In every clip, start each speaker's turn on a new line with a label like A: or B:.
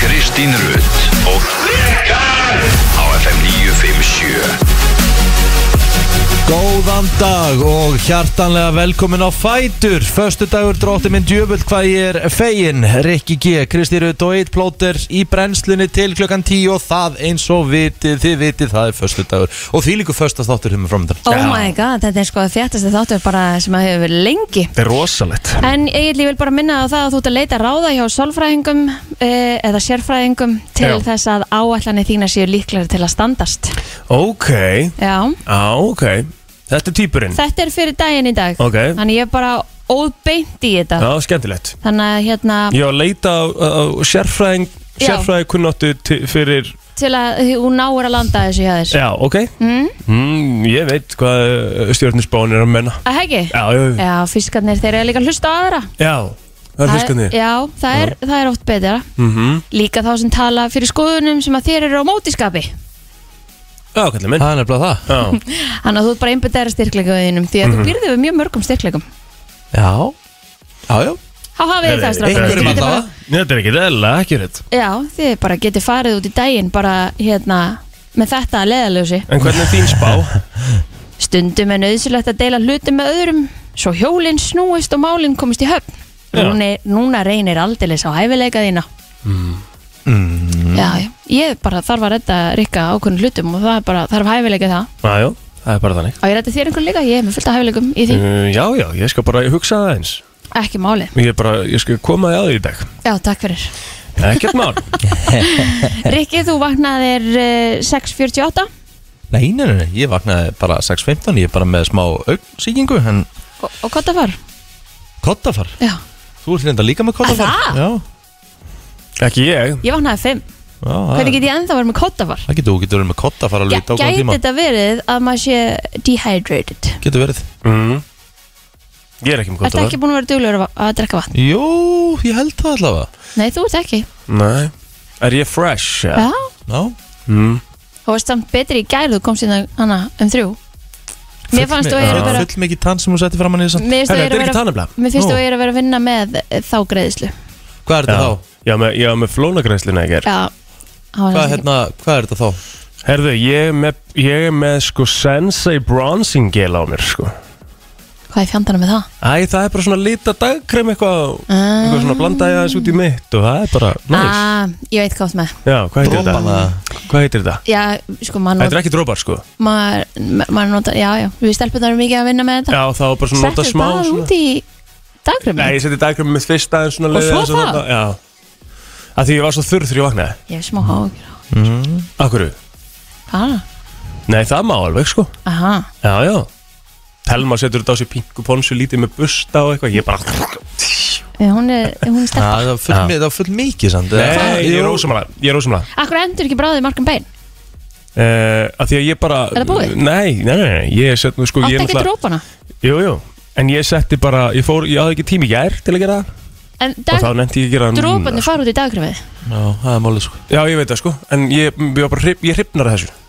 A: Kristín Rutt og Rikar á FM 957
B: Góðan dag og hjartanlega velkomin á Fætur Föstu dagur drótti minn djöfull hvað ég er fegin Rikki G, Kristi Rut og Eitt Plóter í brennslunni til klukkan 10 og það eins og vitið, þið vitið það er föstu dagur og því líku föstu þáttur hérna hefum framöndan
C: Oh my god, þetta er sko að þjættast þáttur bara sem að hefur verið lengi
D: Þetta er rosalegt
C: En Egil, ég vil bara minna á það að þú ert að leita ráða hjá sálfræðingum eh, eða sérfræðingum til
D: Já.
C: þess að áallanir þína séu líklegri til að standast
D: Ok,
C: Já,
D: á ok Þetta er týpurinn
C: þetta er fyrir daginn í dag
D: Ok.
C: Þannig ég er bara óbeint í þetta
D: Já, skemmtilegt
C: Þannig að hérna,
D: Ég var að leita á, á, á sérfræðing
C: Já.
D: Sérfræði kunnáttu fyrir
C: til að hún náir að landa þessu hjá þér
D: Já, ok mm. Ég veit hvað stjórnusbán er að menna
C: Að heggi?
D: Já, já, já,
C: Já, fiskarnir þeir eru líka að hlusta á aðra
D: já. Það er
C: Það-
D: fiskarnir
C: Já, það er, það er oft betra
D: Mhm.
C: Líka þá sem tala fyrir skoðunum sem að þér eru á mótiskapi
D: Já, kallið minn
B: Það er nefnilega það
D: Já,
C: Þannig að þú ert bara einbjöndæra styrkleikaðinum því að
D: Mhm.
C: þú býrðu við mjög mörgum styrkleikum
B: Já, já, já
C: Há hafið þið það strákar.
D: Einhverjum
C: Þið getið
B: allavega.
C: bara-
D: Þetta er ekki eðlilega ekki rétt
C: Já, þið bara getið farið út í daginn bara hérna með þetta að leiðalösi
D: En hvernig er þín spá?
C: Stundum er nöðsilegt að deila hlutum með öðrum svo hjólinn snúist og málinn komist í höfn
D: Já.
C: Núna, núna reynir aldeilis á hæfileika þína mm. Mm. Já, já. ég bara þarf að redda Rikka ákveðin hlutum og það er bara þarf hæfileika í það
D: Já, já, það er bara þannig
C: Á ég redda þér einhvern líka, ég hef með fullt af hæfileikum í því
D: Uh, Já, já, ég skal bara hugsa það eins
C: Ekki máli,
D: Ég, er bara, ég skal koma því að því í dag
C: já takk fyrir
D: Ekkert mál
C: Rikki, þú vaknaðir eh, 6.48
B: Nei, nei, nei, nei, ég vaknaði bara 6.15 Ég er bara með smá augnsýkingu En
C: og, og hvað það var?
B: kottafar,
C: Já.
B: þú ert reynda líka með kottafar
C: það?
B: Já,
D: Ekki ég
C: Ég vaknaði 5
B: já,
D: Ah.
B: það
C: Hvernig
B: er-
C: get ég ennþá verið með kottafar?
B: það getur þú getur verið með kottafar alveg í
C: Gæti
B: dágóðan tíma
C: þetta verið að maður sé dehydrated?
B: Getur verið
D: mm. Ég er ekki með
C: Ertu
D: sko. kottavar
C: ekki búin að vera duglegur að- að drekka vatn?
B: Jú, ég held það allavega
C: Nei, þú ert ekki
D: Nei Er ég fresh?
C: Já,
B: Já,
D: Mm.
C: þú varst samt betri í gær þú komst hérna hana um þrjú Mér fannst þú að ég er að vera
B: Full mikið tann sem þú setti fram hann í þessan
C: Mér finnst þú
D: Herra,
C: að ég
D: þetta
C: er að
D: er
C: vera
D: ekki tannabla
C: Mér finnst þú
B: Nú.
C: að ég er að vera að vinna með eh, þá greiðslu
B: Hvað er þetta
D: Já,
B: þá?
D: já með, ég var með flónagræsluna ekki
C: Já, það var
B: Hvað,
C: næst ekki
B: hérna, hvað er þetta þá?
D: Herðu, ég er með, ég er með sko Sensei Bronzing Gel á mér sko
C: Hvað er fjandana með það?
D: Æ, það er bara svona lita dagkrem eitthvað Eitthvað svona blanda ég aðeins út í mitt Og það er bara, næs
C: Ah, ég veit hvað þú ert með
D: Já, hvað heitir þetta?
B: Dropana.
D: Hvað heitir þetta?
C: Já, sko, maður
D: Þetta
C: nota-
D: er ekki drópar sko Já,
C: maður maður notar, já, já, við stelpunar erum mikið að vinna með þetta
D: það var bara svona nota
C: Settu
D: smá
C: bara
D: svona-
C: út í dagrum
D: Nei, ég seti dagkremi mitt fyrst aðeins svona
C: Og
D: leiðið
C: svo
D: aðeins
C: það?
D: að nota- Já Af því ég var svo þurr þegar ég vaknaði
C: Ég er smá áhugjur á
D: Akkurru?
C: Hvað?
D: Nei, það má alveg sko
C: Aha,
D: Já, já Telma setur þetta á sig pinku ponsu lítið með busta og eitthvað Ég bara
C: Eh, hún er, hún er
B: Já,
C: stelpa
B: það var full,
D: Já.
B: mi- það var full mikið samt eða?
D: Nei, ég er
B: Jú.
D: ósamlega Ég er ósamlega
C: Akkur endur ekki bráðið margum bein
D: Sko, uh, að Því að ég bara
C: Er það búið?
D: Nei, nei, nei, nei Ég set nú sko
C: Átt
D: ég
C: ekki
D: náttúrulega-
C: drópana
D: Jú, jú En ég setti bara Ég fór, ég hafði ekki tími í gær til að gera það
C: En
D: Og þá
C: dag,
D: nefndi ég að gera það núna,
C: dróparnir
D: sko.
C: fara út í daggrafið
B: Já, það er málið sko
D: Já, ég veit það sko En ég, ég var bara hrif, Ég hrifnar af þessu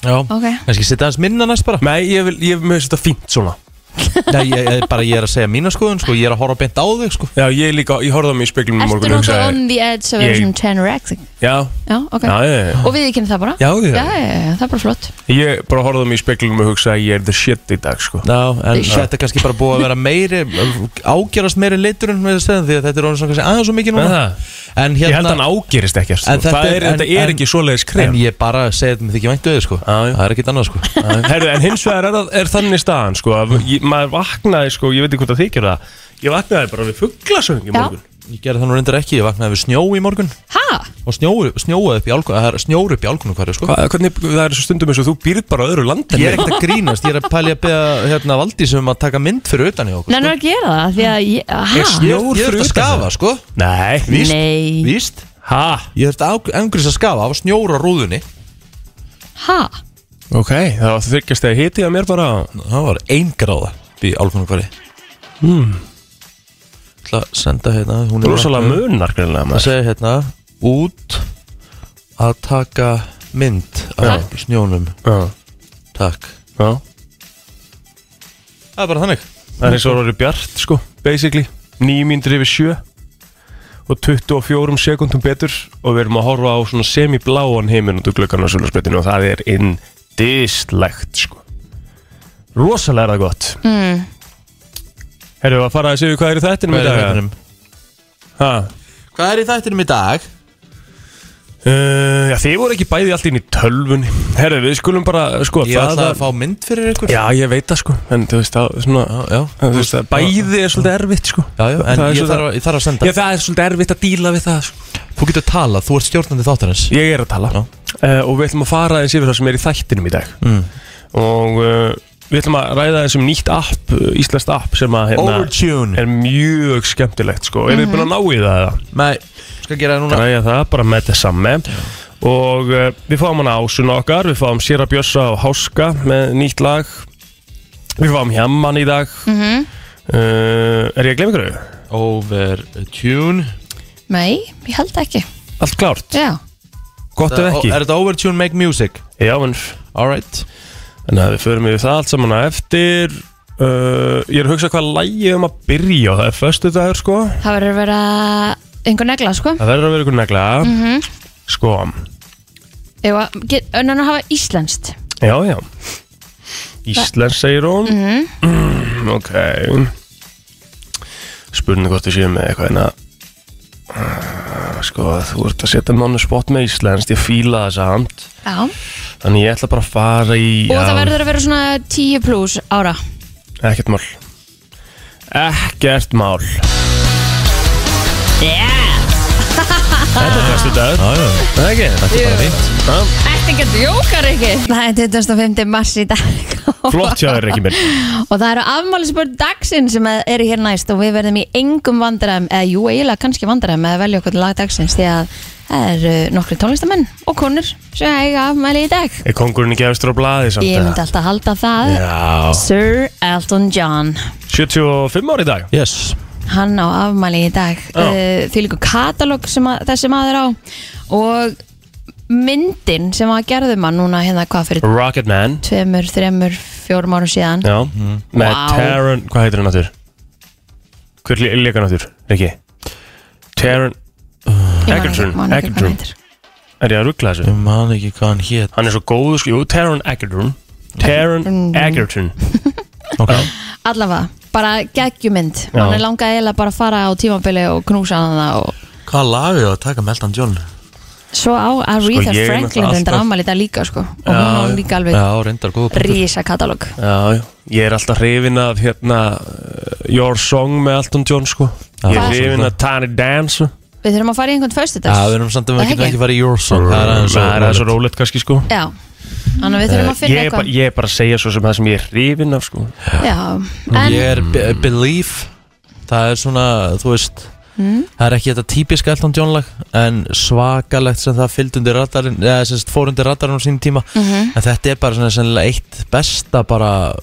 B: Já,
C: Ok.
B: kannski setja aðeins minna næst bara
D: Nei, ég vil Ég vil þetta fínt svona
B: Nei, ég, ég, bara ég er að segja mína skoðun sko Ég er að horfa beint á þig sko
D: Já, ég líka Ég horfði á mig í speglum
C: Ertu
D: morgun og
C: náttúrulega
D: hugsaði-
C: on the edge of version 10 reacting
D: Já,
C: Já, ok
D: já, já, já
C: Og við ekki það bara
B: Já,
C: já,
B: já
C: já, já, það er bara flott
D: Ég bara horfði á mig í speglum og hugsaði Ég er the shit í dag sko
B: Já, en
C: Já.
B: þetta er kannski bara búið að vera meiri Ágerast meiri liturinn með þess að Því að þetta er orðin svona kannski aðeins svo mikið núna
D: Það
B: En
D: Ég held að hann
B: hérna
D: ágerist ekkert sko.
B: En þetta
D: Það er,
B: er- en-
D: þetta er
B: en-
D: ekki svoleiðis
B: En
D: krem
B: ég bara segi þetta með þykir væntu þig sko
D: Já, já.
B: Það er ekkit annað sko
D: Herru, en hins vegar er, það- er þannig staðan sko, að ég, maður vaknaði, sko, ég veit ekki hvort það þykir það ég vaknaði bara við fugglasöng í
C: Já.
D: morgun
B: Ég gerði það nú reyndar ekki, ég vaknaði við snjó í morgun
C: Ha?
B: og snjóu, snjóaði upp í álkonu, það er snjóru upp í álkonu hverju sko.
D: Hva, hvernig, það er svo stundum eins og þú býrð bara á öðru land en
B: Ég er
D: mig.
B: ekkert að grínast, ég er að pæli að beða hérna valdi sem að taka mynd fyrir utan í okkur
C: Nennar að gera það, því að ég,
D: Ég
C: ha?
D: snjó-
B: Ég ég þurfti að
D: fyrir utan
B: skafa sko
D: Nei,
B: Víst,
C: Nei.
B: víst
D: ha,
B: Ég þurfti að angriðs að skafa, það var snjór á rúðunni
C: Ha?
D: ok það var þryggjast að hiti að mér bara
B: Það var ein gráða í álkonu hverju hmm. Það senda hérna hún er
D: Mm. rosalega
B: vaknaði.
D: munar greinlega
B: Það
D: maður
B: segir hérna út að taka mynd af snjónum
D: Já,
B: Takk
D: já.
B: Það er bara þannig
D: Það er eins og orðið bjart sko, basically 9 mínútur yfir sjö og 24 sekundum betur og við erum að horfa á svona semibláan heiminn út úr glöggarn á sölusbyrtinu og það er indislegt sko. rosalega er það gott mm. Herru, að fara að séu hvað er í þættinum
B: Hvað er
D: í
B: í þættinum?
D: dag? Ha?
B: Hvað er í þættinum í dag?
D: Uh, já, þið voru ekki bæði allt inn í tölvunni Herru, við skulum bara sko,
B: Ég
D: það-
B: ætla að fá mynd fyrir ykkur
D: Já, ég veit það sko, en þú veist það svona,
B: já.
D: þú veist það, bæði er svolítið erfitt sko
B: Já, já, en
D: Það er
B: ég
D: svolítið-
B: þarf, að, ég þarf að senda
D: Já, það er svolítið erfitt að díla við það sko
B: Þú getur talað, þú ert stjórnandi þáttarins
D: Ég er að tala
B: Já.
D: uh, og við ætlum að fara eins yfir það sem er í þættinum í dag
B: Mm.
D: og uh, við ætlum að ræða eins um nýtt app, uh, íslenskt app sem að hérna,
B: Overtune
D: er mjög skemmtilegt sko, eruð þið búin að ná í það eða?
B: Nei, skal gera það núna
D: græja það bara með þess samme og uh, við fáum hana ásuna okkar við fáum Sýra Bjössa og Háska með nýtt lag við fáum Hjamman í dag
C: mhm.
D: uh, er ég að glemja ykkur?
B: Overtune
C: Nei, ég held ekki
D: allt klárt,
C: Já,
D: gott ef ekki
B: Er þetta Overtune Make Music?
D: já en
B: Alright
D: þannig að við förum yfir það allt saman á eftir uh, ég er að hugsa hvað lægi um að byrja og það er föstu dagur sko
C: það verður að vera einhver negla, sko
D: það verður að vera ykkur negla sko
C: Eða, önnan að hafa íslenskt
D: já já Íslands segir hún
C: Mhm.
D: mm, ok spurning hvort þú séu með eitthvað en að Ah, sko þú ert að setja mánu spott með Íslands ég fíla það samt
C: Já,
D: þannig ég ætla bara að fara í
C: og það verður að vera svona 10 pluss ára
D: ekkert mál ekkert mál
C: Ah.
D: yeah. þetta er fyrstu dagur
B: Já, já,
D: það er ekki
B: þetta er bara fínt
D: Já,
C: Þetta ekki að djókar ekki Það er 25. mars í dag
D: flott hjá þér ekki minn
C: Og það eru afmálisbörn dagsinn sem eru hér næst og við verðum í engum vandræðum eða jú, eiginlega kannski vandræðum að velja okkur lag dagsins því að það eru nokkri tónlistamenn og konur sem eiga afmæli í dag
D: er kongurinn ekki efstur á blaði samt
C: Ég
D: eða?
C: myndi alltaf halda það
D: já
C: Sir Elton John
D: 75 ár í dag
B: Yes
C: hann á afmæli í dag
D: Já.
C: uh, því líka katalóg sem að, þessi maður á og myndin sem að gerðum hann núna hérna hvað fyrir
D: Rocket Man
C: tveimur, þreimur, fjórum árum síðan
D: Já, með
C: Mhm. Vá.
D: Taron, hvað heitir hann aftur? Hver le leikar hann aftur? Rikki? Taron,
C: Ég man
D: Egerton,
C: ekki- man ekki hvað
D: Egerton.
C: hann heitir.
D: er ég að ruggla þessu?
B: Ég man ekki hvað hann hét
D: Hann er svo góð, sko, jú, Taron Egerton
C: Mm.
D: Taron Egerton
B: Ok
C: allavega, bara geggjumynd
D: Já.
C: hann er langað eiginlega bara að fara á tímabili og knúsa hann það og
B: Hvað lagið það að taka með Elton John?
C: svo á Aretha
D: Sko, ég er
C: Franklin
D: náttúrulega
C: reyndar
D: alltaf-
C: afmæli í dag líka sko og hún á líka alveg
B: Já, reyndar góða punktur
C: rísa katalóg
D: Já, já, ég er alltaf hrifin af hérna uh, Your Song með Elton John, sko Ég er
B: Hvað?
D: hrifin af Tiny Dance
C: við þurfum að fara í einhvern
B: Já, við
C: föstudags
B: erum samt um að við
C: Það
B: getum
C: ekki?
B: ekki farið í Your Song Það er aðeins og-
D: Það er svo rólegt kannski, sko
C: já, þannig að við þurfum að finna
D: Eh, Ég er, bara,
C: eitthvað
D: ég er bara að segja svo sem það sem ég er hrifin af, sko
C: já, en
B: Ég er Be- Believe Það er svona, þú veist Það er ekki þetta típiska Elton John lag En svakalegt sem það fylgd undir radarinn Eða sem sagt fór undir radarinn á sínum tíma En þetta er bara svona sennilega eitt besta bara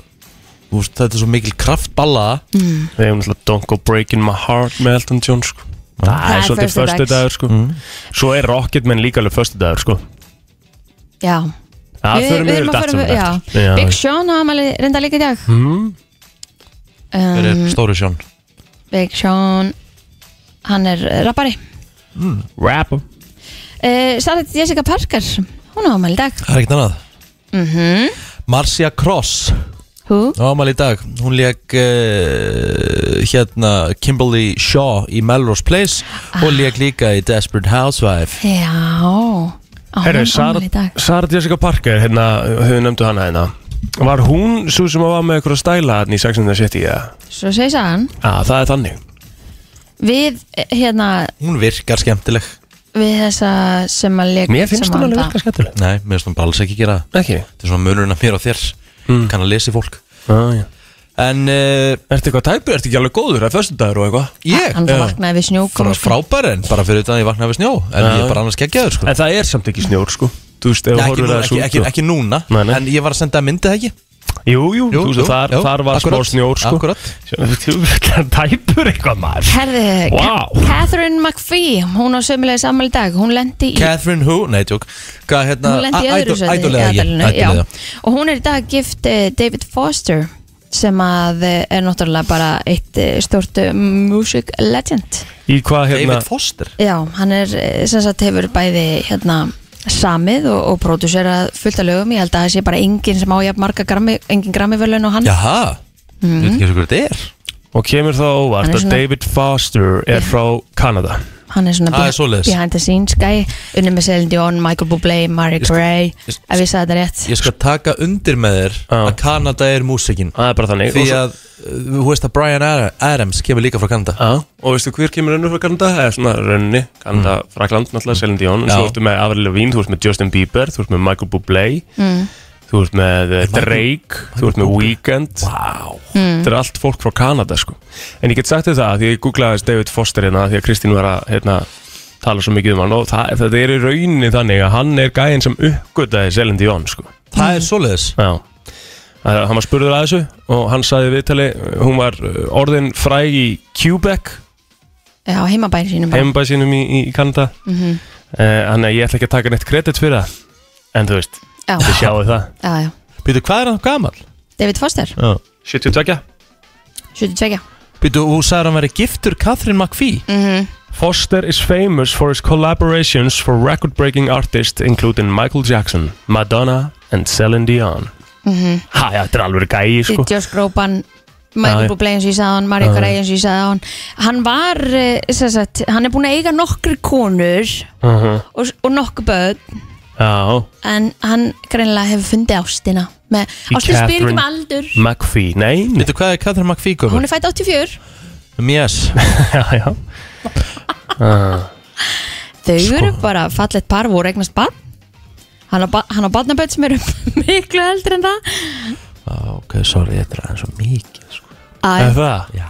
B: þú veist, Þetta er svo mikil kraftballa
D: Við hefum alltaf Don't Go Breaking My Heart með Elton John sko. Það
C: er
D: er svolítið
C: föstudags.
D: förstu dagur sko.
B: Mm.
D: Svo er Rocketman líka alveg förstu dagur sko.
C: já
D: Það
C: Við-
D: förum
C: við
D: við
C: erum að
D: datt
C: förum
D: saman
C: við-
D: eftir.
C: já.
D: Já.
C: Big Sean hafa maður reynda líka í dag
B: Hver
C: um,
B: er Stóri Sjón?
C: Big Sean hann er eh, rappari
D: Rap
C: uh, Sarah Jessica Parker hún hafa maður í dag Mhm.
B: Það er ekkert annað Marcia Cross
C: Who?
B: Ámæli í dag, hún leik uh, hérna Kimberly Shaw í Melrose Place
D: Ah.
B: og leik líka í Desperate Housewife
C: já Á,
D: Herru,
C: hún
D: Sara,
C: afmæli í dag.
D: Sara Jessica Parker hérna, höfum nefndu hana hérna Var hún svo sem að var með eitthvað stæla hérna í 670 ja?
C: svo segir Sagan
D: ah, Það er þannig
C: við eh, hérna
B: Hún virkar skemmtileg
C: við þessa sem að leik
D: Mér finnst
C: sem
D: hún alveg
C: að-
D: verka skemmtileg
B: Nei, mér finnst hún bara alls ekki gera það
D: Ekki? Hmm.
B: Þetta er svona munurinn af mér og þér Kann að lesa í fólk
D: Ah, já.
B: En uh,
D: Ertu eitthvað tæpur? Ertu ekki alveg góður? Það er förstu dagur og eitthvað
B: ég
C: hann
B: er
C: það vaknaði við snjókum
B: bara frábær en bara fyrir utan að ég vaknaði við snjó En ég er bara annars geggjaður sko
D: En það er samt ekki snjór sko Þú veist, ef þú
B: Nei,
D: horfir
B: ekki,
D: að
B: núna, ekki,
D: þessu
B: ekki, ekki núna,
D: Nei, nei.
B: en ég var að senda myndið ekki
D: Jú, jú, jú, jú, þar,
B: jú,
D: þar var
B: akkurat,
D: smá snjór sko
B: akkurat.
D: Það tæpur eitthvað maður
C: herði
D: Vá.
C: Catherine McPhee hún á sömulega sammæli dag hún lendi í
B: Catherine Who, nei, tjók Hvað hérna,
C: hún lendi í
B: Idol-
C: öðru sæti í
B: Idol-eða ekki,
C: aðalinu, já.
B: Idol-eða.
C: og hún er í dag gift eh, David Foster sem að eh, er náttúrulega bara eitt eh, stórt eh, music legend
D: Í hvað hérna
B: David Foster
C: Já, hann er eh, sem sagt hefur bæði hérna samið og, og pródúserað fullt að lögum, ég held að það sé bara enginn sem á jafn marga grammi, engin grammi og hann Mhm.
B: Jaha, ég veit ekki eins og hvað þetta er
D: Og kemur þá
C: Hann
D: óvart
C: er
D: að
C: svona-
D: David Foster er frá Kanada
C: hann er svona
B: Það er
C: beh-
B: Ah, svoleiðis.
C: behind the scenes guy unni með Celine Dion, Michael Bublé, Marie
B: skal-
C: Gray
B: ég skal-
C: ef ég sagði þetta rétt
B: Ég skal taka undir með þér
D: Já.
B: að Kanada er músikinn
D: Það er bara þannig
B: Því
D: Og svo-
B: að, uh, þú veist að Brian Ad- Adams kemur líka frá Kanada
D: Já, og veistu hver kemur önnur frá Kanada? Það er svona rauninni, Kanada, mm. Frakland náttúrulega, Selin Dion, en
B: Já.
D: svo ertu með Avril Lavigne, þú ert með Justin Bieber, þú ert með Michael Bublé, mm. þú ert með eh, Drake, þú ert með Weekend,
B: Wow
D: þetta er allt fólk frá Kanada sko. En ég get sagt þér það, því að ég googlaði aðeins David Foster hérna, því að Kristín var að hérna, tala svo mikið um hann og það, þetta er í rauninni þannig að hann er gæðin sem uppgötaði Selin Dion sko.
B: Það er svoleiðis
D: Já Það- Hann var spurður að þessu og hann sagði í viðtali, hún var eh, orðin fræg í Quebec
C: já, heimabæri sínum bara
D: heimabæð sínum í, í- í Kanada mm -hmm. Þannig að ég ætla ekki að taka neitt kredit fyrir það En þú veist,
C: já,
D: þið sjáu það
C: já, já.
B: Býtu, hvað er hann gammal?
C: David Foster,
D: 72
C: 72
B: Býtu, þú sagði hann verið giftur Catherine McPhee
C: Mhm,
D: Foster is famous for his collaborations for record-breaking artists including Michael Jackson, Madonna and Celine Dion mm -hmm. Hæ, þetta er alveg gæi sko
C: Josh Groban
D: Já,
C: mhm. Michael
D: já.
C: Bublé eins og ég sagði hann, Marie
D: Já, já.
C: Gray eins og ég sagði hann hann var, eh, sem sagt, hann er búin að eiga nokkur konur
D: uh -huh.
C: og, og nokkur börn
D: Já,
C: en hann greinilega hefur fundið ástina með,
D: Í
C: ástin spyr ekki
D: Catherine.
C: með aldur
D: McPhee, nei, nei.
B: Býtu, hvað er Catherine McPhee
C: hún
B: komur?
C: er fætt 84
B: Um Yes Ah.
D: já, já
C: þau
D: Sko.
C: eru bara fallegt par voru eignast barn hann á, ba- hann á barnaböld sem eru miklu eldri en það
B: Á, Ok, sorry, þetta er aðeins svo mikið sko.
D: Er
C: Æ,
D: það?
B: Já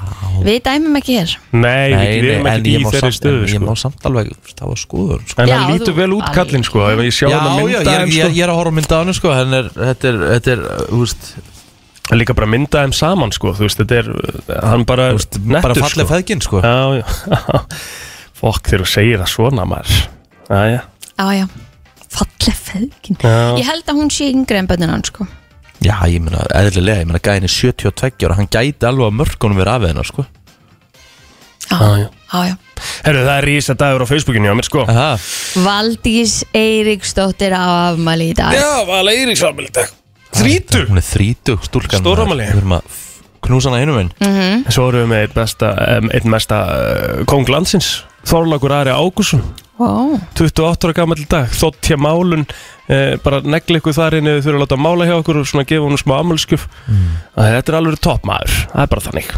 C: við dæmum ekki hér
D: Nei, nei, við erum
B: en
D: ekki í
B: ég má
D: þeirri
B: samt-
D: stöðu
B: en Ég
D: sko.
B: má samt alveg stafa skoður sko.
D: En
C: Já,
D: hann lítur
C: þú-
D: vel út kallinn sko Ef ég sjá
B: Já,
D: hann að
B: já,
D: mynda
B: ég,
D: þeim
B: ég,
D: sko
B: ég er að horfa á mynda á hann sko, en er, þetta er, þetta er, uh, þú veist,
D: En líka bara mynda þeim saman sko Þú veist, þetta er uh, Hann bara
B: þú veist
D: nettur
B: bara falleg feðgin sko.
D: Já, já Fokk þegar þú segir það svona maður Æja
C: já, já, falleg feðgin
D: Já,
C: ég held að hún sé yngri en bönnun hann sko
B: Já, ég meina, eðlilega, ég meina, gæðin er 72 ára, hann gæti alveg að mörgunum vera af hennar, sko.
C: já,
D: Já, já.
C: já, já.
D: herru það er rísa dagur á Facebookinu á mér sko
B: Aha.
C: Valdís Eiríksdóttir á afmæli í dag
D: Já, vala Eiríks afmæli í dag Þrítur
B: Hún er 30 stúlkan.
D: Stórafmæli.
B: Við erum að f- knúsa hana einu minn.
D: Svo erum við með einn besta em, Einn mesta eh, kóng landsins Þorlákur Ari Ágússon
C: Ó,
D: 28 ára gammal dag þótt hjá málun eh, bara negli ykkur þar inn ef þau þurfa að láta mála hjá okkur og svona gefa hún smá ammalskjöf mm. þetta er alveg topp maður það er bara þannig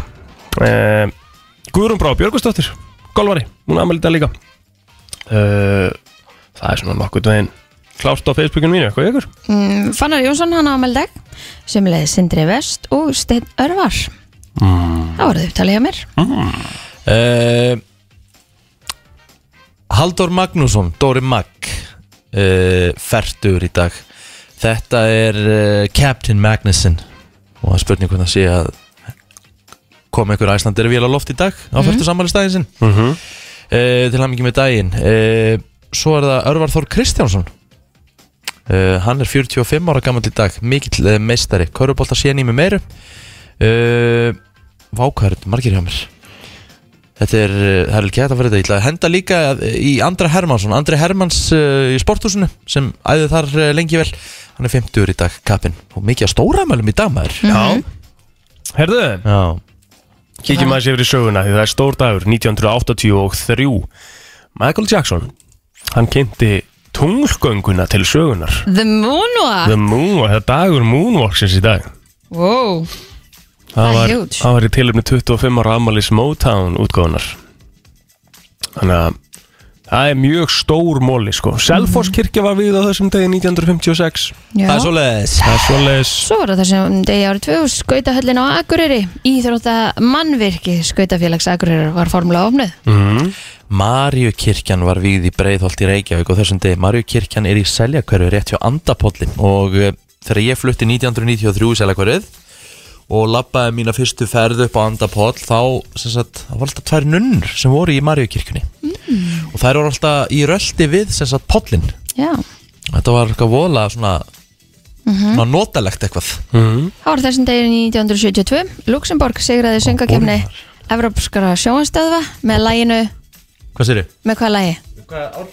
D: eh, Guðrún Brá Björgustóttir golvari, hún ammali dag líka eh, það er svona nokkuð veginn klárt á Facebookinu mínu, eitthvað ykkur
C: mm, Fannar Jónsson hann á afmæli í dag sem leiði Sindri Vest og Steinn Örvar mm. það voruð upptalið hjá mér
D: Ah.
B: Uh, Haldur Magnússon, Dóri Mag, uh, færtur í dag. Þetta er uh, Captain Magnussen og það er spurning hvernig að sé að koma einhver æslandir vél á loft í dag á færtur sammælistæðin sinn.
D: mm -hmm.
B: uh, til hann ekki með daginn uh, svo er það Örvar Þór Kristjánsson uh, hann er 45 ára gammal í dag mikill uh, meistari, Körubolt að sé nými meiru uh, vákvært margir hjá mér Þetta er, uh, það er ekki hægt að vera þetta, ég ætla að henda líka uh, í Andra Hermansson, Andri Hermans uh, í sporthúsinu sem æði þar uh, lengi vel, hann er 50 í dag, kappinn og mikið að stóramælum í dag maður.
D: já herðu,
B: Já,
D: kíkjum aðeins yfir í söguna því það er stór dagur 1983 Michael Jackson hann kynnti tunglgönguna til sögunar
C: The Moonwalk
D: The Moonwalk, það er dagur Moonwalksins í dag
C: wow.
D: Það
C: er
D: var,
C: huge.
D: það var í tilöfni 25 ára Amalis Motown útgóðunar Þannig að það er mjög stór móli sko
C: Mhm.
D: Selfoss kirkja var við á þessum degi 1956
B: það er svoleiðis.
D: Það er svoleiðis
C: Svo var það þessum degi árið 2 skautahöllin á Akureyri Íþrótta mannvirki skautafélags Akureyri var formulega ofnuð
D: mm.
B: Marjukirkjan var víð í Breiðholt í Reykjavík og þessum degi Marjukirkjan er í Seljakverfi rétt hjá Andapollin og eh, þegar ég flutti 1993 í Seljakverfið og labbaði mína fyrstu ferð upp á Andapoll þá sem sagt, það var alltaf tvær nunnur sem voru í Marjukirkjunni og þær voru alltaf í röldi við sem sagt pollin
C: Já,
B: þetta var eitthvað vola svona,
C: Mm.
B: svona notalegt eitthvað
C: Mhm. það var þessum degi 1972 Luxemborg sigraði söngakefni Evrópskara sjóanstöðva með læginu
B: Hvað sér ég?
C: Með hvaða lagi?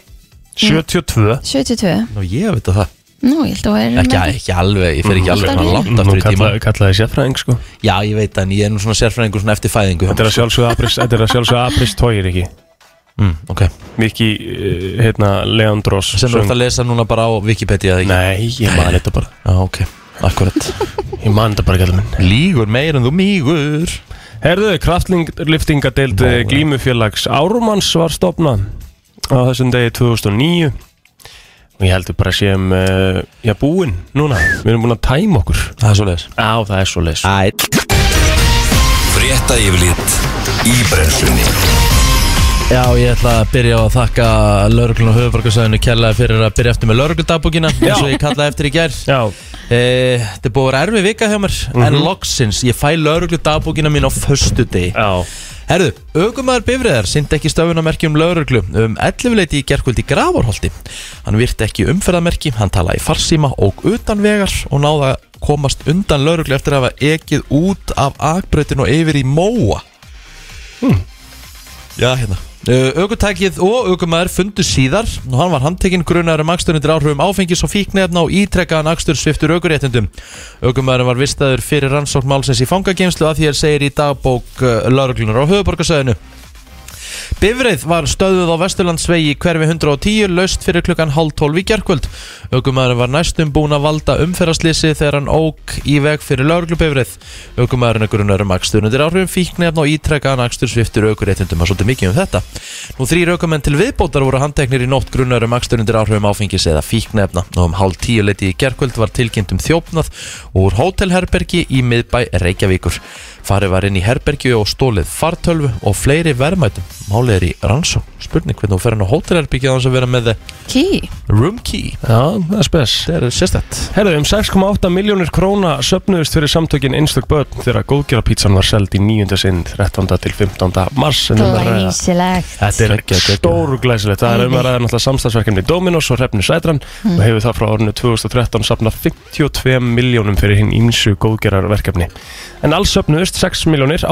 C: Mm.
D: 72
C: 72
B: Nú ég veit að það
C: Nú, ég held að þú er
B: Ekki, ekki alveg, Mhm. ég fer ekki alveg
C: Alltaf
B: svona
C: vel.
B: langt
D: Nú
B: aftur í tíma
D: kallaði, kallaði sérfræðing sko
B: Já, ég veit en ég er nú svona sérfræðingur svona eftir fæðingu
D: Þetta er að sjálfsögða aprist, þetta er að sjálfsögða aprist tóir ekki
B: mm, Ok,
D: Miki, eh, hérna, Leandros
B: sem þú ert að lesa núna bara á Wikipedia eða ekki?
D: Nei, ég man þetta bara
B: Já, ok, akkurat
D: Ég man þetta bara gæla minn
B: Lígur meir en þú mígur
D: Herðu, kraftlinglyftingadeild eh, glímufélags Árumanns var stopnað á þessum degi 2009 og ég heldur bara séum uh, já, búinn núna, við erum búin að tæma okkur
B: Það er svo leiðis
D: Á, það er svo leis
B: Æ,
A: Frétta yfirlit í brennslunni
B: Já, ég ætla að byrja á að þakka lauruglun og höfubarkasæðinu kærlega fyrir að byrja eftir með lauruglundabókina eins og ég kallaði eftir í gær e,
D: Já, Mhm.
B: Þetta er búið að vera erfið vika hjá mér en loksins, ég fæ lauruglundabókina mín á föstu degi
D: já,
B: Herðu, aukumæður bifriðar sindi ekki stöfunamerki um lauruglu um 11 leiti í gerkvöldi gravarholti. Hann virti ekki umferðamerki, hann talaði í farsíma og utan vegar og náða að komast undan lauruglu eftir að hafa ekið út af akbrautin og yfir í móa. Hmm. Já, hérna. Aukutækið og aukumæður fundu síðar og hann var handtekinn grunar um akstur undir áhrifum áfengis og fíknefna og ítrekkaðan akstur sviftur aukuréttundum. Aukumæður var vistaður fyrir rannsókn málsins í fangageimslu að því er segir í dagbók lauruglunar á höfuborgarsöðinu. Bifreið var stöðuð á Vesturlandsvegi í hverfi 110 laust fyrir klukkan halv 12 í gerkvöld. Ögumæðurinn var næstum búin að valda umferðarslýsi þegar hann ók í veg fyrir lauruglubifreið. Ögumæðurinn er grunnar um akstur undir áhrifum fíknefn og ítrekkaðan akstur sviftur aukuréttindum að svolítið mikið um þetta. Nú þrýr ögumenn til viðbótar voru handteknir í nótt grunnar um akstur undir áhrifum áfengis eða fíknefna og um hálf tíu leiti í gerkvöld var tilkynnt um þjófnað úr hótelherbergi í miðbæ Reykjavíkur. Farið var inn í herbergi og stólið fartölvu og fleiri verðmætum. Málið er í rannsó. Spurning hvernig þú fer inn á hótelherbergi að hans að vera með
C: Ký
B: room key.
D: já, það er spes
B: Það er sérstætt.
D: Herðu, um 6,8 miljónir króna söpnuðist fyrir samtökin einstök börn þegar góðgerapítsan var seld í 9. sinn 13. til 15. mars en um að ræða-
C: Glæsilegt
B: Þetta er ekki að gegja.
D: stóru glæsilegt, það er um að ræða náttúrulega samstagsverkefni Dominos og Hrefnu Sætran og hefur það frá árinu 2013 safnað 52 miljónum fyrir hinn ímsu góðgerarverkefni. En alls söfnuðust 6 miljónir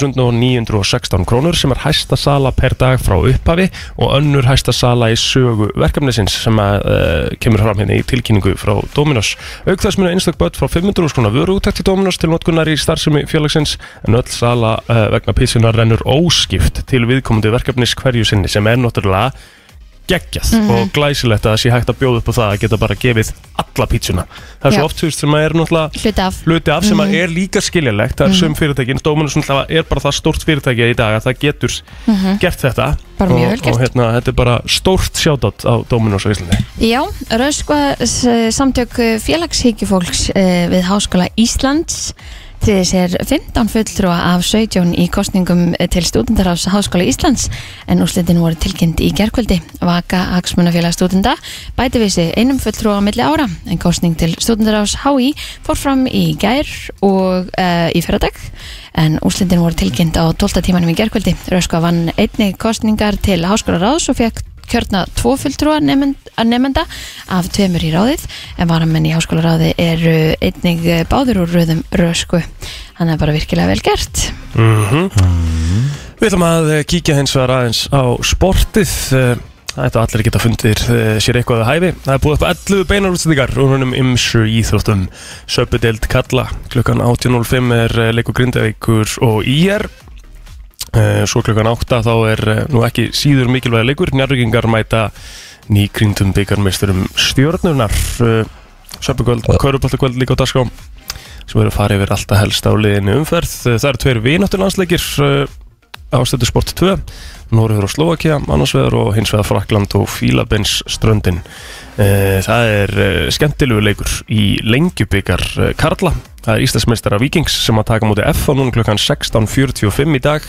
D: 835.916 krónur sem er hæsta sala per dag frá upphafi og önnur hæsta sala í sögu verkefnisins sem að, uh, kemur fram hérna í tilkynningu frá Dominos. Auk þess munu einstak börn frá 500 skrona vöru úttækt í Dominos til notkunnar í starfsemi félagsins en öll sala uh, vegna pítsunar rennur óskipt til viðkomandi verkefnis hverju sinni sem er náttúrulega geggjað og glæsilegt að það sé hægt að bjóða upp á það að geta bara gefið alla pítsuna. Það er
C: Já.
D: svo oft þú veist sem að er náttúrulega
C: Hluti af
D: hluti af sem að
C: Mhm.
D: er líka skiljanlegt það er sum fyrirtækin, Dominus náttúrulega er bara það stórt fyrirtæki í dag að það getur gert þetta
C: Mhm. Bara
D: og,
C: mjög vel
D: og
C: gert.
D: hérna, þetta er bara stórt sjátat á Dominus á Íslandi
C: Já, Röskva s- samtök félagshyggjufólks eh, við Háskóla Íslands til sér 15 fulltrúa af 17 í kostningum eh, til stúdendarhás Háskóla Íslands en úrslitin voru tilkynnt í gerkvöldi Vaka Aksmunafélag stúdenda bæti við sig einum fulltrúa á milli ára en kostning til stúdendarhás HÍ fór fram í gær og uh, í fyrradag en úrslitin voru tilkynnt á 12. tímanum í gerkvöldi Röskva vann einni kostningar til Háskóla Ráðs og fekk kjörna tvo fulltrúa nefnda af tveimur í ráðið en varamenn í háskólaráði eru einnig eh, báður úr röðum rösku hann er bara virkilega vel gert
D: Mhm.
C: Mhm.
D: Við ætlum að eh, kíkja hins vegar aðeins á sportið eh, Þetta allir geta fundir eh, sér eitthvað að hæfi Það er búið upp 11 beinar útsendingar og húnum ymsu íþróttum Söpudeld Kalla klukkan 18.05 er eh, leikur Grindavíkur og IR Eh, Svo klukkan 8 þá er eh, nú ekki síður mikilvæg leikur Njarvíkingar mæta nýkrindum byggarmeisturum stjórnurnar Söpugöld, Köruboltakvöld Eh, líka á dagskrá sem eru að fara yfir alltaf helst á liðinu umferð Eh, Það eru tveir vináttulandsleikir eh, ástöðu sport 2 Nóriður og Slovakia annars vegar og hins vegar Frakland og Fílabens ströndin það er eh, skemmtilegu leikur í lengjubikar eh, Karla það er Íslandsmeistara Víkings sem að taka mútið F á núna klukkan 16.45 í dag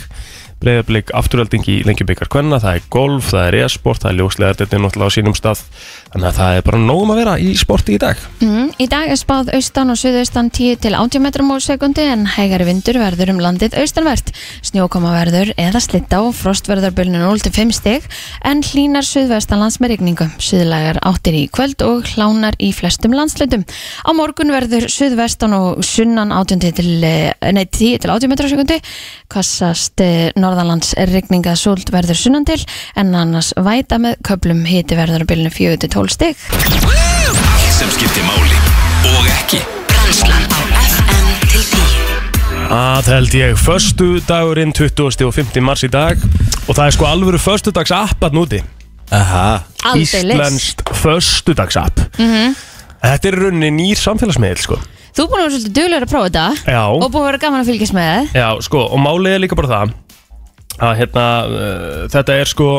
D: breyðablík afturölding í lengjubikar Kvenna það er golf, það er e-sport, það er ljóslega þetta er náttúrulega á sínum stað Þannig að það er bara nógum að vera í sporti í dag
C: Mm, í dag er spáð austan og suðaustan 10 til 80 metrum á sekundi en hægari vindur verður um landið austanvert. Snjókoma verður eða slitta og frost verður bylnu 0 til 5 stig en hlínar suðvestanlands með rigningu. Suðlagar áttir í kvöld og hlánar í flestum landslutum. Á morgun verður suðvestan og sunnan 18 til, eh, nei, 10 til 80 metrum á sekundi. Kassast eh, norðanlands rigninga súld verður sunnan til en annars væta með köplum hiti verður bylnu 4 til 12 stig.
A: Allt sem skiptir máli og ekki
E: Brennslan á FM til 10
D: Það held ég, förstu dagurinn 20. og 5. mars í dag og það er sko alvöru förstudags appat núti
B: Aha
C: Aldeilis.
D: Íslenskt förstudags app Þetta er í rauninni nýr samfélagsmiðl sko
C: Þú er búin að vera svolítið duglegur að prófa þetta
D: Já,
C: og búin að vera gaman að fylgjast með
D: já sko, og málið er líka bara það að hérna, uh, þetta er sko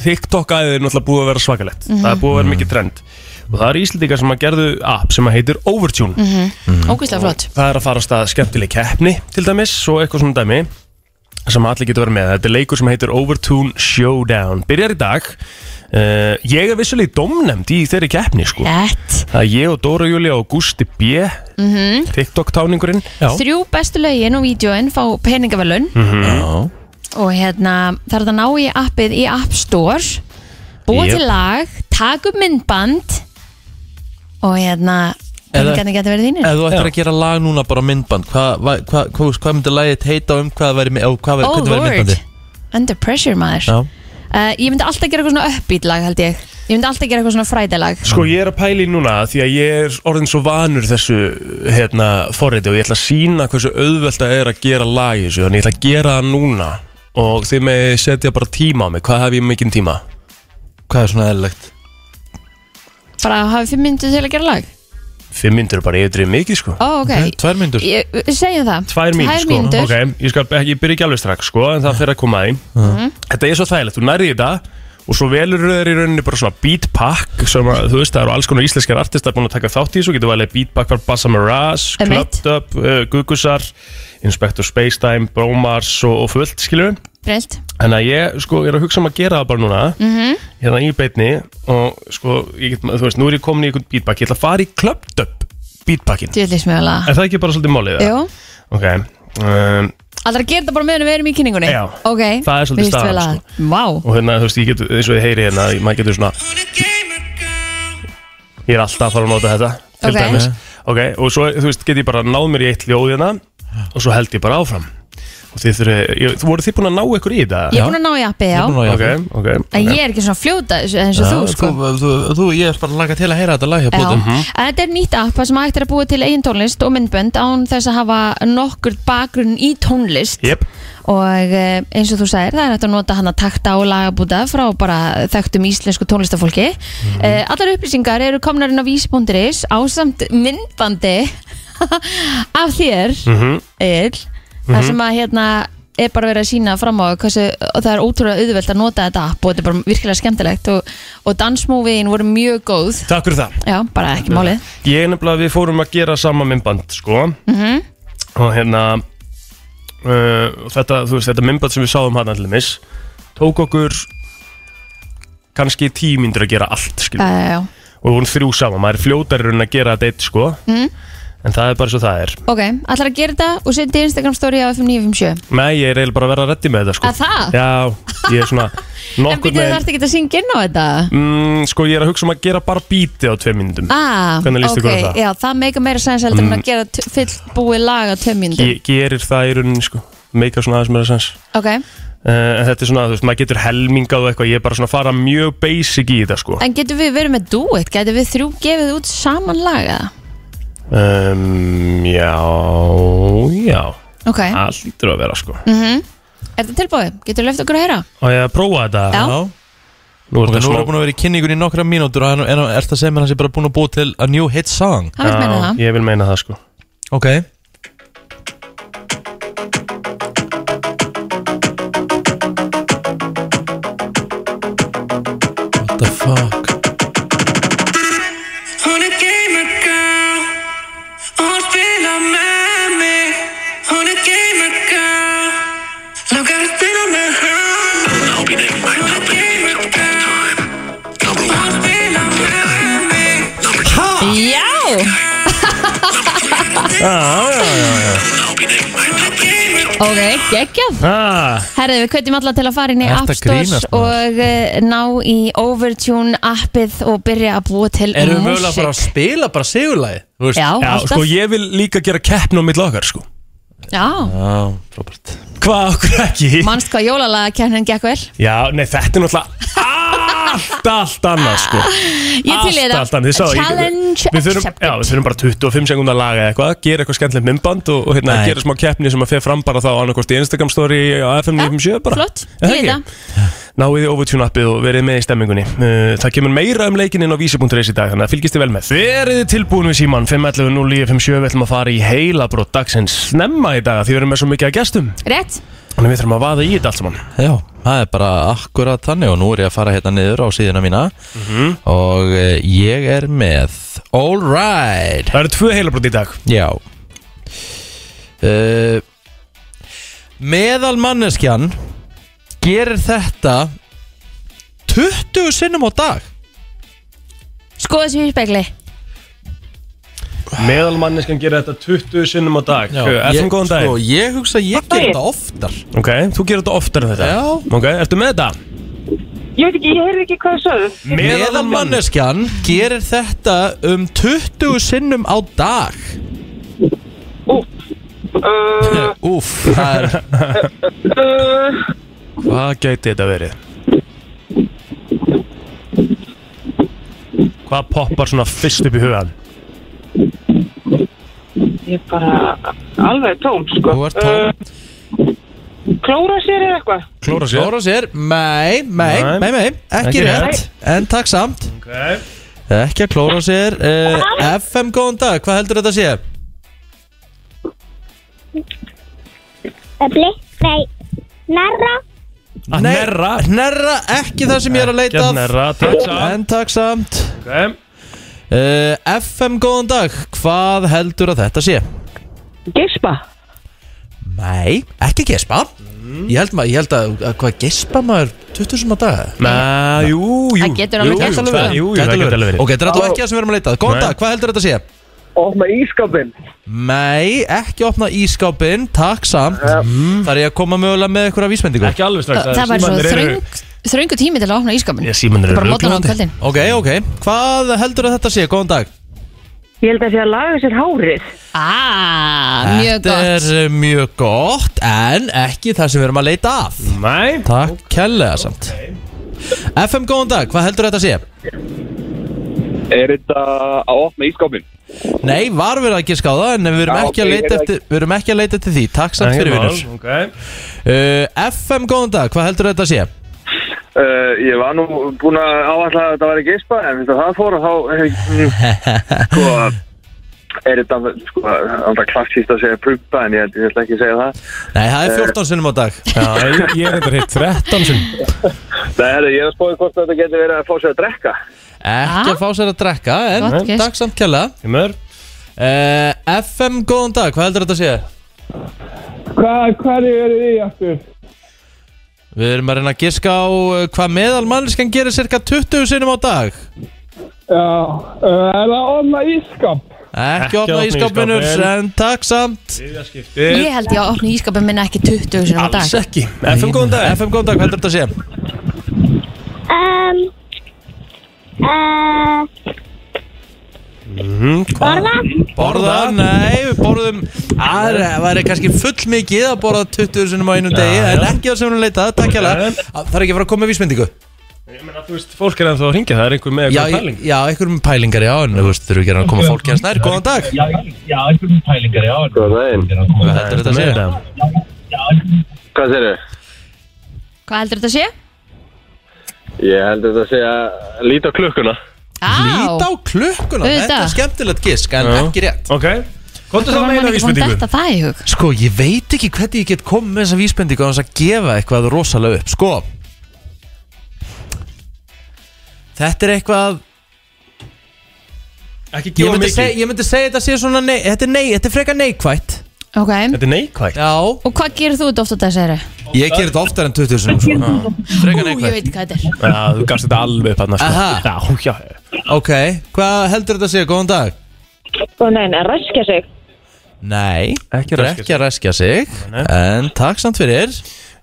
D: TikTok aðeins er náttúrulega búið að vera svakalett það er búið að vera mikið trend og það er íslendingar sem að gerðu app sem að heitir Overtune Mhm.
C: það Ógvíslega Mhm. flott
D: það er að fara á stað skemmtileg keppni til dæmis og eitthvað svona dæmi sem allir getur verið með. Þetta er leikur sem heitir Overtune Showdown. Byrjar í dag. Uh, ég er vissulega í domnemnd í þeirri keppni sko.
C: Nett
D: Það er ég og Dóra Júlia og Gusti B. TikTok-táningurinn.
C: Mhm.
D: Já. Mhm.
C: Þrjú bestu lögin og vídjóin fá peningavelun og hérna þarf þetta að ná í appið í App Store búa
D: Jep.
C: til lag, taka upp myndband og hérna
B: Eða-
C: peningarnir getur verið þínir
B: Ef þú ættir
D: Já.
B: að gera lag núna bara á myndband Hvað hva, hva, hva, hva myndi lagið heita og um hvað væri, og hvað væri,
C: Oh
B: hvernig væri
C: lord,
B: myndbandi?
C: under pressure maður
B: Já.
C: uh, Ég myndi alltaf gera eitthvað svona uppbít lag held ég Ég myndi alltaf gera eitthvað svona frædalag
D: Sko ég er að pæli núna því að ég er orðin svo vanur þessu hérna forriti og ég ætla að sína hversu auðvelt það er að gera lag í þessu þannig ég ætla að gera það núna og þið með setja bara tíma á mig hvað hef ég mikinn tíma?
B: Hvað er svona eðlilegt?
C: Bara hafi fimm myndu til að gera lag
D: Fimm myndir er bara yfir mikið sko
C: Ó, ok,
B: Okay. Tvær myndur?
C: okay. Segjum það
D: Tvær mínútur
C: Tvær
D: sko
C: mínútur.
D: Ok, ég, skal, ekki- ég byrja ekki alveg strax sko En það fyrir að koma að því Þetta er svo þægilegt, þú nærði þetta Og svo velur þeir í rauninni bara svona beat pack sem að, þú veist, það eru alls konar íslenskar artistar búin að taka þátt í þessu, getur valið beat pack var Bassa Mirage,
C: Einmitt.
D: Clubbed Up, uh, Gugusar, Inspector Spacetime, Bromars og, og fullt, skiljum
C: Breylt
D: Þannig að ég sko er að hugsa um að gera það bara núna
C: Mhm.
D: -hmm. hérna í beitni og sko, ég get, þú veist, nú er ég komin í einhvern beat pack, ég ætla að fara í Clubbed Up beat packin,
C: Djöðlis mjög alveg
D: er það ekki bara svolítið málið?
C: Jú
D: Ok um,
C: Allra að gera þetta bara meðan við erum í kynningunni
D: Já.
C: Ok
D: Það er svolítið
C: Mér líst
D: staðan,
C: vel að- Vá
D: Og hérna, þú veist, ég get, eins og ég heyri hérna Maður getur svona Ég er alltaf að fara að nota þetta Til
C: Ok.
D: dæmis Ok, og svo, þú veist, get ég bara náð mér í eitt ljóð hérna Og svo held ég bara áfram Og þið þurfi, ég, þú voru þið búin að ná ykkur í þetta?
C: Ég er búin að ná í appi, já
B: Nú, já,
D: Ok, ok,
C: En
D: ok
C: ég er ekki svona fljóta eins og
B: Já, hérna
C: þú sko
B: þú, þú, þú, ég er bara að langa til að heyra þetta lag hjá Mhm.
C: Já, Mm-hmm.
B: blóðum
C: en þetta er nýtt app þar sem hægt er að búa til eigin tónlist og myndbönd án þess að hafa nokkur bakgrunn í tónlist
D: Jep,
C: og eh, eins og þú sagir það er hægt að nota hann að takta og lagabúta frá bara þekktum íslensku tónlistafólki
D: Mhm.
C: eh, allar upplýsingar eru komnar inn á vísi.is ásamt myndbandi af þér
D: Mhm.
C: mm þar sem að hérna er bara verið að sína fram á hversu, og það er ótrúlega auðvelt að nota þetta app og þetta er bara virkilega skemmtilegt og, og dansmóviðin voru mjög góð
D: takk fyrir það
C: já, bara ekki málið
D: Ég er nefnilega, við fórum að gera sama myndband, sko
C: Mhm.
D: Og hérna uh, og Þetta, þú veist, þetta myndband sem við sáum hann allir mis Tók okkur kannski tíu myndur að gera allt, skilur
C: já, já, já.
D: og við vorum þrjú saman, maður er fljótar en að gera þetta eitt sko en það er bara svo það er
C: Mhm. ok, allar að gera þetta og setja í Instagram story á FM957
D: Nei, ég er eiginlega bara að vera að reddi með þetta sko
C: Að það?
D: Já, ég er svona
C: en
D: nokkur
C: býtum
D: með
C: þarf ekki að syngja inn á þetta
D: mm, Sko, ég er að hugsa um að gera bara bíti á tvei myndum
C: Ah,
D: Hvernig líst ykkur á
C: ok,
D: það?
C: Já, það meika meira sæns heldur
B: Mm.
C: en að gera t- fullbúið lag á tömjundum
D: Ge Gerir það í rauninni sko Meika svona aðeins meira sens
C: Ok,
D: uh, En þetta er svona, þú veist, maður getur helmingað og eitthvað Ég er bara svona að fara mjög basic í þetta sko
C: en getum við verið með duet? Getum við þrjú gefið út saman laga?
D: um, Já, já
C: Ok,
D: Það lítur að vera sko
C: Mhm. er þetta tilbúið? Getum við lefðt okkur að heyra?
D: Og ég að prófa þetta
C: Já.
D: Nú er
B: Ok,
D: þetta
B: nú
D: smá
B: erum við búin að vera í kynningun í nokkra mínútur og en, en, er það sem er hans ég bara búin að búa til a new hit song
C: Hann vil meina það
D: Ég vil meina það sko
B: Ok What the fuck
F: Hún er gamergirl og hún spilar með mig Hún er gamergirl Langar að spila með hann Hún er gamergirl og hún spilar með
D: Já, já,
B: Ah,
D: já, já.
C: Ok, geggjað
D: Ah,
C: Herðu, við kveitum alla til að fara inn í
B: Ertu
C: App
B: að
C: Stores
B: grínast,
C: og uh, ná í Overtune appið og byrja að búa til
B: Erum við mögulega bara að
C: músík
B: spila bara sigurlagi? Þú veist?
C: Já,
D: já,
C: alltaf
D: sko ég vil líka gera keppn á mitt okkar sko
C: Já,
B: Já, frábært
D: Hvað okkur ekki?
C: manst hvað jólalaga kjarnin gekk vel
D: Já, nei, þetta er náttúrulega allt, allt annað sko
C: Ég til í
D: Allt, allt
C: þetta
D: annað, þið sáðu, ég-
C: Challenge
D: Við þurfum, já,
C: accepted
D: við þurfum bara 25 sekundar að laga eitthvað Gera eitthvað skemmtilegt myndband og, og hérna,
B: Nei.
D: gera smá keppni sem að fer fram bara þá annarkost í Instagram story á FM 957 bara
C: Flott,
D: Er
C: til
D: það
C: í
D: ekki?
C: þetta
D: Náið í Overtune appið og verið með í stemmingunni Uh, Það kemur meira um leikinn inn á vísi.is í dag Þannig að fylgist þið vel með Verið þið tilbúin við síman 5.11.09.57 Við ætlum að fara í heilabrót dagsins snemma í dag af Því við erum með svo mikið að gestum
C: Rétt
D: Þannig að við þurfum að vaða í þetta allt saman
B: Já, það er bara akkurat þannig og nú er ég að fara hérna niður á síðuna mína
D: Mhm.
B: og eh, ég er með All Right
D: Það eru tvö heilabrót í dag
B: Já uh, Meðal manneskjan gerir þetta 20 sinnum á dag
C: Skoða sér í spekli
D: Meðalmanniskan gerir þetta 20 sinnum á dag
B: ég,
D: Efum góðan dag
B: Sko, ég hugsa að ég gerir þetta oftar
D: Ok, þú gerir þetta oftar en þetta
B: Já.
D: Ok, ertu með þetta?
G: Ég veit ekki, ég heyrði ekki hvað það sögðu.
B: Meðal manneskjan gerir þetta um 20 sinnum á dag
G: Uh,
B: Úff, það er
G: uh,
D: Hvað gæti þetta verið? Hvað poppar svona fyrst upp í hugan?
G: ég er bara alveg tóm, sko.
B: Þú ert tóm.
G: Uh, klóra sér eða eitthvað?
D: Klóra sér
B: Klóra sér, mei, mei,
D: Nei.
B: mei, mei, ekki
D: Ekki
B: rétt, en takk samt
D: okay.
B: Ekki að klóra sér, uh, FM góðan dag, hvað heldur þetta að sé?
H: Öfli, nei, narra,
D: Að
B: Nei,
D: nerra
B: Hnerra, ekki það sem ég er að leita
D: Gerð
B: að
D: nerra, takk samt
B: En takk samt
D: okay.
B: uh, FM góðan dag, hvað heldur að þetta sé?
G: Gispa.
B: Nei, ekki gespa Ég held, ma- ég held að, að hvað gespa maður 20 sem á dag
D: Næ, jú, jú
C: Það getur alveg
D: Jú,
C: gert.
D: jú, það- Jú, jú, það getur alveg verið
B: Ok, þetta er alltaf ekki það sem við erum að leita að. Góðan
D: Nei.
B: dag, hvað heldur þetta að sé?
G: Opna ískapin.
B: Nei, ekki opna ískápinn, takk samt Þar er ég að koma mögulega með einhverja vísbendingu
D: Ekki alveg strax
C: Það var svo
D: símarnir eru-
C: þröng Þröngu tími til að opna ískapin
D: Já, símanir
C: Bara
D: eru
C: mótlan á kvöldin
B: Ok, ok, hvað heldur að þetta sé? Góðan dag
G: Ég held að sé að laga sér hárið.
C: Ah, mjög gott
B: Þetta er eh, mjög gott, en ekki það sem við erum að leita að
D: Næ
B: Takk okay. kellega samt FM, góðan dag, hvað heldur þetta sé?
I: Eh, Er þetta að opna ískápin?
B: Nei, var við að ekki skáða, en við erum,
I: Já,
B: ekki, að
I: ok,
B: leita
I: ég er
B: eftir, við erum ekki að leita eftir því Takk samt fyrir vinnur
D: Ok
B: uh, FM, góðan dag, hvað heldur þetta sé?
I: Uh, ég var nú búin að áallega að þetta væri geispa en fyrst að það fór og þá mm, sko er þetta sko alltaf klassíst að segja prumpa en ég, held- ég ætla ekki að segja það
B: Nei, það er 14 sinnum á dag
D: Já, ég- ég er þetta hitt 13 sinn
I: Nei, herri, ég er að spóði hvort þetta getur verið að fá sér að drekka
B: Ekki
C: Ah.
B: að fá sér að drekka, en
C: Gott gisk.
B: takk samt kellega
D: Ég mör
B: Uh, FM, góðan dag, hvað heldur þetta að sé?
G: Hvað, hvað eru þið aftur?
B: Við erum að reyna að giska á uh, hvað meðal mannskan gerir cirka 20 sinnum á dag
G: Já, uh, er það opna ískap?
B: Ekki
D: Ekki
B: opna
D: opna
B: í skápinur,
D: ísskápinn.
B: en takk samt
D: Ég
C: Ég held ég að opna ískapin minna ekki 20 sinum á dag
D: Alls ekki FM góðan dag
B: FM góðan dag, hvað heldur þetta að sé?
H: um, uh,
B: Mhm,
G: eh.
H: borða,
B: Borða, nei, við borðum að það væri kannski full mikið að borða 20 sinnum á einum degi en ekki það sem hún leitað, takk hérlega Það er ekki að fara að koma með vísmyndingu
D: Ég meina, þú veist, fólk er ennþá að ringja Það er einhver með
B: Já,
D: eitthvað pæling
B: ég- já, einhverjum með pælingar, já, en þú veist, þurfum ekki að koma fólk hérna snær, góðan dag
I: Góðan daginn
B: Hvað heldur þetta að sé?
D: það
I: Hvað segir þau?
C: Hvað heldur þetta að sé?
I: Ég heldur þetta að segja lít á klukkuna
B: Lít
C: Á,
B: á klukkuna, þetta
C: Auðvitað.
B: er skemmtilegt gisk, en
D: Já.
B: ekki rétt
D: Ok Kontu
C: það
D: það
C: var maður
D: með eina
C: ekki fann
D: vísbendingu
C: þetta það í hug
B: Sko, ég veit ekki hvernig ég get komið með þessa vísbendingu að að gefa eitthvað rosalega upp Sko Þetta er eitthvað
D: Ekki
B: Ég
D: gefa
B: myndi, seg,
D: mikið
B: ég myndi segja þetta sé svona nei, þetta, er nei, þetta er frekar neikvætt
C: Ok,
D: Þetta er neikvægt
B: Já
C: og hvað gerir þú þetta ofta þess að
B: Ég ger þetta oftar en 20 sinum sko.
C: Ú,
B: Frekar
C: ég
B: neikvætt
C: veit hvað þetta er
D: Já, þú gafst þetta alveg upp hann
B: Aha.
D: Já, já
B: Ok, hvað heldur þetta að segja? Góðan dag
G: Sko, nein, að ræskja sig.
B: Nei,
D: Ekki
B: þetta er
D: raskja
B: ekki að raskja sig
D: Nei,
B: En takk samt fyrir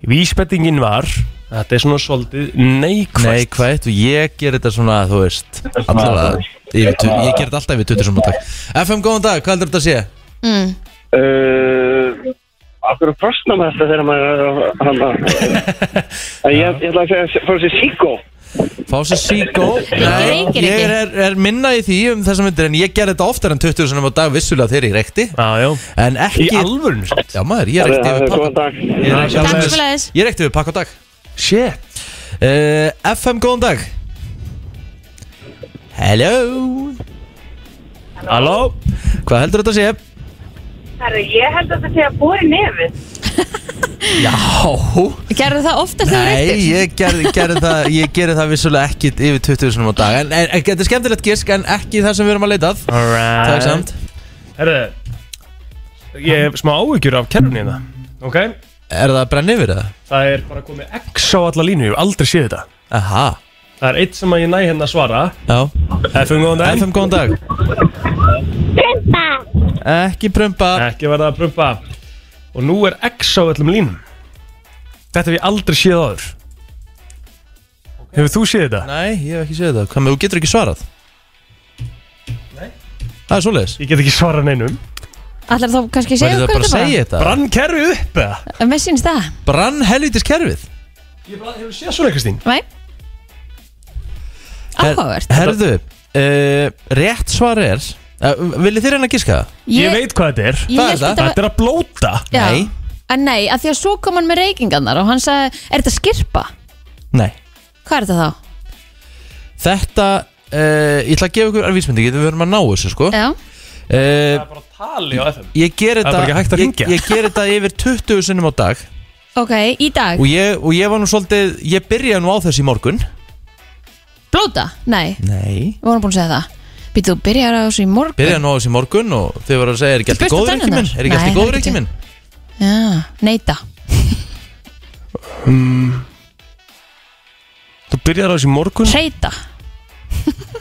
D: Vísbendingin var Þetta er svona svolítið neikvægt
B: Nei, hvað, ég ger þetta svona, þú veist Allavega, yfir tu- ég ger þetta alltaf yfir 20 sem á dag FM, góðan dag, hvað heldur þetta að sé?
C: mm.
G: Uh, Akkur að prosna með þetta þegar maður er að hana Ég ég ætla að segja fyrir sér síkó
B: Fá sér síkó Nei,
C: reykir
B: ég
C: ekki.
B: er, er minna í því um þessar myndir En ég ger þetta oftar en 20 sem á dag vissulega þegar ég reykti
D: Já, já
B: En
D: Í
B: ekki
D: alvörun
B: Já maður, ég reykti yfir
G: Góðan
B: pakk
G: dag
B: Ég reykti
C: Takk
B: alveg-
C: fyrir þess
B: Ég reykti yfir pakk á dag
D: Shit
B: uh, FM, góðan dag Hello
D: Halló
B: Hvað heldur þetta að sé?
F: Herru, ég held að þetta sé að búa í nefið.
B: Já
C: Gerðu það ofta þegar þú
B: Nei,
C: reyktir?
B: ég gerði, gerði það Ég gerði það vissulega ekki yfir 20 sinum á dag En, en, en þetta er skemmtilegt gisk En ekki það sem við erum að leitað
D: Alright
B: Takk samt
D: Herðu Ég hef smá áhyggjur af kerfinu hérna Ok
B: Er það að brenna yfir það?
D: Það er bara komið X á alla línu Ég hef aldrei séð þetta
B: Aha
D: Það er eitt sem að ég næ hérna að svara
B: Já
D: FM góðan dag
B: FM, góðan dag
H: Prumpa
B: Ekki prumpa
D: Ekki verða að prumpa Og nú er X á öllum línum Þetta hef ég aldrei séð áður Hefur þú séð þetta?
B: Nei, ég hef ekki séð það Hvað með, þú getur ekki svarað? Nei Það er svoleiðis
D: Ég get ekki svarað neinum
C: Ætlar þá kannski að segja
B: Verður það
C: okkur
B: bara að segja þetta? Brann,
D: Brann kerfið upp eða?
C: bara? Mér syns það
B: brann helvitis kerfið
D: Ég bara hefur séð svona Kristín
C: Nei Áhugavert
B: Herðu, uh, rétt svar er uh, Viljið þið reyna að giska það?
D: Ég, veit hvað þetta er
B: hvað
C: hélt
B: er það?
C: þetta var-
D: Þetta er að blóta
C: Já.
B: Nei.
C: En nei, að því að svo kom hann með reykingarnar og hann sagði, er þetta skirpa?
B: Nei
C: Hvað er þetta þá?
B: Þetta, uh, ég ætla að gefa ykkur að vísmyndi Við verum að ná þessu sko
C: Já,
B: uh,
D: bara tali á FM
B: Ég ger
D: Það er bara ekki hægt
B: þetta
D: að
B: ég,
D: hringja.
B: ég ger þetta yfir 20 sinnum á dag
C: ok, í dag
B: og ég, og ég var nú svolítið Ég byrjaði nú á þessu í morgun
C: Blóta? Nei, við
B: Nei
C: vorum búin að segja það Býtu, þú byrjar á þessu í morgun
B: Byrjaði nú á þessu í morgun og þau voru að segja Er ekki
C: Þú
B: alltaf
C: bursta tennurnar?
B: góður ekki minn? Er ekki
C: Nei,
B: alltaf góður
C: heldur
B: ekki minn?
C: Já, neita
B: Hmm.
D: Þú byrjar á þessu í morgun
C: Treyta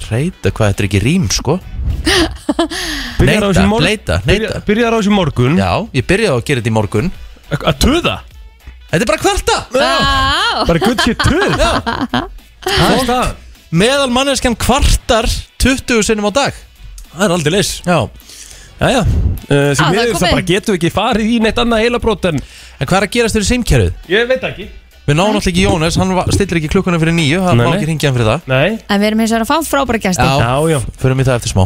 B: Reyta, hvað þetta er ekki rím sko
D: Byrjar á þessu í
B: Neita,
D: morgun
B: neita,
D: Byrjar-
B: neita
D: Byrjar á þessu í morgun
B: Já, ég byrjaði á að gera þetta í morgun
D: Að töða
B: Þetta er bara kvarta
C: Á,
D: Bara gutt sér töð Það er staðan
B: Meðal manneskjan kvartar 20 sinnum á dag
D: Það er aldrei leys
B: Já
C: Ah, það
D: Jæja uh, Því
C: er
D: miður
C: komið.
D: það bara getur ekki farið í neitt annað heila en
B: En hvað er að gerast fyrir símkerfið?
D: Ég veit ekki
B: Við náum alltaf ekki Jónas, hann va- stillir ekki klukkuna fyrir nýju Það
D: Nei,
B: má
D: nei.
B: ekki hringja hann fyrir það
D: Nei
C: En við erum hins vegar að fá frábæra gæsti
B: Já.
D: Já, já
B: Förum í það eftir smá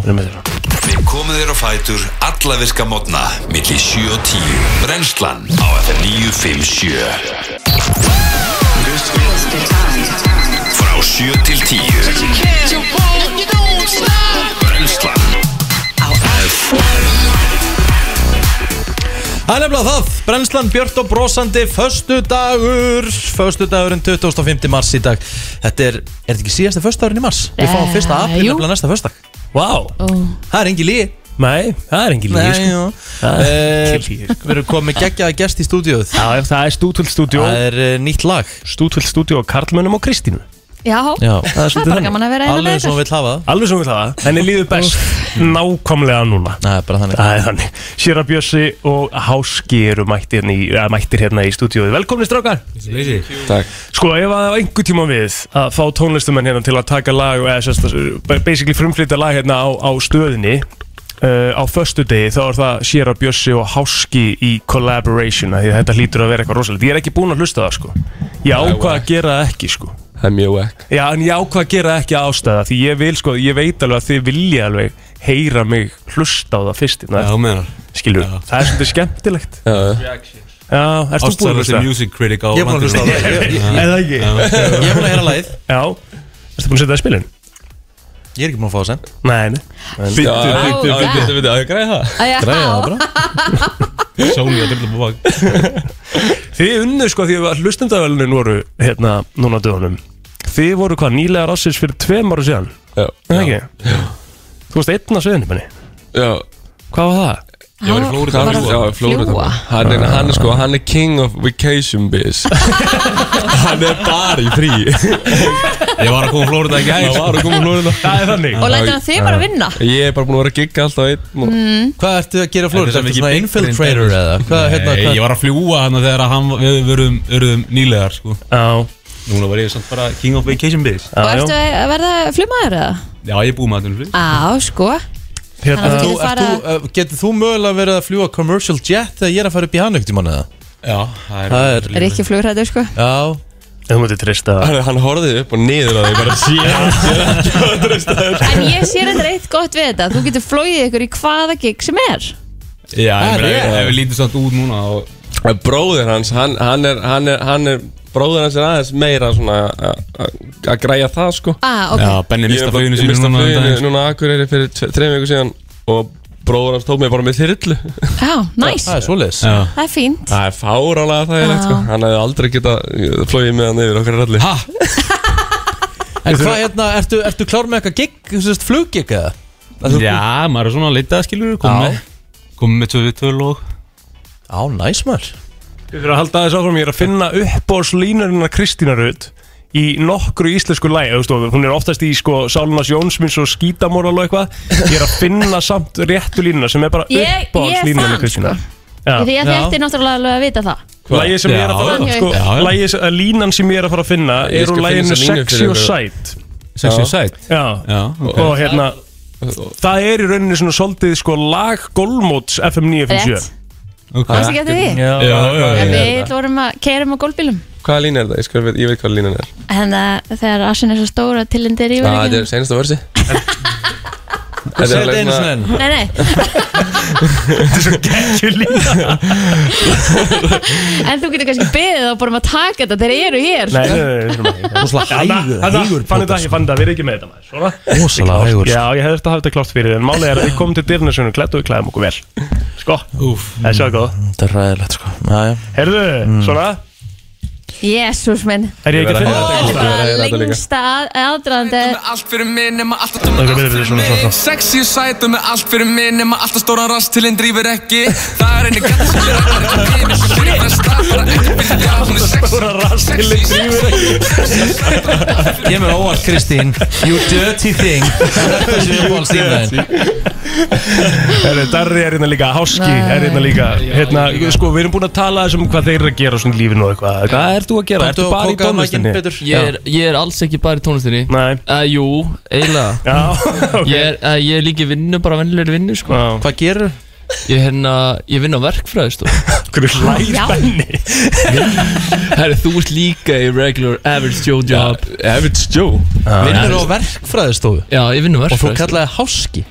A: Við komum þér á fætur alla virka mótna milli 7 og 10 Brennslan á FM 957 Frá 7 til 10 Brennslan
B: Það er nefnilega það, brennslan Björn og brosandi Föstu dagur, föstu dagurinn 25. mars í dag Þetta er, er þetta ekki síðasta föstu dagurinn í mars? Við fáum
C: Eh,
B: fyrsta apríl
C: jú.
B: nefnilega næsta föstu dag
D: Vá
B: Það er engi líi
D: Nei, það er engin líf sko. Það er
B: Eh, Við
D: ekki líf, sko.
B: erum komið geggjaða gest í stúdíóð
D: Já, já, það er stútvöld stúdjó
B: Það er eh, nýtt lag
D: Stútvöld stúdjó á Karlmönnum og Kristínu
C: Já,
B: Já.
D: Það er
C: það er
D: svolítið
C: bara
D: þannig
C: gaman að vera eina
B: Alveg
C: með
B: svo
C: ykkur
B: við hafa það
D: Alveg sem við það Henni líður best Nákvæmlega núna
B: Það er bara þannig
D: Það er þannig Sjöra Bjössi og Háski eru mættir, í, eða mættir hérna í stúdíóið Velkomni strákar Sko ef að á einhver tíma við að fá tónlistumenn hérna til að taka lag eða sérst, eh, basically frumflýta lag hérna á, á stöðinni uh, á föstu degi þá er það Sjöra Bjössi og Háski í collaboration af því að þetta hlýtur að vera eitthvað rosalegt Ég er ekki búinn að hlusta á það sko Ég ákvað að gera það ekki sko
J: Það er mjög vekk
D: Já en ég ákvað að gera það ekki að ástæða því ég vil sko, ég veit alveg að þið vilja alveg heyra mig hlusta á það fyrst hérna.
J: menar
D: skilur, það er svolítið skemmtilegt
J: Já,
D: Já, ert þú búin að hlusta?
J: music critic á
B: Ég er búin að hlusta á það Ég ég- ég-
D: Eða ekki?
B: ég er búin að heyra lagið
D: Já, ertu búin að setja það í spilin?
B: Ég er ekki búin að fá það sen
D: Nei, nei
J: Bittu,
C: bittu,
J: bittu,
C: bittu,
J: bittu, bittu, á ég græði það
C: Á, já.
J: Sony og Dibla Bók
D: Þið unnu sko því að hlustendavælinin voru hérna núna á dögunum Þið voru hvað nýlega rássins fyrir tveim ára síðan
J: Já,
D: Eða ekki? Þú varst einn á sviðinu menni
J: já
D: Hvað var það?
J: Ég var í Flórida
C: Hann var að
J: Já, í Flórida
C: fljúga.
J: Hann er, hann er sko, hann er king of vacation biz Hann er bara var í frí Ég var að koma Flórida í gæl
C: Það var að koma
J: Flórida
D: Það er þannig
C: Og lætur hann þig bara vinna?
J: Ég er bara búin að vera að gigga alltaf einn og...
C: Mm.
J: Hvað ertu að gera
B: í Flórída? Ertu svona infiltrator eða? Hvað, hérna,
J: Nei,
B: hvað-
J: ég var að fljúa hann þegar að hann, við verum, verum nýlegar sko. Núna var ég samt bara king of vacation biz
C: Og ertu að verða flummaður eða?
J: Já, ég er búið með þetta
C: Á, sko
B: Hérna,
C: Þannig að
B: þú,
C: þú
B: ert
C: fara-
B: þú, uh, getur þú mögulega verið að fljúa commercial jet þegar ég er að fara upp í hann ekkert í manni eða?
J: Já, það
B: er, það
C: Er ekki flugrættur, sko
B: Já
D: Þú mútið trista
J: Hann, hann horfði upp og niður að því bara sé
C: En ég sé þetta eitt gott við þetta Þú getur flóið ykkur í hvaða gig sem er
J: Já,
C: Það
J: ég
C: er
J: meina,
C: rétt.
J: ef við lítum samt út núna og...
K: Bróðir hans, hann, hann, er, hann, er, hann er Bróðir hans er aðeins meira svona a- a- Að græja það sko
C: Ah, ok.
J: Já, Benni mista fluginu sínu
K: Mista
J: núna um
K: fluginu
J: daginn.
K: núna akkurir fyrir tve- þreim viku síðan Og bróðir hans tók mig bara með þyrlu
C: Já, næs
B: svoleiðis
K: Já
C: Það er fínt
K: Það er fáralega þægilegt
C: Já.
K: sko Hann hefði aldrei geta flóið með hann yfir okkar ralli Ha?
B: En hvað hérna, ertu, ertu klár með eitthvað gig, þú veist, fluggig eða?
J: Já, maður er svona að leita skilur Komum með, kom með tvö viðtöl og
B: Á, næs maður
D: Við fyrir að halda þess áfram, ég er að finna uppbóðslínarinnar Kristína Rödd í nokkru íslensku læg, þú veist, og hún er oftast í sko Sálunas Jónsmins og Skítamorál og eitthvað ég er að finna samt réttu línuna sem er bara
C: Ég- ég
D: uppbóðslínarinnar
C: fann,
D: Kristína
C: Já, Því
D: Já.
C: að þetta er náttúrulega alveg að vita það
D: Lægið sem ég er að
C: Já,
D: fara
C: já.
D: sko,
C: Já, já.
D: lægið, sem- að línan sem ég er að fara að finna
K: Ég
D: er
K: skal
D: úr
K: finna
D: læginu
K: þessa línu
D: Sexy
K: fyrir
D: og
K: ykkur.
D: Sæt
K: Sexy og sæt?
D: Já,
K: Já, ok.
D: og hérna það er í rauninni svona svolítið sko lag Golmóts FM 957
C: Rétt. Kannski getur því
D: Já, já, já,
C: En
K: já, já.
C: Við vorum að keirum á gólbílum
K: Hvaða lína er það? Ég, skal, veit- ég veit hvaða lína er
C: En það, þegar assin er svo stóra tilindir í
K: Já, þetta
C: verið
K: er senasta versi Þetta
B: Segðu þetta einu sinni
C: Nei, nei,
D: Þetta er svo geggjur lína
C: en þú getur kannski beðið og bara um að taka þetta þegar eru hér sko.
D: Nei, nei, nei
B: Rósalega hægur-
D: Hanna,
B: hægur
D: fann þetta,
B: podcast.
D: ég fann þetta, við erum ekki með þetta maður Svona
B: Rósalega hægur.
D: Já, ég hefði þetta hafa þetta klárt fyrir þér, En málið er að við komum til dyrnasunum klætt og við klæðum okkur vel Sko, það er svo góð
B: Þetta er ræðilegt, sko Já, Mm. já
D: Herðu, svona
C: Jésús minn
D: Er ég ekki að finna þetta einhvers staðar?
C: Það
D: Ég
C: er
D: verð að ræða
C: lengsta aðdraðandi
L: Allt fyrir mig nema allt að
D: Ok, byrju, byrju, svona, svona, svona.
L: Sexy og sæt og með allt fyrir mig nema allt að stóra rast til henn drýfur ekki Það er henni gætt sem ég rækkar ekki Mér sem fyrir það stað bara ekki fyrir já Hún er sexy Stóra rast til henn drýfur
B: Ég er með óvart, Kristín You dirty thing Það er þessi uppáhaldslínaðin
D: Herru, Darri er hérna líka, Háski er hérna líka Hérna, sko, við erum búin að tala þessum hvað þeir eru að gera svona í lífinu og eitthvað Hvað ert þú að gera? Ertu bara í tónlistinni?
M: Ég er, ég er alls ekki bara í tónlistinni
D: Nei
M: uh, Jú, eiginlega
D: Já, ok
M: Ég er, uh, ég er líka í vinnu, bara vennilegri vinnu sko.
B: Hvað gerur?
M: Ég, hérna, ég vinn á verkfræðist
D: Hverju
M: hlægir
D: Já.
M: benni? Herri, þú ert líka í regular average Joe job Average Joe?
B: Vinnur á verkfræðistofu
M: Já, ég vinn á
B: Og þú
M: verkfræðistofu
B: kallaði háski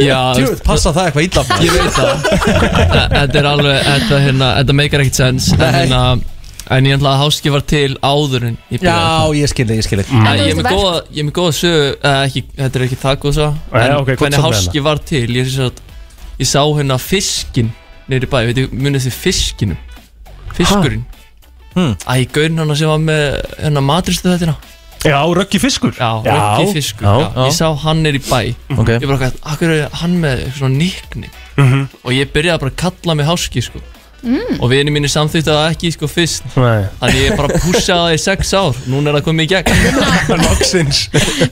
M: Já,
B: Djúið, passa það eitthvað illa maður.
M: Ég veit það Þa- Þetta er alveg, þetta hérna, þetta meikar ekkert sens En hérna, en ég ætla að háski var til áður en ég byrjaði
B: Já, ég skilði, ég skilði
D: Mm.
M: En ég er með góða, ég er með góða sögu, uh, ekki, þetta er ekki það góð svo
B: Nei,
M: En
B: ok, gott
M: hvernig
B: samt með
M: háski var til, ég sé að Ég sá hérna fiskin niður í bæ, veit ég, munið þið fiskinum Fiskurinn
B: hmm.
M: Æ, gaurin hana sem var með hérna matristu þetta
D: Já, röggi fiskur
M: Já,
D: Já,
M: röggi fiskur,
D: já,
M: já,
D: já.
M: Ég sá hann niður í bæ
B: Ok.
M: Ég bara hvað, akkur er hann með eitthvað svona nýkni
D: Mhm.
M: Og ég byrjaði bara að kalla mig háski, sko
D: Mm.
M: Og vinir mínir samþýttu það ekki, sko, fyrst
D: Nei.
M: Þannig ég bara pushaði það í sex ár Núna er það komið í gegn
D: Loksins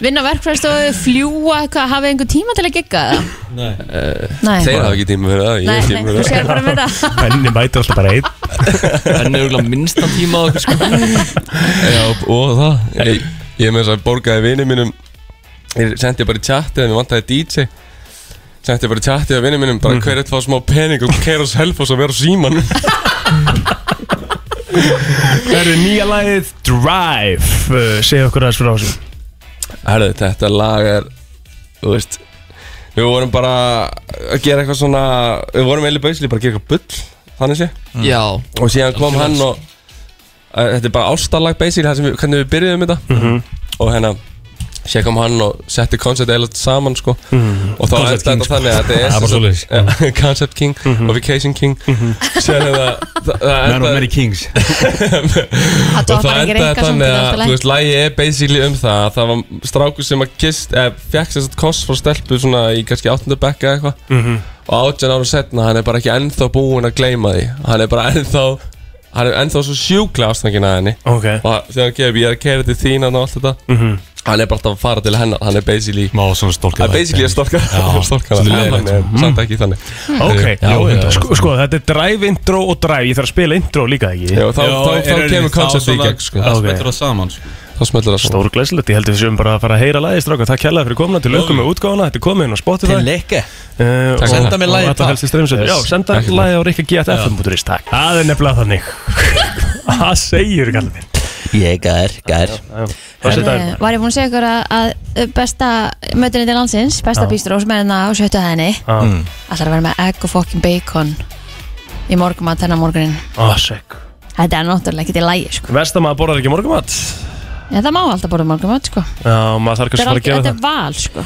C: Vinna verkfræðstofu, fljúa, hvað, hafið þið einhver tíma til að gigga það? Eh, Nei.
K: Þeir hafa ekki tíma fyrir það
C: Nei,
K: Ég
C: nei,
K: hef tíma
C: þú segir
K: fyrir
C: bara
K: það
C: með það
D: Benni mætir alltaf bara einn
M: Benni er auðvitað minnstan tíma á okkur sko
K: Já, og það Ég, ég með þess að borgaði vini mínum Ég sendi bara í chatið Mér vantaði DJ Sendi bara í chatið að vini mínum Bara
D: Mhm.
K: hver eitt fá smá pening Og kæra oss helfos að vera á síman
D: Það eru nýja lagið Drive uh, Segja okkur aðeins frá þessu
K: Herðu, þetta lag er Þú veist Við vorum bara að gera eitthvað svona Við vorum eiginlega bausli bara að gera eitthvað bull Þannig sé
M: Mm. Já.
K: Og síðan kom hann og að, Þetta er bara ástarlag basically það sem við, Hvernig við byrjuðum þetta
D: Mhm.
K: Og hérna Sér kom hann og setti concept eiginlega saman sko
D: Mhm.
K: Og þá er
D: Concept
K: þetta
D: King, sko.
K: þannig að þetta
D: Það
K: er
D: er bara
K: sem sagt-
D: svoleiðis. sko. Mhm.
K: Ja, Concept King og Vacation King Sér hefða
J: Man of many kings
K: Og
J: toppar
K: það
J: ekki
K: endaði
J: reyka samt,
K: þannig
J: þetta er allt í
K: að
J: lagi.
K: Þú veist, lægi er basically um það að Það var strákur sem að kist eh, eða, Fekk sér satt kost frá stelpu svona í kannski 8. bekka eða eitthvað
D: Mhm.
K: Og átján ára setna, hann er bara ekki ennþá búinn að gleyma því Hann er bara ennþá hann er ennþá svo sjúklega ástangin að henni
D: okay.
K: og þegar hann gefur, ég er að kæra til þín og allt þetta
D: Mhm.
K: hann er bara alltaf að fara til hennar hann er basically
J: Má svona stólka
K: hann er basically að stólka stólka
J: Svolítið
K: hana,
J: leiðilegt.
K: en hann er samt ekki þannig
D: Ok,
K: Já,
D: já,
K: já, já.
D: Hmm. sko, sko, þetta er drive intro og drive Ég þarf að spila intro líka ekki
K: Já, þá- Já, þá- þá í rauninni, kemur þá conceptið í svona- gegn, sko. þá
D: Ok.
K: smellir það saman, sko. Þá smellir það saman.
D: Stórglæsilegt, ég held að við séum bara að fara að heyra lagið stráka Það kjallaði fyrir komuna til lögum með útgáfuna Þetta er komið inn á Spotify
B: Til lekke
D: uh,
B: Senda mér lagið,
D: Þetta
B: takk.
D: helst í streymsöld
B: Yes.
D: Já, senda
B: Ekki
D: lagið á
B: mál.
D: rikkagf.is Takk Það er nefnilega þannig Það segir kallið minn
B: Ég er, gær
D: Það sé
C: Eh, Var ég búin að segja ykkur að, að besta mötunni til landsins, besta
B: Já.
C: bístró sem er hérna á sjöttu hæðinni
D: Mm.
C: Ætlar að vera með egg og fokkin bacon í morgumat þennan morgunin
D: Ásek
C: Þetta er náttúrulega ekki til lægi sko.
D: Vestamaður borðar ekki morgumat
C: En það má alltaf borða morgumat sko.
D: Já, maður þarf
C: Þetta
D: kannski
C: er
D: að fara að
C: algjör-
D: gefa
C: þetta
D: það
C: er val sko.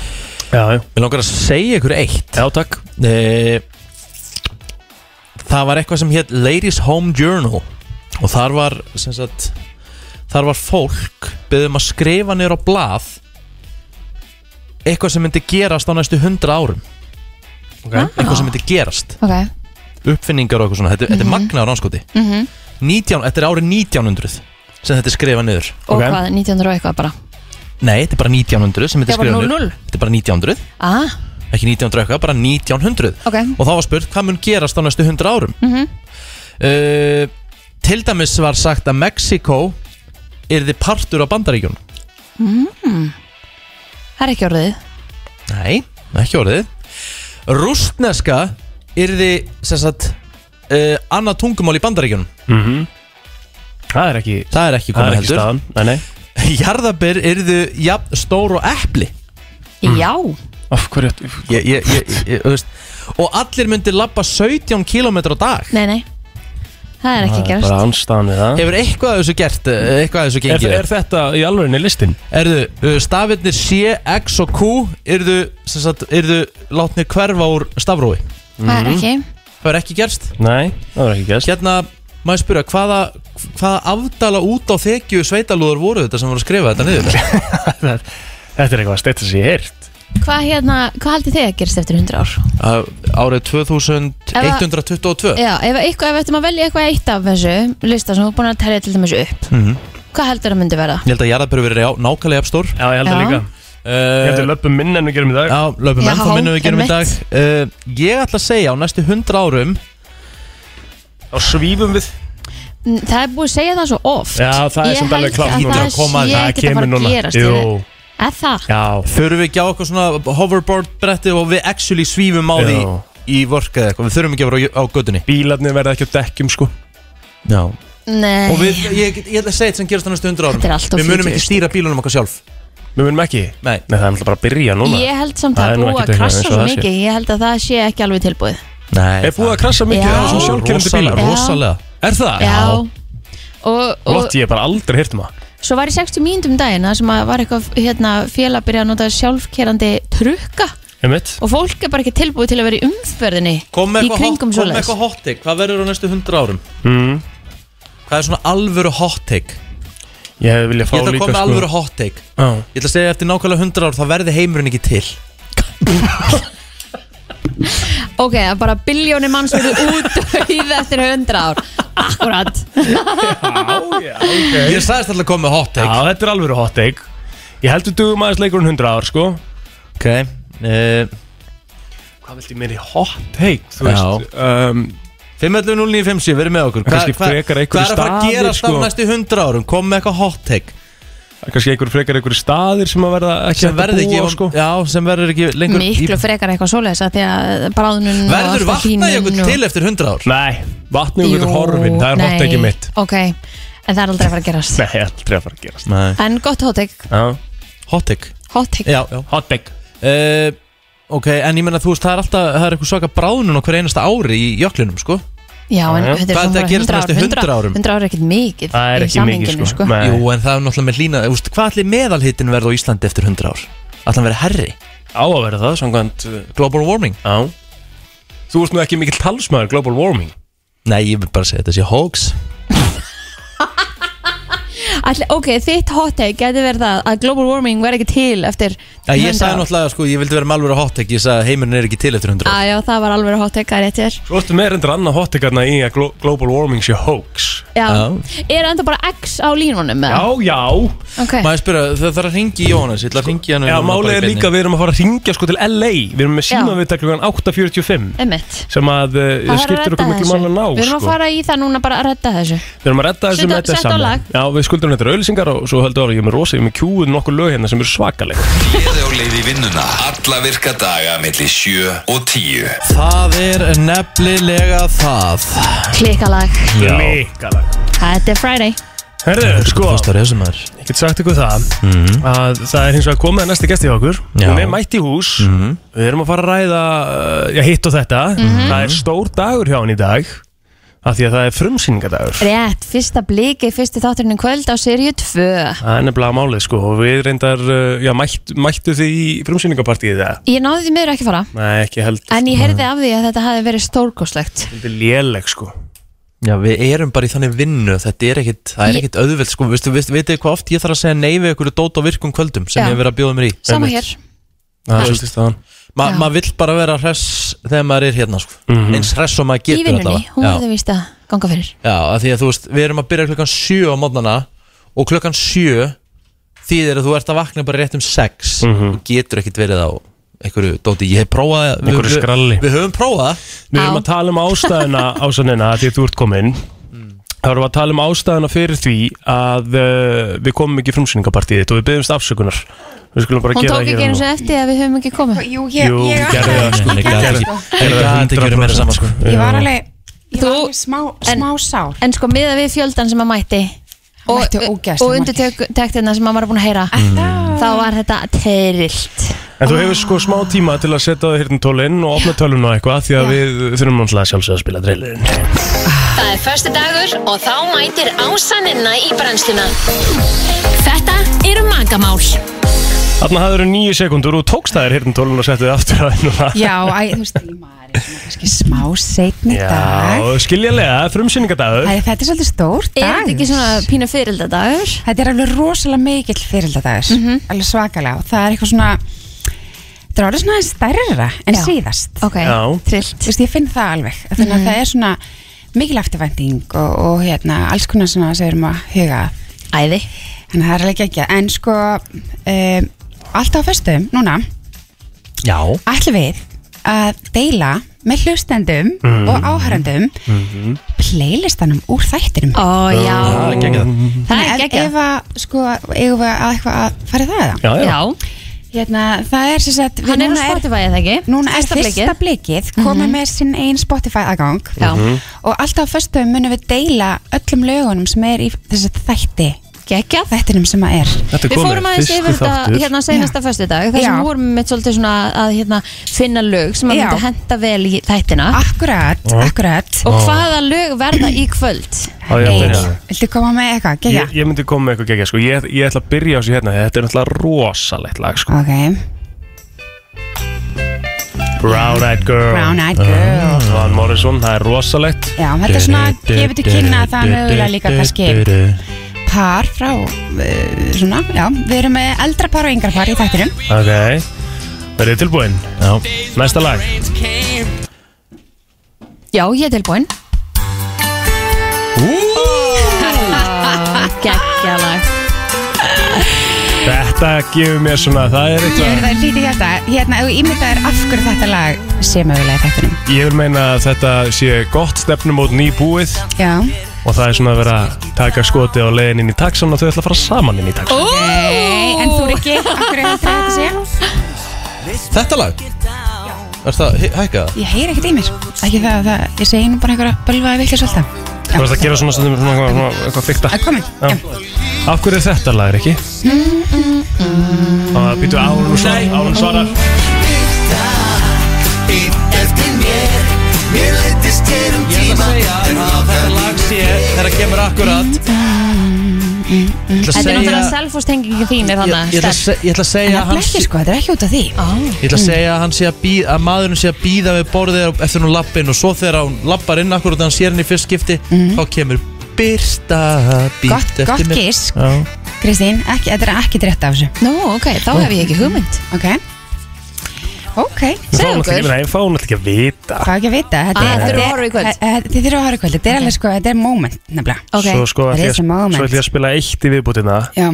D: Já, já
B: Mér langar að segja ykkur eitt Eh,
D: Já, takk
B: Það var eitthvað sem hétt Ladies Home Journal og þar var sem sagt þar var fólk beðum að skrifa niður á blað eitthvað sem myndi gerast á næstu hundra árum okay. eitthvað sem myndi gerast
C: Ok
B: uppfinningar og eitthvað svona, þetta, þetta er
C: Mhm.
B: magnaður ánskoti
C: mm
B: 19, þetta er árið 1900 sem þetta er skrifað niður
C: Og hvað, 1900 og eitthvað bara
B: Nei, þetta er bara 1900 sem þetta
C: Já, bara
B: er
C: 00.
B: skrifað niður Þetta er bara 1900
C: ah,
B: ekki 1900 eitthvað, bara 1900
C: Ok.
B: og þá var spurt hvað mun gerast á næstu 100 árum
C: mm -hmm.
B: uh, til dæmis var sagt að Mexiko yrði partur á bandaríkjun
C: Mhm. Það er ekki orðið
B: nei, ekki orðið rústneska yrði sem sagt uh, annað tungumál í bandaríkjun
D: Mhm. Það er ekki
B: það er ekki
D: Það
B: komið
D: er ekki
B: heldur
D: staðan Nei, nei
B: jarðabir yrðu jafn stór og epli
C: Já
D: Mm. Af hverju
B: ég, ég, ég, ég, þú veist, og allir myndi labba 17 km á dag
C: Nei, nei, það er ekki
B: Það er
C: gerast
D: Bara anstæðan við það
B: Hefur eitthvað af þessu gert, eh, eitthvað af þessu
D: Er,
B: gengið?
D: er þetta í alvörinni listin?
B: Erðu, eh, stafirnir C, X og Q Erðu, sem sagt, erðu látnir hverfa úr stafrói
C: Það
D: Mhm.
C: er ekki
B: Það er ekki gerst
D: Nei, það var ekki gerst
B: Hérna, maður spyrja, hvaða, hvaða afdala út á þekju sveitalúður voru þetta sem voru að skrifa þetta niður?
D: Þetta er eitthvað steitt að sé heyrt
C: Hvað hérna, hvað haldið þið að gerast eftir 100 ár?
B: Árið 2122
C: Já, ef, eitthvað, ef við ættum að velja eitthvað eitt af þessu lista sem þú er búin að telja til dæmis upp
B: Mhm.
C: Hvað heldur það myndi verða?
B: Ég held að jarðabyrður verið já- nákvæmlega jafnstór
D: Já, ég held
C: það Já. líka.
D: Ég held að löpum minna en við gerum í dag
B: Já, löpum
C: Já,
B: enn þá minnum við gerum í dag
C: einmitt.
B: uh, Ég ætla að segja á næstu 100 árum
D: Þá svífum við
C: Mm, Það er búið að segja það svo oft
D: Já, það er
C: Ég
D: samt alveg
C: held
D: klárt
C: að
D: núna.
C: Það
D: Hlýtur að koma að
C: sé
D: það
C: ekkert að
D: kemur
C: fara að
D: núna.
C: gerast
D: Jú.
C: ég- Er það?
D: Já
B: Förum við ekki á eitthvað svona hoverboard bretti og við actually svífum á því
D: Já.
B: í vork eða eitthvað, við þurfum ekki að vera á, á gödunni
D: Bílarnir verða ekki á dekkjum sko
B: Já
C: Nei
B: Og við, ég, ég ætla að segja þetta sem gerast á næstu 100 árum
C: Þetta er allt of
B: Við munum ekki
C: futuristic.
B: stýra bílunum okkar sjálf
D: Við munum ekki?
B: Nei
D: Nei, það er náttúrulega bara að byrja núna
C: Ég held samt að
D: Það er nú
C: búið
D: ekkert
C: að
D: eitthvað
C: krasa
D: eins og
C: svo
D: það sé.
C: mikið Ég held að það sé ekki alveg tilbúið
B: Nei
D: Er búið að krasa mikið
C: Já.
D: á þessum sjálfkerrandi
B: Rosalega,
D: bílar?
C: Já. rosalega.
B: Er það?
C: Og, og
D: Lott, ég hef bara aldrei heyrt um það
C: svo var ég 60 mínútum um daginn það sem að var eitthvað hérna, félag að byrja að nota sjálfkerandi trukka
D: Einmitt
C: og fólk er bara ekki tilbúið til að vera í umferðinni
B: Kom
C: í
B: með eitthvað hot,
C: kringum
B: kom með
C: svoleiðis
B: eitthvað hot take, hvað verður á næstu 100 árum?
D: mm.
B: Hvað er svona alvöru hot take?
D: Ég hef viljað fá
B: Ég ætla að
D: líka sko.
B: koma með alvöru hot take
D: Já.
B: Ég ætla að segja eftir nákvæmlega 100 ár þá verði heimurinn ekki til
C: Ok, það er bara biljónir manns verið útdauð eftir 100 ár Akkurat
B: Ég sagðist alltaf að koma með hot take
D: Já, þetta er alvöru hot take Ég held við dugum aðeins leikurinn 100 ár sko
B: Ok uh,
D: Hvað viltu mér í hot take? Þú veist um,
B: 512957, verið með okkur
D: Kannski
B: Hvað- hvað-
D: frekar einhverju
B: Hvað er að fara að
D: staðir,
B: gera
D: sko?
B: á næstu 100 árum? Kom með eitthvað hot take
D: Kanski einhver frekar einhver staðir sem að verða ekki
B: sem
D: hægt að
B: verður ekki,
D: búa, sko.
B: já, sem verður ekki lengur
C: Miklu frekar eitthvað svoleiðis að því að bráðnun og
B: Verður
C: allt að hlýnun
B: vatnajökull
C: og-
B: til eftir 100 ár?
D: Nei, vatnajökull er
C: Jú,
D: horfin Það er hot
C: nei.
D: take mitt
C: Ok, en það er aldrei að fara að gerast
D: Nei, aldrei að fara að gerast
B: Nei
C: En gott hóttek,
B: Hot take
C: hóttek
B: Já, já
D: Hot take
B: uh, Ok, en ég menna þú veist, það er alltaf, það er eitthvað svaka bráðnun á hverju einasta ári í jöklinum, sko
C: Já, en
B: Já, já.
C: þetta er
B: Hvað er
C: svona
B: það að gerast
C: bara
B: næstu 100 árum?
C: 100 ára er ekkert mikið
B: Það
C: í
D: sko.
B: sko.
C: samhenginu, sko.
B: Jú, en það er náttúrulega með hlýna, þú veist, hvað allir meðalhitin verður á Íslandi eftir 100 ár? Allir verður herri
D: Á að verða það, samkvæmt uh,
B: Global warming
D: Já Þú veist nú ekki mikill talsmaður global warming
B: Nei, ég vil bara segja þetta sé hoax
C: Ætli, ok, þitt hot take geti verið það að global warming verði ekki til eftir
B: Já, ég sagði
C: 100 ár.
B: náttúrulega, sko, ég vildi vera með alveg hot ekki, ég sagði að heimurinn er ekki til eftir 100 ár.
C: Á, já, það var alveg hot take, það er rétt hér
D: Svo ertu með reyndur annað hottekarna í að glo global warming sé hoax
C: Já, er enda bara X á línunum með
D: Já, já
C: Ok,
B: Maður spyrja, það þarf að ringi í Jónas, ég ætla að ringi hann
D: Já, málið er líka að við erum að fara að ringja sko til LA Við erum með
C: Já.
D: síma við takkum 8.45
C: emmitt
D: sem að uh,
C: Það er að
D: skiptir
C: redda
D: okkur miklu
C: þessu
D: mann að ná
C: Við erum að
D: sko.
C: fara í það núna bara að redda þessu
D: Við erum að redda þessu
C: Setta-
D: með þetta
C: setta á lag.
D: saman Já, við skuldum þetta auðlýsingar og svo höldum við að ég er með rosa, ég er með kjúið nokkur lög hérna sem eru svakaleg
A: Gleði á leið í vinnuna Alla virka daga millir 7 og 10
B: Það er nefnilega það.
C: Klikkalag,
D: Líkala
C: þetta er Friday
D: Herðu, sko
B: Kostar þessu maður. Mhm.
D: Ég get sagt ykkur það að það er hins vegar komið að næsti gesti hjá okkur
B: Já.
D: Hún er mætt í hús
B: Mhm.
D: Við erum að fara að ræða uh, já, hitt og þetta Það er stór dagur hjá hann í dag af því að það er frumsýningadagur
C: Rétt, fyrsta bliki, fyrsti þátturinn í kvöld á Siriu 2
D: Það er nefnilega málið sko og við reyndar, uh, já, mætt, mættu þið í frumsýningapartíið það?
C: Ég náði því miður ekki að fara
D: Nei, ekki heldur
C: En ég heyrði af því að þetta hafi verið stórkoslegt
D: Þetta er léleg sko
B: Já, við erum bara í þannig vinnu, þetta er ekkit, það er ekkit auðveld, sko, veistu, veistu, veitu hvað oft ég þarf að segja nei við ykkur dót á virkum kvöldum sem
C: Já.
B: ég hef verið að bjóða mér í.
C: Sama
B: Einmitt.
C: hér
D: Það er svolítið staðan.
B: Ma-
C: Já.
B: Maður vill bara vera hress þegar maður er hérna, sko,
D: Mhm.
B: eins hress og maður
C: Í
B: getur
C: vinnunni,
B: allavega.
C: hún
B: Já.
C: verður vist að ganga fyrir
B: Já, af því að þú veist, við erum að byrja klukkan 7 á mótnana og klukkan 7 þýðir að þú ert að vakna bara rétt um 6 mm
D: Mhm.
B: -hmm. getur ekkit verið á einhverju dóti, ég hef prófað við-
D: Einhverju
B: við-
D: skralli.
B: Við höfum prófað
D: Við erum að tala um ástæðuna ásannina því að þú ert komin
B: Mm.
D: Það erum við að tala um ástæðuna fyrir því að uh, við komum ekki í frumsýningapartíið þitt og við byggjumst afsökunar Við skulum bara
C: Hún
D: gera
C: tók
D: það
C: ekki
D: hér
C: eins
D: og
C: og eftir að við höfum ekki komið Jú,
D: ég- Jú, ég- gerðu það, sko.
B: Ég gat ekki- ég gat ekki verið meira saman, sko.
N: Ég var alveg, ég
C: Þú-
N: var alveg smá, smá sár
C: En sko, miða við fjöldan sem að mætti Og,
N: Mættu ógeðslega
C: og undirtektina sem að maður er búin að heyra Þá var þetta terilt
D: nú. En þú hefur sko smá tíma til að setja það hérna tólinn og opna tölun og eitthvað því að við þurfum náttúrulega sjálfsög að spila dreilin
O: Það er förstu dagur og þá mætir ásaninna í brennsluna. Þetta eru magamál.
D: Þarna hafður þú nýju sekundur og tókst það er hérna tólinn og settu þið aftur að hérna
N: Já, æ, þú veist, maður er svona kannski smá seitni dag
D: Já, skiljanlega, frumsýningadagur
N: Æ, Þetta er svolítið stórt
C: Er
N: dag
C: þetta ekki svona pínu fyririldadagur?
N: Þetta er alveg rosalega mikill fyririldadagur
C: Mhm.
N: Alveg svakalega og það er eitthvað svona Þetta er alveg svona aðeins stærra en
C: Já.
N: síðast
C: Ok, Já. trillt
N: Þú veist, ég finn það alveg Þannig að
C: Mhm.
N: það er svona mikil eftirvænting og, og hérna, alls konar svona sem við erum að huga að.
C: Æði
N: Þannig að það er alveg ekki En sko, um, alltaf á föstum, núna
B: Já
N: ætlum við að deila með hlustendum
B: Mhm.
N: og áhærendum
D: Mhm.
N: playlistanum úr þættinum
C: Ó, já.
B: Það er geggjað.
N: Það er ekki Ef að, sko, eigum við að eitthvað að fara í það eða?
B: Já, já. Já.
N: Hérna, það er sem sagt við-
C: Hann er á
N: núna
C: Spotify, eða ekki?
N: Núna er
C: Fyrsta blikið. Mhm.
N: fyrsta blikið komið með sinn einn Spotify aðgang
C: Já. Mhm.
N: og alltaf á föstum munum við deila öllum lögunum sem er í þessi þætti
C: Gekja.
N: þættinum sem að er
D: Þetta
C: Við fórum aðeins yfir þetta hérna senasta föstu dag þar sem
N: Já.
C: við vorum mitt svolítið svona að hérna, finna lög sem að
N: Já.
C: myndi henda vel í þættina
N: Akkurat, akkurat
C: Og hvaða lög verða í kvöld?
D: Já, já,
N: Egill,
D: já.
N: Viltu koma með eitthvað, gegja?
D: Ég, ég myndi koma með eitthvað gegja sko. ég, ég ætla að byrja á þessu hérna Þetta er náttúrulega rosalegt lag sko.
N: okay.
D: Brown Eyed Girl
N: Brown Eyed Girl.
D: Uh, Van Morrison, það er rosalegt
N: Já, þetta er svona, gefur til kynna að það er mögulega líka kannski par frá, uh, svona, já, við erum með eldra par og yngra par í þættinum.
D: Ok Verðið þið tilbúin? Já Næsta lag
C: Já, ég er tilbúin Gekkja lag
D: Þetta gefur mér svona Það
N: Ég
D: er
N: veit
D: eitthvað
N: það lítið hjarta, hérna, ef þú ímyndaðir af hverju þetta lag sé mögulega í þættinum.
D: Ég vil meina að þetta sé gott stefnum út nýbúið
N: Já.
D: Og það er svona að vera að taka skoti á leiðin inn í taxan og þau ætla að fara saman inn í taxan
N: Nei, en þú er ekki, af hverju heldur þetta sé?
B: Þetta lag? Er það hækkað?
N: Ég heyri ekkert í mér, ekki það að það, ég segi nú bara einhverja bölvaði villis alltaf.
D: Þú veist að gera svona stundum svona, svona, svona, eitthvað fyrta
N: Það er komin, já.
D: Af hverju er þetta lag, ekki? Það býtu árun og svarar Árun svarar
B: Ég ætla að segja að þetta lag sé þegar það kemur akkurat ætla að
C: Þetta er
B: segja-
C: náttúrulega self-hostengingin þín er
B: Ég- ég ætla að
C: þannig
B: se- ég ætla að segja að hann sé-
N: Sko, þetta er ekki út af því.
B: Ég
N: Mm.
B: ætla að segja að, hann sé að, bíð, að maðurinn sé að býða við borðið eftir hún lappin og svo þegar hún lappar inn akkurat og hann sér henni í fyrst skipti þá kemur Birta
N: Mhm.
B: bít
N: Gott-
B: eftir
N: gott
B: mér.
N: gisk.
B: Já.
N: Kristín, ekki, þetta er ekki rétt af þessu
C: Nú, ok, þá hef ég ekki hugmynd
N: Ok, ok,
D: Við fáum náttúrulega ekki- Nei, við fáum náttúrulega ekki að vita
N: Hvað ekki að vita þetta er-
D: Ah, þið þurfum
N: þetta
D: að
N: er-
D: horfa í
N: eh, eh, Þið þurfum að horfa í kvöld Þetta er alveg sko, þetta er moment nefnilega
D: Svo sko ætla
N: Þetta
D: ég
N: er sem
D: að svo
N: moment
D: ætla ég að spila eitt í viðbútina
N: Já,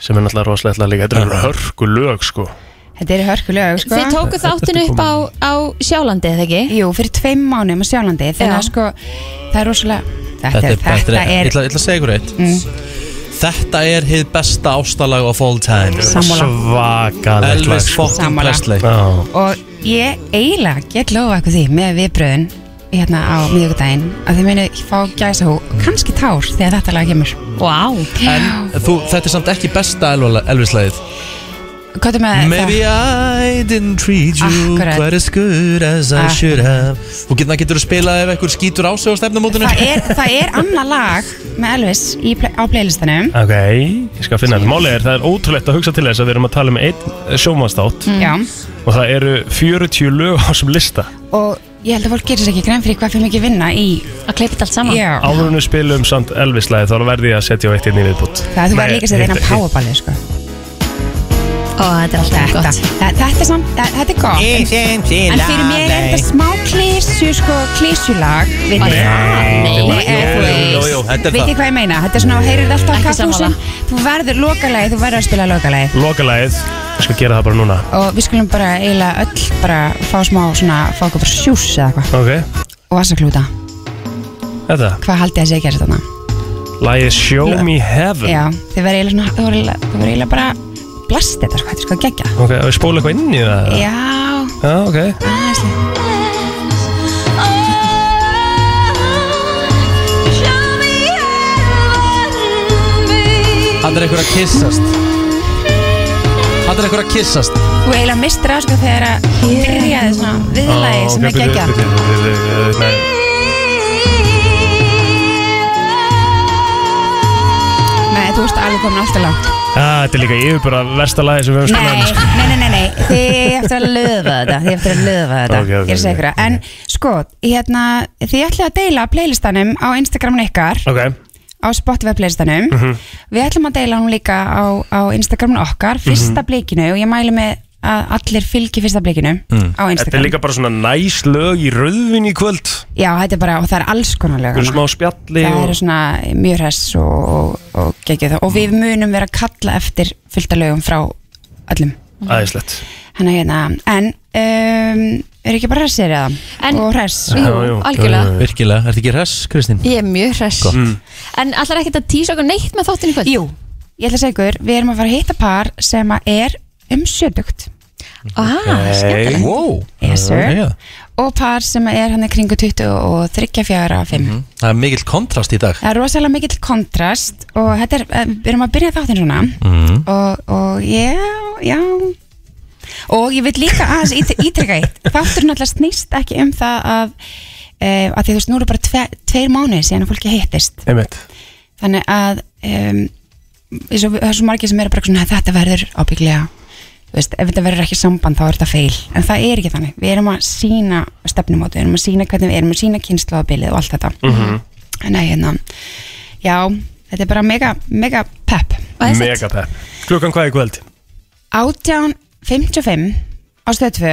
D: sem er náttúrulega rosalega ætla líka Þetta eru hörku lög sko
N: þetta er hörkulega sko.
C: Þið tóku þáttin upp á, á sjálandi, eða ekki?
N: Jú, fyrir tveim mánum á sjálandi Þannig að sko, það er rosalega Þetta,
B: Þetta er,
N: þetta
B: Ég
N: er,
B: ætla ég ætla að segja ykkur eitt
N: Mm.
B: Þetta er hið besta ástalag of all time
N: Sammála.
B: Svakalegt
D: lag,
B: Elvis
D: sko.
B: fucking
N: Sammála.
B: Presley
N: Og ég eiginlega get lofa eitthvað því með viðbröðin hérna á miðugdægin að þið muni fá gæsa hú kannski tár þegar þetta lag kemur
C: Vá
B: En þú, þetta er samt ekki besta Elva- Elvis-lagið
N: Hvað er með
B: Maybe I didn't treat you
N: Akkurat.
B: quite as good as I
N: Akkurat.
B: should have Og getur það getur að spila ef einhver skýtur á sig á stefnumótinu
N: það er, það er annað lag með Elvis í, ple- á playlistanum
D: Ok, ég skal finna þetta Málið er, það er ótrúlegt að hugsa til þess að við erum að tala um einn sjómanstátt
N: Já.
D: og það eru 40 lög á þessum lista
N: og ég held að fólk gerir sér ekki grein fyrir hvað fyrir mikið vinna í
C: að kleipa þetta allt saman
N: Já,
D: Áður en við spilum samt Elvis-lagið þá verði ég að setja á eitt inn í viðbútt
N: það þú verður líka sér eina powerballið sko
C: Ó, þetta er alltaf
N: þetta, gott Þetta er samt, þa- þetta er gott En en fyrir mér er þetta smá klísu sko, klísulag Vitið
B: Nei,
N: Nei,
B: nei,
N: en þú
B: jú,
N: veist.
B: jú, jú, þetta er
N: Vitið
B: það.
N: hvað ég meina, þetta er svona, heyrir þetta alltaf á
C: Ekki
N: kaffúsin Þú verður lokalagið, þú verður að spila lokalagið
D: Lokalagið, ég skal gera það bara núna
N: Og við skulum bara eiginlega öll bara fá smá svona, fá okkur bara sjús eða eitthvað
D: Ok,
N: Og vassaklúta,
D: þetta
N: hvað haldið þið að sé að gera þetta?
D: Lagið Show Me Heaven
N: Já, þið verður eiginlega svona, þú verður eiginlega- þú verður eiginlega bara blast þetta sko, þetta er sko geggja
D: Ok, við spóla eitthvað inn í það
N: Já,
D: Já, ok
N: aðeins líka
B: Hann er einhver að kissast Hann er einhver að kissast
N: Þú eiginlega mistir á sko þegar að byrjaði svona viðlagi sem er geggja
D: geggja
N: Nei, þú ert alveg komin alltaf langt
D: Ah, Þetta er líka yfir bara versta lagið sem við höfum
N: Nei,
D: spilað
N: nei, nei, nei, nei, þið eftir að löfa þetta Þið eftir að löfa þetta,
D: Ok, ok,
N: ég er
D: ok.
N: segur okay. En sko, hérna, þið ætlið að deila playlistanum á Instagramun ykkar
D: Ok
N: á Spotify playlistanum
D: Mhm.
N: Við ætlum að deila hún líka á, á Instagramun okkar
D: Mhm.
N: Fyrsta blikinu og ég mæli með að allir fylgi fyrsta blikinu á
D: Hmm. Þetta er
N: Instagram
D: líka bara svona næs lög í röðvin í kvöld
N: Já, þetta er bara, og það er alls konar
D: Það
N: lög
D: eru
N: þarna.
D: smá spjalli
N: það eru
D: og...
N: svona mjög hress og, og, og geggjuð og við munum vera að kalla eftir fullta lögum frá öllum
D: Æðislegt
N: hann að hérna en um, er ekki bara hressir eða
C: En-
N: og hress
C: Jú, Já, jú, algjörlega. jú, jú.
B: Virkilega, ertu ekki hress, Kristín?
C: Ég er mjög hress
B: Gott. Mm.
C: En allar ekkert að tísa okkur neitt með þáttin í kvöld?
N: Jú ég ætla að segja ykkur við erum að fara að hitta par sem að er um sjödugt
C: Ah,
D: Hey,
C: skemmtilegt
B: wow.
N: Yes, sir.
B: Já, já.
N: og par sem er hann er kringu 20 og 34 og 5
B: Mhm. Það er mikill kontrast í dag
N: það er rosalega mikill kontrast og þetta er eh, við erum að byrja þáttinn svona
B: Mhm.
N: og, og já, já og ég vil líka aðeins ít- ítreka eitt þátturinn alltaf snýst ekki um það að uh, að því þú veist, nú eru bara tve, tveir mánuði síðan að fólki hittist
D: Einmitt
N: þannig að um, eins og við- það er svo margir sem eru bara svona þetta verður ábygglega þú veist, ef þetta verður ekki samband þá er þetta feil en það er ekki þannig, við erum að sína stefnumóti, við erum að sína hvernig við erum að sína kynnslóðabilið og allt þetta
D: Mhm.
N: Nei, hérna, já, þetta er bara mega, mega pepp
D: Mega pepp Klukkan hvað í kvöld?
N: 18.55 á stöðtvö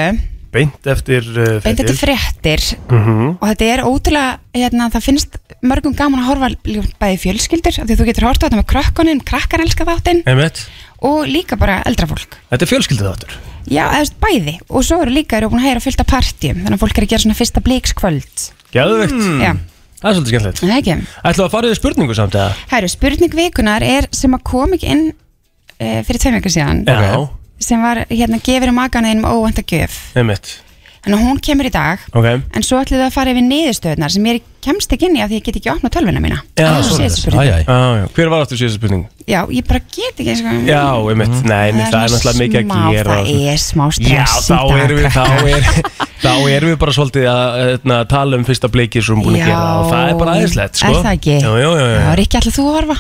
D: Beint eftir uh,
N: beint þetta fréttir
D: Mhm.
N: og þetta er ótrúlega, hérna, það finnst mörgum gaman að horfa líka bæði í fjölskyldur af því þú getur horta á þetta með krökkunum, krakkar elska þáttinn
D: Einmitt
N: og líka bara eldra fólk
D: Þetta er fjölskyldið þáttur
N: já, eða þú veist, bæði og svo eru líka, eru búin að heyra fullt af partjum þannig að fólk er að gera svona fyrsta blíkskvöld
D: Gæðvegt
N: Mm. Já.
D: Það er svolítið skemmtilegt
N: það er ekki
D: Ætlaðu að fara yfir spurningu samt eða?
N: Hæru, spurning vikunar er sem að kom ekki inn uh, fyrir tveim vikur síðan
D: Já.
N: sem var hérna gefur um magan einum óvænt að gjöf
D: Einmitt
N: þannig að hún kemur í dag
D: Ok
N: en svo ætlum við að fara yfir niðurstöðnar sem ég kemst ekki inn í af því ég get ekki opnað tölvuna mína Það er Ah, síðasta spurning.
D: Æ, æ. Ah, Já, já. Hver var aftur síðast spurning?
N: Já, ég bara get ekki sko.
D: Já, einmitt, nei, nei, það er náttúrulega mikið að
N: smá-
D: gera
N: það er smá stress
D: Já,
N: í
D: þá
N: dag,
D: erum við, þá
N: krakkar.
D: er, þá erum við bara svolítið að hérna, tala um fyrsta bleikið sem við erum búin að
N: Já,
D: gera og það er bara aðeinslegt, sko
N: er það ekki?
D: Já, já, já,
N: Já,
D: já.
N: Rikki, ætlað þú að horfa?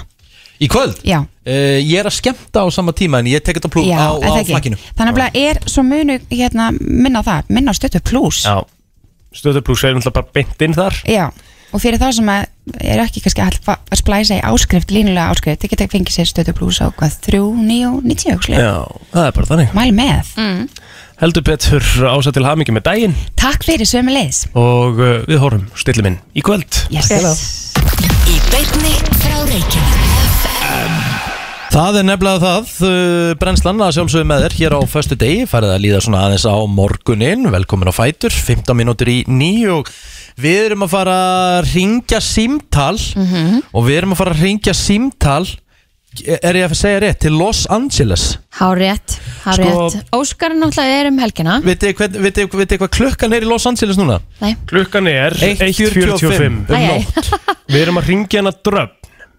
B: Í kvöld?
N: Já.
B: Eh, ég er að skemmta á sama tíma en ég tek þetta plúk
N: Já,
B: á,
N: er það
B: á
N: ekki?
B: flakkinu
N: Þannig að er svo munu hérna, minna á það, minna á stötu plus
D: Já, stöðu pluss er náttúrulega bara beint inn þar
N: Já, og fyrir þá sem að er ekki kannski að, fa- að splæsa í áskrift línulega áskrift, þið geta fengið sér stöðu blús á hvað, 3, 9, 90 hugsalega.
D: Já, það er bara þannig
N: Mæli með
C: mm.
D: Heldur betur ása til hamingi með daginn
N: Takk fyrir sömu leiðis
D: Og uh, við horfum stillum inn í kvöld
N: yes.
E: Í beinni frá Reykjavík
B: Það er nefnilega það, uh, brennslan að sjálfsögum með þér hér á föstu degi, færið að líða svona aðeins á morgunin, velkomin á Fætur, 15 mínútur í nýju og við erum að fara að ringja símtal
C: Mhm.
B: og við erum að fara að ringja símtal, er ég að segja rétt, til Los Angeles.
C: Hárétt, hárétt sko... Óskar náttúrulega er um helgina
B: Vitið þið hvern- vitið- vitið þið hvað klukkan er í Los Angeles núna?
C: Nei.
D: Klukkan er 1.45 um
C: Æ, æ.
D: nótt Við erum að ringja hana dröfn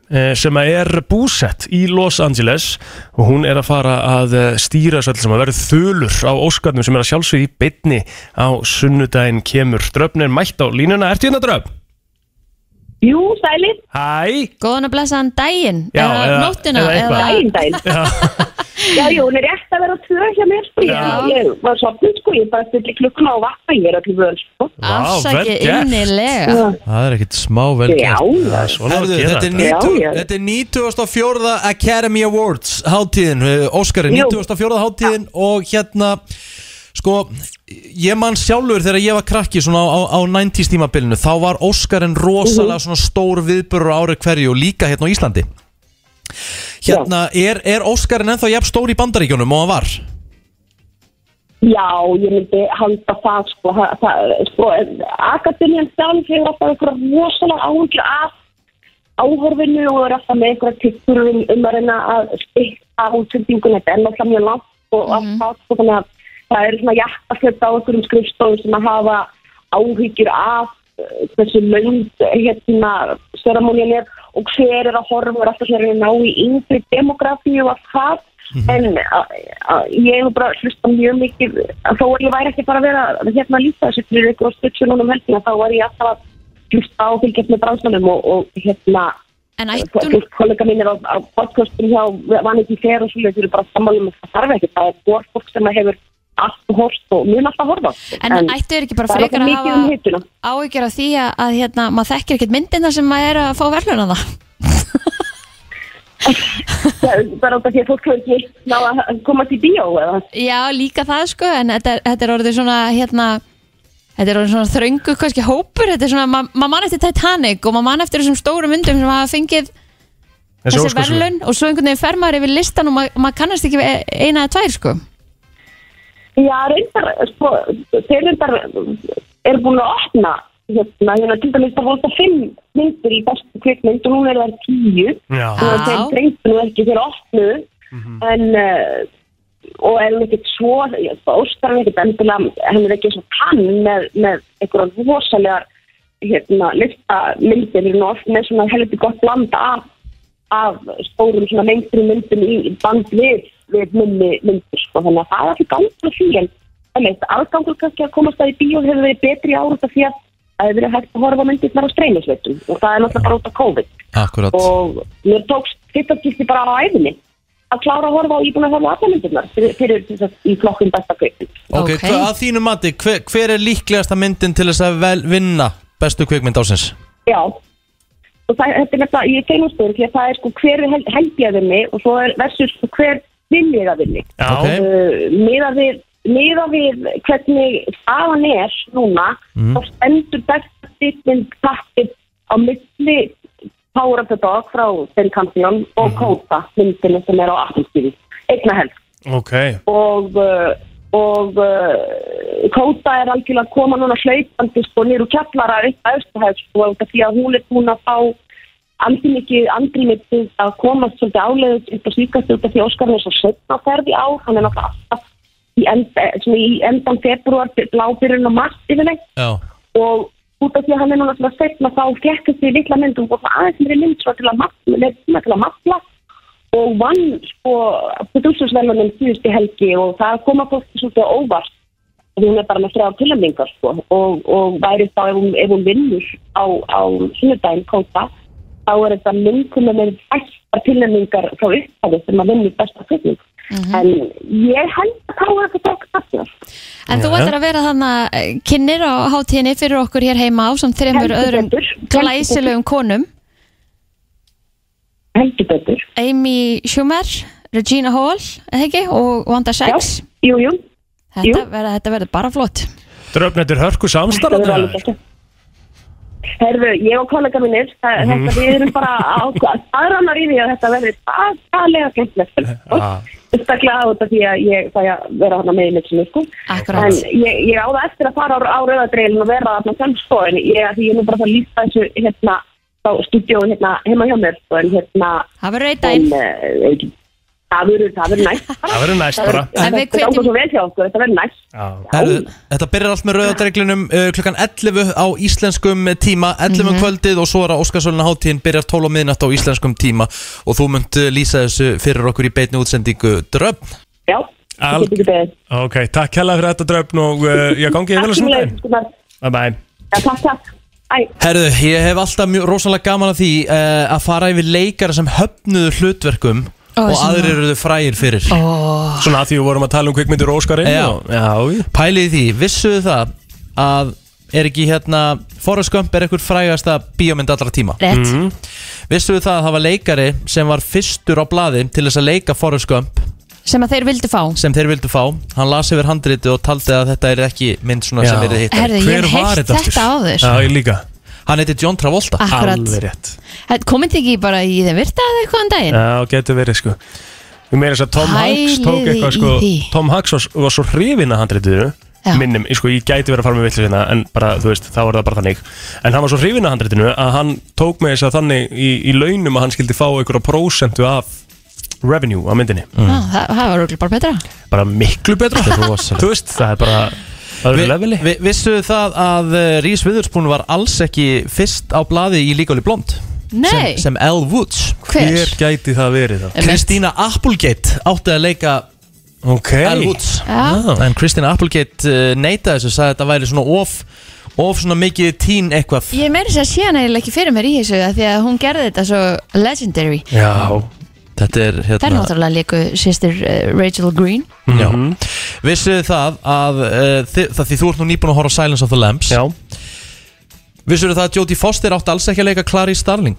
D: Eh, sem að er búsett í Los Angeles og hún er að fara að eh, stýra þessu öll sem að verður þulur á Óskarnum sem er að sjálfsögði í bytni á sunnudaginn kemur dröfn er mætt á línuna, ertu hérna dröfn?
C: Jú, sælir
D: Hæ
C: Góðan að blessa hann daginn
D: Já,
C: eða,
D: eða-
C: nóttina
D: eða eitthvað.
C: Daginn,
H: daginn Já, jú, hún er rétt að vera tvö hjá mér, sko. Ég,
C: Já.
H: ég var sopnið, sko, ég bara stilli klukkuna á vatna, ég er allir völd, sko.
C: Afsakið innilega
B: Það er ekkit smá vel
H: Já,
B: gert.
H: já.
B: Það er svona að
D: Herðu,
B: gera
D: þetta er
B: þetta.
D: 90
H: Já, já.
B: Þetta er 94. Academy Awards hátíðin, eh, Óskari,
H: Jú.
B: 94. hátíðin og hérna, sko, ég man sjálfur þegar ég var krakki svona á, á 90s tímabilinu, þá var Óskarin rosalega
H: Mhm.
B: svona stór viðbörur ári hverju og líka hérna á Íslandi. Hérna, er, er Óskarin ennþá jafn stór í bandaríkjunum og hann var?
H: Já, ég myndi halda það, sko, það, það, sko, akademiðan sjálf hefur alltaf einhverja rosalega áhugja af áhorfinu og er alltaf með einhverja tikkur um, um að reyna að stikka útsendingun, þetta er náttúrulega mjög langt og allt það, sko, þannig að það er svona jakkaslöpt á einhverjum skrifstofum sem að hafa áhyggjur af eh, hversu lönd, hérna, seramónin er og hver er að horfa og er alltaf svona að reyna að ná í yngri demografíu og allt það, en a- a- ég hef bara hlusta mjög mikið þó að ég væri ekki bara að vera hérna að lýsa þessu fyrir ykkur og stutsu núna um helgina þá var ég alltaf að hlusta á fylgjast með bransanum og, og hérna
C: En
H: ættu kollega mín er á, á podcastum hjá Vanity Fair og svolítið eru bara sammálum og það þarf ekki það er bort fólk sem hefur allt horst og mun alltaf horfa
C: En, ættu er ekki bara
H: það er
C: frekar
H: alltaf
C: að
H: mikið um
C: hafa
H: hituna.
C: áhyggjur af því að, að hérna, maður þekkir ekkert myndina sem maður er að fá verðluna það
H: Það er bara út af því að fólk hefur ekki ná að koma til bíó eða
C: Já, líka það sko, en þetta, er- þetta er orðið svona hérna, þetta er orðið svona þröngu kannski hópur, þetta er svona, ma- maður man eftir Titanic og maður man eftir þessum stóru myndum sem hafa fengið
D: Þessi
C: þessi
D: Óskarsverðlaun.
C: verðlun og svo einhvern veginn fer maður yfir listan og ma- maður kannast ekki við eina eða tvær sko
H: Já, reyndar, sko, þeir reyndar er búin að opna hérna, hérna, til dæmis það voru þetta fimm myndir í bestu kvikmynd og núna er það tíu
F: Já.
H: og þeir
F: Já.
H: dreymdu nú ekki þeir opnu en uh, og er hún ekkert svo Óskar er ekkert endilega hann er ekki svo kann með, með einhverjum rosalegar hérna, listamyndir hann er oft með svona helviti gott land af, af stórum svona lengri myndum í band við, við minni myndir sko. þannig að það er ekki gangur því en einmitt, aðgangur kannski að komast að í bíó hefur verið betri í ár út af því að það hefur verið hægt að horfa á myndirnar á streymisveitum og það er náttúrulega bara út af COVID
B: Akkurat.
H: og mér tókst fyrsta kýrsti bara á æfinni að klára að horfa á íbúin að horfa alla myndirnar fyrir, fyrir sem sagt, í flokkum besta kveikmynd
B: Ok, okay. að þínu mati, hver, hver er líklegasta myndin til þess að vel, vinna bestu kvikmynd ásins?
H: Já og það, þetta er nefnilega, ég kemur stöður því að það er sko hver er hel- held ég að vinni og svo er versus sko, hver vinn ég að vinni
F: Já. Ok.
H: uh, miða, við, miða við hvernig staðan er núna
F: Mhm.
H: þá stendur besta kvikmynd takkið á milli Power of the Dog frá Ben Campion og
B: Mhm.
H: Kóta myndinu sem er á Appelskýri einna helst
D: Ok
H: og uh, og uh, Kóta er algjörlega að koma núna hlaupandi sko nýr úr kjallara upp að östuhæð sko út af því að hún er búin að fá andri mikið andri mikið að komast svolítið áleiðis upp að síkast út af því að Óskar er svo setna ferð í ár hann er náttúrulega alltaf í, enda, svona í endan februar blábyrjun og mars yfirleitt
B: Já.
H: og út af því að hann er núna svona setna þá fekk þessi litla mynd og það aðeins mér mynd svo til að mafla, með tíma til að mafla og vann sko producersverðunum síðustu helgi og það koma fólki svolítið á óvart og hún er bara með þrjá tilhemmingar sko og, og væri þá ef hún, ef hún vinnur á, á sunnudaginn kóta þá er þetta myndkunum með fæsta tilhemmingar frá upphafi sem að vinnur besta kvikmynd en ég held að það var ekki tók aftur
C: En þú
H: Já.
C: ætlar að vera þannig kynir á hátíðinni fyrir okkur hér heima á samt þreymur
H: Heldur
C: öðrum
H: betur, heldur
C: glæsilegum konum
H: Heldur betur
C: Amy Schumer, Regina Hall eða ekki, og Wanda Sykes
H: Jú, jú
C: Þetta verður- þetta verður bara flott
D: Dröfnættur hörku
H: Þetta
D: samstarf
H: verður alveg Herðu, ég og kollega mínir, það,
D: Mhm.
H: þetta, við erum bara aðrannar í því að þetta verður aðalega skemmtilegt. Staklega á þetta því að ég fæ að vera hana með í leiksinu, sko.
C: Akkurat.
H: En ég, ég áða eftir að fara á, á rauðadreilin og vera þarna sem, sko, en ég, því ég er nú bara að fara að lýsa þessu, hérna, á stúdíóin, hérna, heima hjá mér, sko, en hérna...
C: Það verður eitt
H: dæn. Það verður, það verður næst.
D: Það verður næst bara.
H: En við kveitjum... Þetta gangur svo vel hjá okkur, þetta verður næst.
B: Herðu, þetta byrjar allt með rauðadreglinum uh, klukkan 11 á íslenskum tíma 11 um
H: Mhm.
B: kvöldið og svo er að Óskarsvölinu hátíðin byrjar 12 á miðnatt á íslenskum tíma og þú munt uh, lýsa þessu fyrir okkur í beitni útsendingu dröfn
H: Já,
D: Al-
H: ég get ekki beðið.
D: Ok, takk hella fyrir þetta dröfn og uh, ég gangi
H: Takk
D: yfir að
H: sem
D: svona
H: leið, Gunnar.
D: Bye bye
H: Já, Takk, takk. Æ,
B: Herðu, ég hef alltaf mjög rosalega gaman af því uh, að fara yfir leikara sem höfnuðu hlutverkum
D: Ó,
B: og
D: svona.
B: aðrir eru þau frægir fyrir
C: oh.
D: Svona að því við vorum að tala um kvikmyndir og Óskarinn
B: Já,
D: og- já,
B: pælið í því, vissuðu það að er ekki hérna Forrest Gump er ekkur frægasta bíómynd allra tíma
C: Rétt. Mhm.
B: Vissuðu það að það var leikari sem var fyrstur á blaði til þess að leika Forrest Gump
C: sem að þeir vildu fá
B: sem þeir vildu fá, hann las yfir handritu og taldi að þetta er ekki mynd svona
D: Já.
B: sem verið hitt
C: Herðu, ég hef heyrt þetta áður. Já,
D: ég líka
B: Hann heiti John Travolta
C: Akkurat. Alveg
D: rétt
C: komið þið ekki bara í þeim virta eða eitthvað um daginn
D: Já, getur verið sko Við meira þess að Tom Hanks tók
C: Pæliði
D: eitthvað
C: í
D: sko
C: því.
D: Tom Hanks var, var svo hrifin að handritinu minnum, ég, sko, ég gæti verið að fara með villu sinna en bara, þú veist, þá var það bara þannig en hann var svo hrifin að handritinu að hann tók með þess að þannig í, í launum að hann skildi fá einhverja prósentu af revenue á myndinni
C: Já, það, það var okkur bara betra
D: bara miklu betra sko. þú veist, það er bara öðru level
B: Vi, vissuðu það að eh, Reese Witherspoon var alls ekki fyrst á blaði í Líkáli Blond
C: Nei.
B: sem, sem Elle Woods
C: Hver? Hver
D: gæti það verið þá?
B: Kristína Applegate átti að leika
D: okay.
B: Elle Woods
D: Ah.
C: Já.
B: en Kristína Applegate uh, neytaði þessu sagði að þetta væri svona of of svona mikið teen eitthvað
C: ég meiri sér að sé hann eiginlega ekki fyrir mér í þessu af því að hún gerði þetta svo legendary
D: Já
B: Þetta er hérna
C: það er náttúrulega líku sýstir uh, Rachel Green
B: Já,
D: Mhm.
B: vissuðu það að uh, þið, það því þú ert nú nýbúin að horfa á Silence of the Lambs
D: Já
B: Vissuðu það að Jodie Foster átti alls ekki að leika Clarice Starling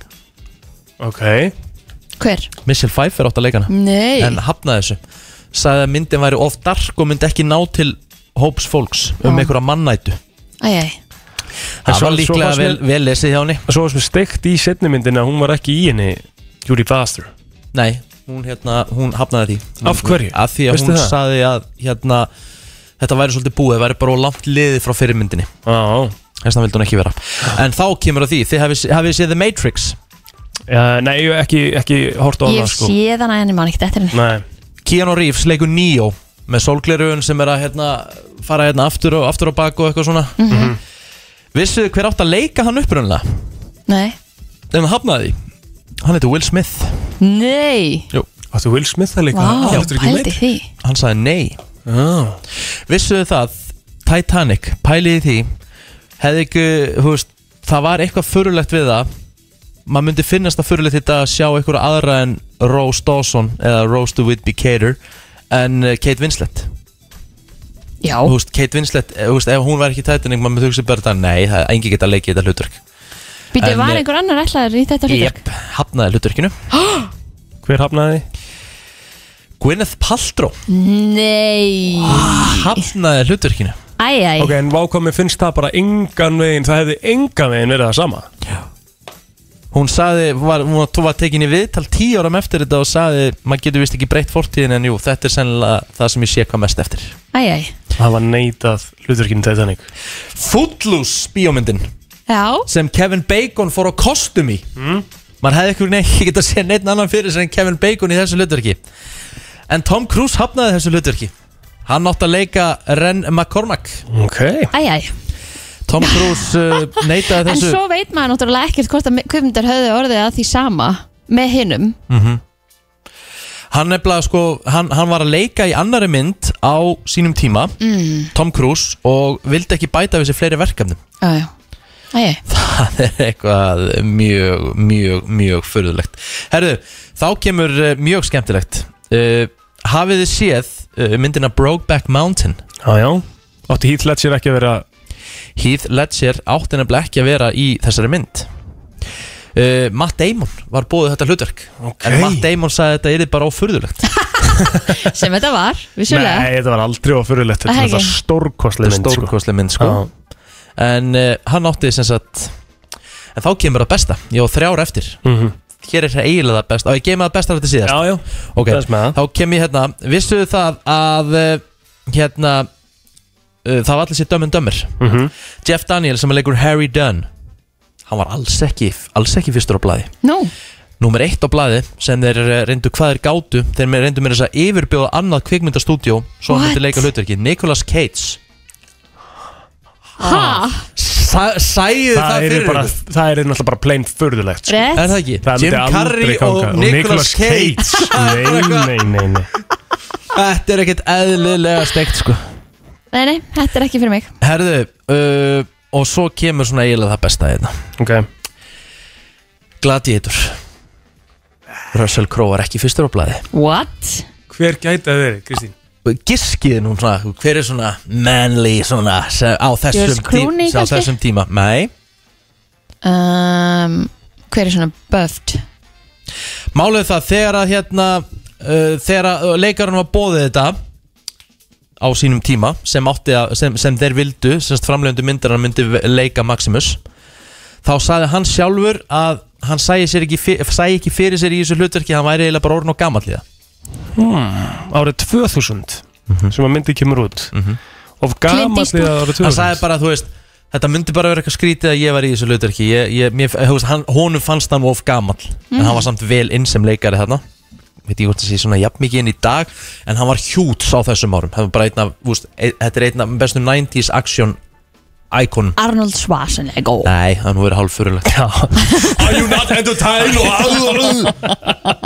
D: Ok
C: hver?
B: Michelle Pfeiffer átti að leika hana
C: Nei.
B: En hafnaði þessu Sagði að myndin væri of dark og myndi ekki ná til hóps fólks um
C: Já.
B: einhverja mannætu
C: Æjæj
B: Það var líklega vel, vel lesið hjá henni
D: Svo var sem steikt í setni myndin að hún var ekki í henni Judy Foster
B: Nei, hún, hérna, hún hafnaði því
D: Af hverju?
B: Af því að
D: Veistu
B: hún
D: það?
B: sagði að hérna, þetta væri svolítið búið, það væri bara of langt liðið frá fyrirmyndinni
D: ah.
B: Þess vegna vildi hún ekki vera En þá kemur að því, þið hafið hafi séð The Matrix
D: uh, Nei, ég hef ekki, ekki hort
C: ég hef
B: sko.
C: séð hann að henni mann ekkert eftir henni
D: Nei.
B: Keanu Reeves leikur Neo með sólgleruðun sem er að hérna, fara hérna aftur og aftur og bak og eitthvað svona mm
C: Mhm.
B: Vissuðu hver átt að leika hann upprunnilega?
C: nei,
B: En hann hafnaði því Hann heiti Will Smith
C: nei.
B: Jú.
D: Áttu Will Smith að leika
C: Vá,
B: Já,
C: pældi því
B: Hann sagði nei
D: oh.
B: Vissuðu það Titanic, pæliði því Hefði ekki, þú veist Það var eitthvað förulegt við það Maður myndi finnast það förulegt í dag að sjá eitthvað aðra en Rose Dawson eða Rose the Whitby Cater en eh, Kate Winslet
C: Já
B: Þú veist, Kate Winslet, eh, þú veist, ef hún var ekki í Titanic maður myndi hugsa bara þetta, nei, það er engi geta leikið þetta hlutverk
C: býtu,
B: En,
C: var
B: eh,
C: einhver annar ætlaður í þetta hlutverk?
B: Jep, hafnaði hlutverkinu
C: Hó,
D: Hver hafnaði?
B: Gwyneth Paltrow
C: nei
B: Hafnaði hlutverkinu
C: æjæj
D: Ok, en vákomi finnst það bara engan veginn Það hefði engan veginn verið það sama
B: Hún sagði, var, hún var- þú var tekin í viðtal tíu áram eftir þetta og sagði maður getur vist ekki breytt fortíðin en jú, þetta er sennilega það sem ég sé hvað mest eftir
C: æjæj
D: Það var neitað hluturkinn Titanic
B: Footloose bíómyndin
C: já
B: sem Kevin Bacon fór á kostum í mm. maður hefði ekki, ekki getað að sé neitt annan fyrir sér en Kevin Bacon í þessu hlutverki en Tom Cruise hafnaði þessu hlutverki hann átti að leika Ren McCormack
D: Ok
C: æjæj
B: Tom Cruise uh, neitaði
C: en
B: þessu
C: svo veit maður náttúrulega ekkert hvort að kvipmyndar höfðu orðið að því sama með hinnum
B: Mhm. Hann nefnilega sko, hann, hann var að leika í annari mynd á sínum tíma
C: Mm.
B: Tom Cruise og vildi ekki bæta við sér fleiri verkefnum
C: æjæj æjæj
B: Það er eitthvað mjög, mjög, mjög fyrðulegt Herðu, þá kemur eh, mjög skemmtilegt uh, hafið þið séð uh, myndina Brokeback Mountain?
D: Já, já Átti Heath Ledger ekki að vera
B: Heath Ledger átti nefnilega ekki að vera í þessari mynd uh, Matt Damon var búið þetta hlutverk okay. En Matt Damon sagði að þetta er bara ófurðulegt
C: sem þetta var, vissulega
D: Nei, þetta var aldrei ofurulegt Þetta
C: Það
D: er
C: ekki.
D: þetta stórkostlega
B: Þetta
D: mynd
B: er stórkostleg mynd sko En uh, hann átti sem sagt En þá kemur það besta Ég á þrjár eftir
D: Mhm.
B: Hér er það eiginlega það besta Og ég geyma það besta þetta síðast
D: Já, já
B: Ok, þá kem ég hérna Vissuðu það að uh, Hérna uh, Það var allir sér dömmen dömmir
D: Mhm.
B: Jeff Daniel sem leikur Harry Dunn Hann var alls ekki Alls ekki fyrstur á blaði
C: Nú,
B: Númer eitt á blaði sem þeir eh, reyndu hvað þeir gátu Þeir me- reyndu mér þess að yfirbjóða annað kvikmyndastúdjó Svo hann
C: What?
B: myndi leika hlutverki Nicolas Cage
C: ha?
B: Sæðu
D: Það
B: það
D: yrði
B: fyrir
D: bara-
B: ykkur.
D: Það er náttúrulega bara plain furðulegt sko.
C: Rétt. Er það ekki?
D: myndi
B: Jim
D: aldrei
B: Carrey og
D: ganga.
B: Nicolas Cage.
D: Nei, nei, nei, nei
B: Þetta er ekkert eðlilega steikt sko
C: Nei, nei, þetta er ekki fyrir mig
B: Herðu uh, Og svo kemur svona eiginlega það besta hérna
D: Ok
B: Gladiator Russell Crowe var ekki fyrstur á blaði
C: What?
J: Hver gæti að verið, Kristín?
B: Giskið nú svona Hver er svona manly svona sem- Á
C: George
B: þessum,
C: Clooney,
B: á
C: kannski?
B: þessum tíma Nei
C: um, Hver er svona buffed?
B: Málið er það þegar að hérna uh, Þegar að leikarinn var bóðið þetta Á sínum tíma Sem, átti að, sem, sem þeir vildu Semst framlegðundu myndarinn myndi ve- leika Maximus Þá sagði hann sjálfur að Hann sæi, sér ekki, fyr- sæi ekki fyrir sér í þessu hlutverki Hann væri eiginlega bara orðin og gamall í það
D: hmm. Árið 2000 Sem að myndi kemur út Of gamall í það árið 2000
B: Hann sagði bara, þú veist Þetta myndi bara vera eitthvað skrítið að ég var í þessu hlutverki ég, ég, mér, þú veist, hann, Honum fannst hann of gamall En
M: Mhm.
B: hann var samt vel inn sem leikari þarna Veit ég hvort það sé svona jafn mikið inn í dag En hann var hjúts á þessum árum Það var bara einn af, þú veist, e, Þetta er einn af bestu 90s action Icon
C: Arnold Schwarzenegger
B: Nei, það er nú verið hálffurulegt
J: Are you not entertained?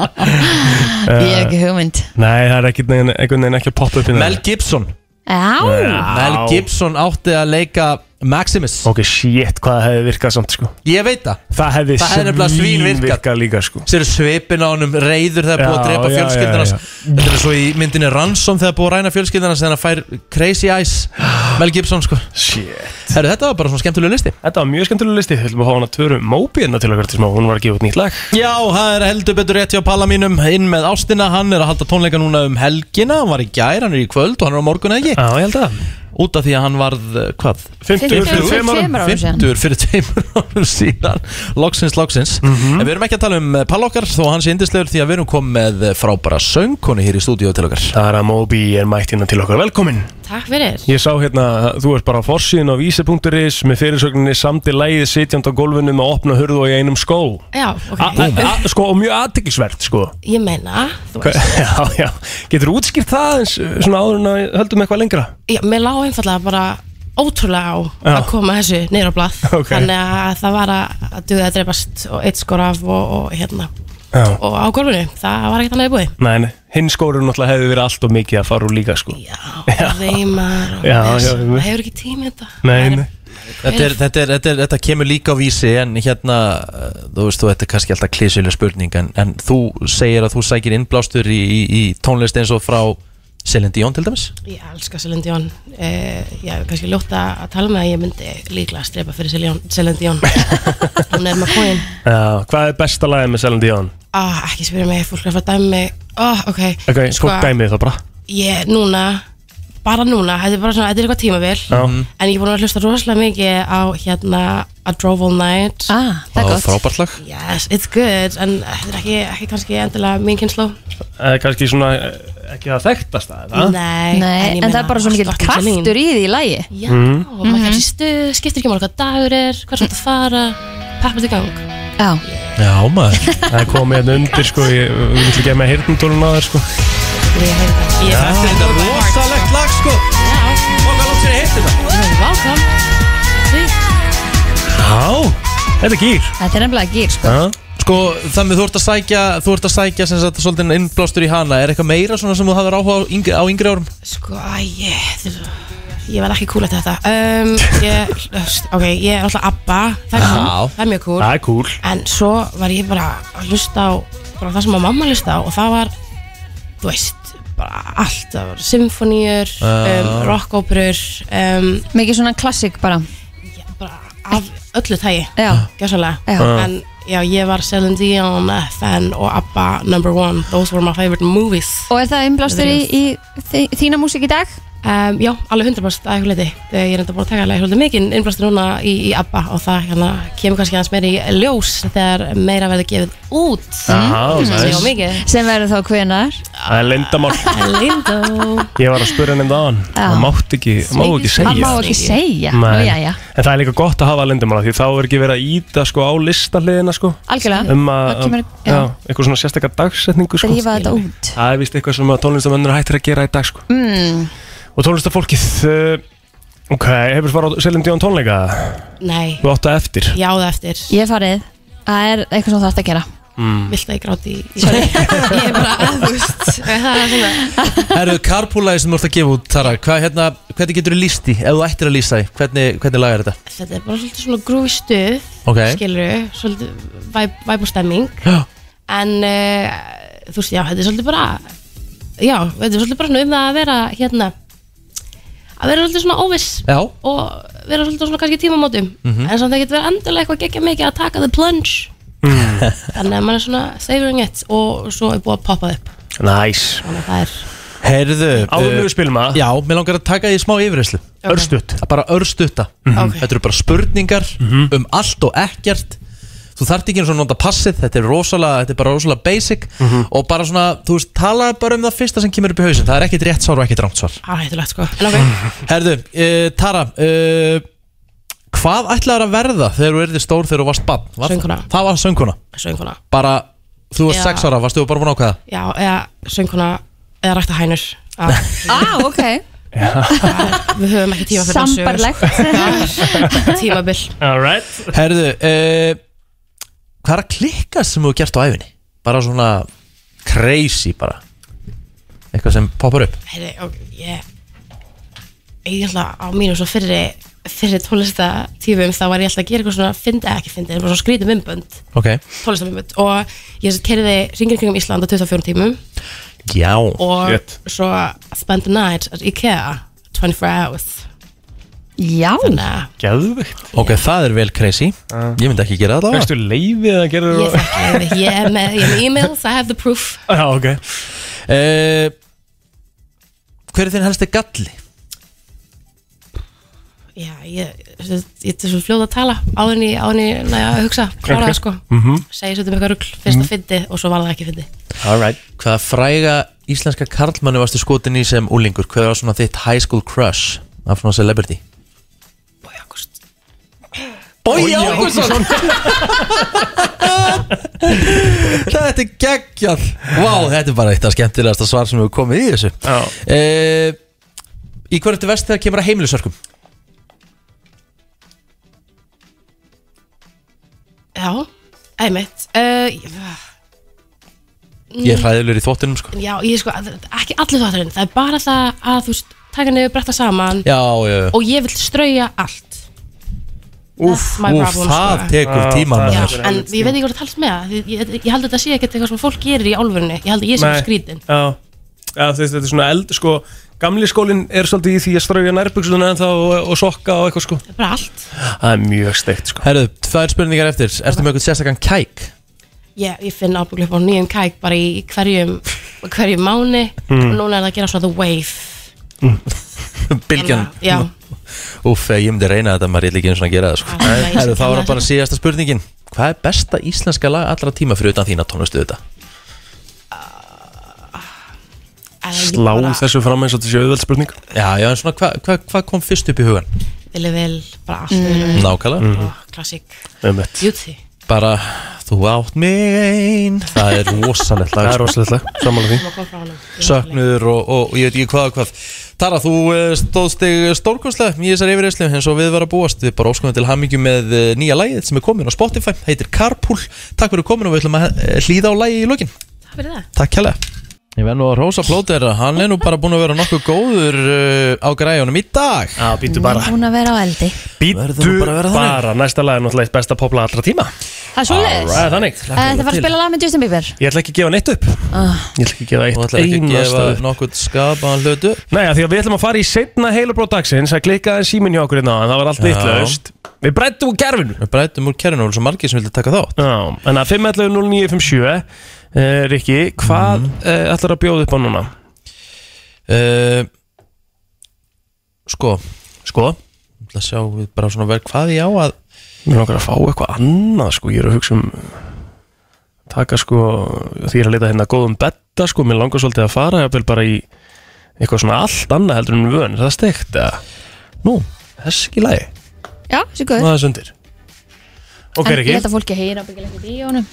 C: Ég hef ekki hugmynd
D: Eh, Nei, það er ekkert neginn, einhvern veginn ekki að poppa upp í það
B: Mel Gibson
C: Já
B: Mel Gibson átti að leika Maximus
D: Ok, shit, hvað það hefði virkað samt sko
B: Ég veit það
D: Það hefði
B: Það hefði nefnilega svínvirkað.
D: svínvirkað líka sko
B: Sér svipin á honum reyður þegar búið að
D: Já,
B: drepa
D: já,
B: fjölskyldunars
D: já,
B: Þetta er svo í myndinni Ransom þegar búið að ræna fjölskyldunars Þegar hann fær Crazy Eyes Mel Gibson sko
D: Shit
B: Herru, þetta var bara svona skemmtulega listi
D: Þetta var mjög skemmtulega listi, við ætlum að hafa hana tvöru Moby hérna til okkar til smá, hún var að gefa út nýtt lag
B: Já, það er heldur betur rétt hjá Palla mínum Inn með Ástina, hann er að halda tónleika núna um helgina Hann var í gær, hann er í kvöld og hann er á morgun eða ekki
D: Já, ég held að
B: Út af því að hann varð, uh, hvað?
D: Fimmtugur fyrir Fimmtugur tveimur árum. tveimur árum síðan.
B: 50 fyrir tveimur árum síðan Loksins, loksins
D: Mhm.
B: En við erum ekki að tala um Palla okkar Þó að hann sé yndislegur því að við erum komið með eh, frábæra söngkonu hér í stúdíu til okkar
D: Sara Moby er mætt hérna til okkar, velkomin
P: Takk fyrir
D: Ég sá hérna, þú ert bara á forsíðin á vísi.is með fyrirsögninni samti lægið sitjandi á gólfinu með opna hurðu og í einum skó
P: Já, ok
D: A- a- a- Sko, og mjög aðtiklisvert sko
P: Ég meina, þú
D: Hva-
P: veist
D: Já, já, getur útskýrt það eins, svona áður en að höldum eitthvað lengra
P: já, Mér lá einfallega bara ótrúlega á
D: Já.
P: að koma þessu neyra á blað
D: Ok.
P: Þannig að það var að að duða að dreipast og eitt skor af og, og hérna
D: Já.
P: Og á gólfinu, það var ekkert annað í búið
D: Nei, nei, hinn skórun náttúrulega hefði verið allt og mikið að fara úr líka sko
P: Já, Reymar og
D: Já,
P: þess-
D: já,
P: það
D: einmitt.
P: hefur ekki tími í þetta
D: Nei, nei
B: Þetta, er, þetta, er, þetta, er, þetta kemur líka á vísi en hérna, eh, þú veist þú, þetta er kannski alltaf klísilega spurning en, en þú segir að þú sækir innblástur í, í, í tónlist eins og frá Celine Dion til dæmis
P: Ég elska Celine Dion eh, Ég hef kannski ljótt að að tala með að ég myndi líklega að streipa fyrir Celine Celine Dion Hún er maður kóin
D: Já, hvað er besta lagið með Celine Dion?
P: ah, Ekki spyrja mig, fólk er að fara að dæmi mig ah, Ok,
D: Ok, sko, dæmið það bara
P: Ég, núna, bara núna, þetta er bara svona, þetta er eitthvað tímavel
D: Já.
P: En ég er búin að hlusta rosalega mikið á hérna A Drove All Night
C: Ah,
D: það er Ó, gott. frábært lag.
P: Yes, it's good, en þetta er ekki, ekki kannski endilega mín kynnsló
D: Eða kannski svona, eh, ekki það þekktast það, eða?
P: Nei,
C: Nei, en,
P: ég meina,
C: það er bara svo mikil
P: alltaf Celine.
C: kraftur í Mhm. því í lægi
P: Já,
D: Mhm.
P: og maður kannski stuð, skiptir ekki máli hvað dagur er, hvað er þetta að fara, peppar til gang
C: Já
B: Já, maður
D: Það er komið hérna undir, sko, ég við viljum ekki að með hirtundólun á þér, sko
P: Ég
B: Þetta er þetta rosalegt lag sko Og hvað langt sér heitt þetta?
P: Welcome
D: Já, þetta er gýr
C: Þetta er nefnilega gýr sko
B: Sko, þannig þú ert að sækja þú ert að sækja sem sagt svolítið innblástur í hana er eitthvað meira svona sem þú hafðir áhuga á yngri, á yngri árum?
P: Sko, æ, ég, þetta er- ég verð ekki cool eftir þetta um, ég, Ok, ég er alltaf Abba Það er,
D: Já.
P: cool, það er mjög cool
D: Það er cool.
P: En svo var ég bara að hlusta á bara það sem að mamma hlusta á og það var þú veist, bara allt það var symfóníur,
C: Já.
P: um, rockóperur um,
C: Mikið svona klassik bara
P: af öllu tægi
C: Já.
P: gjössalega
C: Já.
P: en já, ég var Celine Dion, FN og ABBA number one, those were my favorite movies
C: Og er það innblástur í, í þi- þína músík í dag?
P: Um, já, alveg 100% að eitthvað leiti Þegar ég er enda búin að taka alveg eitthvað mikinn innblastur núna í, í ABBA og það hérna, kemur kannski aðeins meira í ljós þegar meira verður gefið út Mm.
D: Já, nice.
P: já, mikið
C: Sem verður þá hvenar
D: Það er lindamál
C: Lindó
D: Ég var að spyrja henni þaðan
C: Já.
D: Það mátt ekki, það má ekki segja
C: Það má ekki segja Nú,
D: Nei.
C: jæja.
D: En það er líka gott að hafa lindamála Því þá er ekki verið að íta sko á listahliðina sko
C: Algjörlega.
D: Um að,
C: Það kemur- já.
D: já, eitthvað svona sérstakar dagsetningu sko
C: Drífa þetta út
D: Það er vist eitthvað sem að tónlistamönnur hættir að gera í dag sko
C: mm.
D: Og tónlistafólkið uh, Ok, hefur farað Selin Díón um tónleika
P: Nei,
D: Þú átt að eftir
P: já það eftir
C: Ég hef farið Það er eitthvað sem þú þarft að gera
D: mm.
P: Vilt að ég gráti í, í Sorry, ég er bara að þú veist Það er svona
B: Herru, karpúlæði sem þú ert að gefa út, Tara hvað, hérna, Hvernig getur þú líst því, ef þú ættir að lísta því Hvernig, hvernig lag er þetta?
P: Þetta er bara svolítið svona grúi stuð
B: Ok.
P: Skilur, svolítið væp, væp og stemming
B: Já.
P: En uh, þú veist, já, þetta er svolítið bara Já, þetta er svolítið bara svona um það að vera hérna Að vera svolítið svona óviss
B: Já.
P: Og vera svolítið svona kannski tímamótum
B: Mhm.
P: En samt það getur verið endilega eitthvað geggja mikið að taka the plunge
D: Mm.
P: Þannig að maður er svona savoring it Og svo er búið að poppa upp
D: Nice
P: Þannig að það er
B: Herðu
D: Áður en við spilum að
B: eh, Já, mér langar að taka því smá yfirherslu
P: Ok.
D: Örstutt Mhm.
B: Bara örstutta Mm.
D: Ok.
B: Þetta eru bara spurningar um allt og ekkert Þú þarft ekki eins og að nota passið Þetta er rosalega, þetta er bara rosalega basic
D: Mhm.
B: Og bara svona, þú veist, talaðu bara um það fyrsta sem kemur upp í hausinn Það er ekkit rétt svar og ekkit rámt svar
P: áhættulegt sko En ok,
B: Herðu, uh, Tara uh, Hvað ætlaður að verða þegar þú erði stór þegar þú varst bann? Var,
P: Söngkona.
B: Það var sönguna
P: sönguna
B: Bara, þú varst
P: Já.
B: sex ára, varstu bara búin að ákveða?
P: Já, eða sönguna Eða rækta hænur Ah.
C: Á, ok
P: Við höfum ekki tíma fyrir
C: Sambarlegt.
P: þessu Tímabill
D: Alright
B: Herðu, uh, hvað er að klikka sem þú hefur gert á æfinni? Bara svona crazy bara Eitthvað sem poppar upp
P: Heyrðu, ok, ég Ég ætla á mínu svo fyrri Fyrri tólesta tífum Þá var ég alltaf að gera eitthvað svona Fyndi, eða ekki fyndi, en bara svona skrítið mymbönd
B: Ok,
P: Tólesta mymbönd Og ég kerði ringir kringum Ísland á 24 tímum
B: já
P: Og svo spend the night at IKEA 24 hours
C: Já
P: Þannig að
D: Geðvikt
B: Ok, það er vel crazy Ég myndi ekki gera það
D: Veistu leiðið Ah. að gera
P: Ég þekki, ég er með, ég er með e-mails, I have the proof
D: Já, ok
B: uh, Hver er þinn helsti galli?
P: Já, ég, ég, ég er svo fljóð að tala áður en ég, áður en ég, næja, að hugsa klára
B: Ok.
P: það sko,
B: Mhm.
P: segi svo um eitthvað rugl fyrst að fyndi og svo var það ekki fyndi
B: Alright Hvaða fræga íslenska karlmanni varstu skotin í sem úlingur? Hver var svona þitt high school crush? Af svona celebrity Bogi Ágústsson. Þetta er geggjall Vá, þetta er bara eitt af skemmtilegasta svar sem hefur komið í þessu uh, Í hverju ertu vest þegar kemur að heimilisörkum?
P: Já, einmitt uh,
B: Ég
P: Mm.
B: er hræðilur í þvottinum sko
P: Já, ég sko, ekki allir þátturinn það er bara það að þú veist, taka niður bretta saman
B: Já, já, já.
P: og ég vil strauja allt
B: Úff,
P: That's my
B: úff,
P: problem,
B: það
P: sko.
B: tekur
D: Já,
B: tíma
D: það
B: með
D: er
B: þér
P: En ég veit ekki hvað það talst með það því ég, ég, held að þetta sé ekkert eitthvað sem fólk gerir í álfurinu Ég held að ég sé
D: Nei.
P: skrítin
D: Já, já þú veist, þetta er svona eld sko, Gamli skólinn er svolítið í því að strauja nærbuksuna en þá og, og sokka og eitthvað sko
P: Bara allt
D: Það er mjög steikt sko
B: Herðu, tvær spurningar eftir Ertu með eitthvað sérstakann kæk?
P: Já, ég finn ábygglega upp á nýjum kæk bara í hverjum, hverjum mánu
B: Mm.
P: og núna er það að gera svona the wave
B: Bilgjan
P: Hérna, Já,
B: Úff, eh, ég myndi reyna þetta, maður er ekki eins og að gera það sko.
P: Ah, nei,
B: Herru, þá
P: ég
B: var
P: skil
B: bara síðasta spurningin Hvað er besta íslenska lag allra tíma fyrir utan þína tónlistu þetta?
D: Slá þessu fram eins og þessi auðveld spurning
B: Já, já, en svona, hvað hva, hva kom fyrst upp í hugan?
P: vel er vel, bara allt
B: Mm.
P: vel er vel
B: Nákvæmlega. Mhm.
P: Ah, Klassik,
D: Einmitt.
P: beauty
B: Bara, þú átt mig ein Það er rosalegt lag
D: Það
B: sko.
D: er rosalegt lag, sammála því.
P: Má koma frá honum.
B: Söknuður og, og ég veit ekki hvað og hvað Tara, þú eh, stóðst þig stórkonslega í þessari yfirreyslu eins og við var að búast Við bara óskumum til hamingju með eh, nýja lagið sem er komin á Spotify Heitir Carpool Takk fyrir komin og við ætlum að eh, hlýða á lagið í lokin
P: Takk fyrir það
B: Takk kjærlega Ég verð nú að rosa plóter Hann er nú bara búin að vera nokkuð góður uh, á græjunum í dag
D: Já, býtu
C: Búin að vera á eldi
D: Býtu
B: bara að vera þannig.
D: bara, næsta lag er náttúrulega eitt besta popla allra tíma
C: Það er svoleiðis
D: Það er þannig.
C: Eh, Þetta var að spila lag með Justin Bieber
D: Ég ætla ekki að gefa neitt upp
C: Ah.
D: Ég ætla ekki að gefa
B: Og
D: eitt
B: ætlar ekki að gefa
D: nokkuð skapaðan hlutu Nei, af því að við ætlum að fara í setna heilabrót dagsins að klikka en síminn hjá okkur hérna en það var allt
B: Já.
D: vitlaust Við brættum úr kerfinu Við brættum úr kerfinu og svo margir sem vildi taka þátt Já, en að 5.11.09.57 uh, Rikki, hvað mm. uh, ætlar að bjóða upp á núna? Uh, sko Sko
B: ætla að sjá við bara svona vel hvað ég á að
D: Mér langar að fá eitthvað annað sko, ég er að hugsa um taka sko, því ég er að leita hérna að góðum betta sko, mér langar svolítið að fara jafnvel bara í eitthvað svona allt annað heldur en vön, er það steikt eða? Nú, þess ekki lægi,
C: Já, sér góður
D: það er sundir Ok,
C: En ég
D: Riki
C: held að fólki heyra ábyggilega ekkert í honum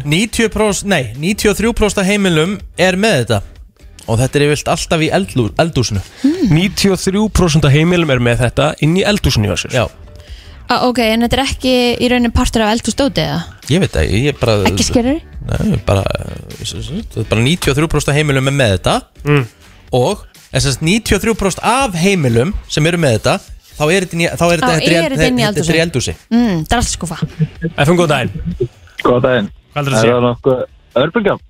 B: 90% nei, 93% af heimilum er með þetta og þetta er yfirlt alltaf í eldlú, eldúsinu
C: Hmm.
D: 93% af heimilum er með þetta inn í eldúsinu hjá sér Já,
C: ah, Ok, en þetta er ekki í raunin partur af eldhúsdóti eða?
B: ég veit það, ég er bara
C: Ekki skerur?
B: Nei, bara, þetta er bara 93% af heimilum er með þetta mm. og en sem sagt, 93% af heimilum sem eru með þetta þá er þetta inn í- þá er
C: Þá
B: þetta- þetta
C: er þetta inn í
B: er- þetta er í eldúsi
C: Mm, drallskúfa
D: FM, góð daginn
I: Góð daginn
D: Hvað heldur
I: Er
D: það að
I: það
D: segja?
I: nokkuð örbulgjám?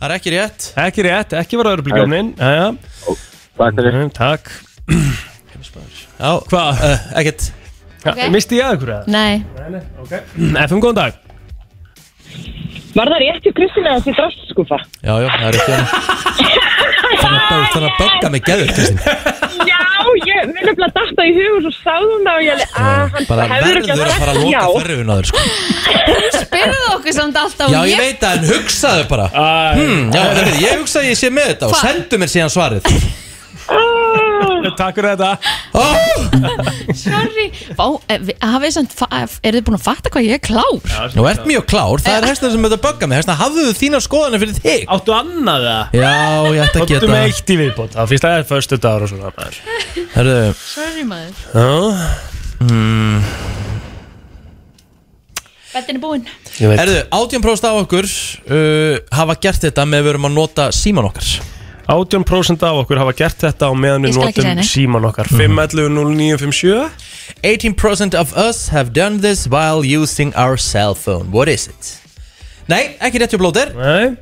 B: Það er ekki rétt
D: Ekki rétt, ekki vera örbulgjónin Jæja Takk fyrir Mm, Takk
B: Já,
D: hvað?
B: eh, Ekkert
D: okay. Misti ég að ykkur eða?
C: Nei
D: FM, góðan dag
Q: Var það rétt hjá Kristina þessi drastskúfa?
B: Já, já, það er ekki hann Þannig að bög- þannig að bögga mig geður, Kristinn
Q: Já, ég vil nefnilega datta í hug og svo sáðum það og ég alveg, að hann
B: Bara
Q: hefur ekki
B: verður að fara að
Q: já.
B: loka þörfun á þér, sko
C: Þú spyrðu okkur samt alltaf
B: Já, ég veit það, en hugsaðu bara hmm, Já, það veit, ég hugsaði að ég sé með þetta og
C: Hva?
B: sendu mér síðan svarið
D: Takk fyrir þetta
C: Sorry Vá, eh, vi- hafið samt fa- Eru þið búin að fatta hvað ég er klár?
B: Nú ert mjög klár, það er hestan sem þetta bögga mig Hestan, hafðu þú þína skoðanir fyrir þig
D: Áttu annað það?
B: Já, ég ætti að
D: Áttu
B: geta
D: með eitt í viðbót Það finnst að það er förstu dagur og svona maður.
B: Herðu Hmm.
C: Sorry maður
D: Já mm.
C: Bettin er búinn
D: Ég veit.
B: Herðu, 18% af okkur uh, hafa gert þetta með við erum að nota síman okkar
D: 18% af okkur hafa gert þetta á meðan
B: Ég
D: við
B: skal ekki segja
D: notum
B: neitt.
D: síman okkar 511-0957
B: 18% of us have done this while using our cell phone What is it? Nei, ekki rétt hjá blóter
D: Nei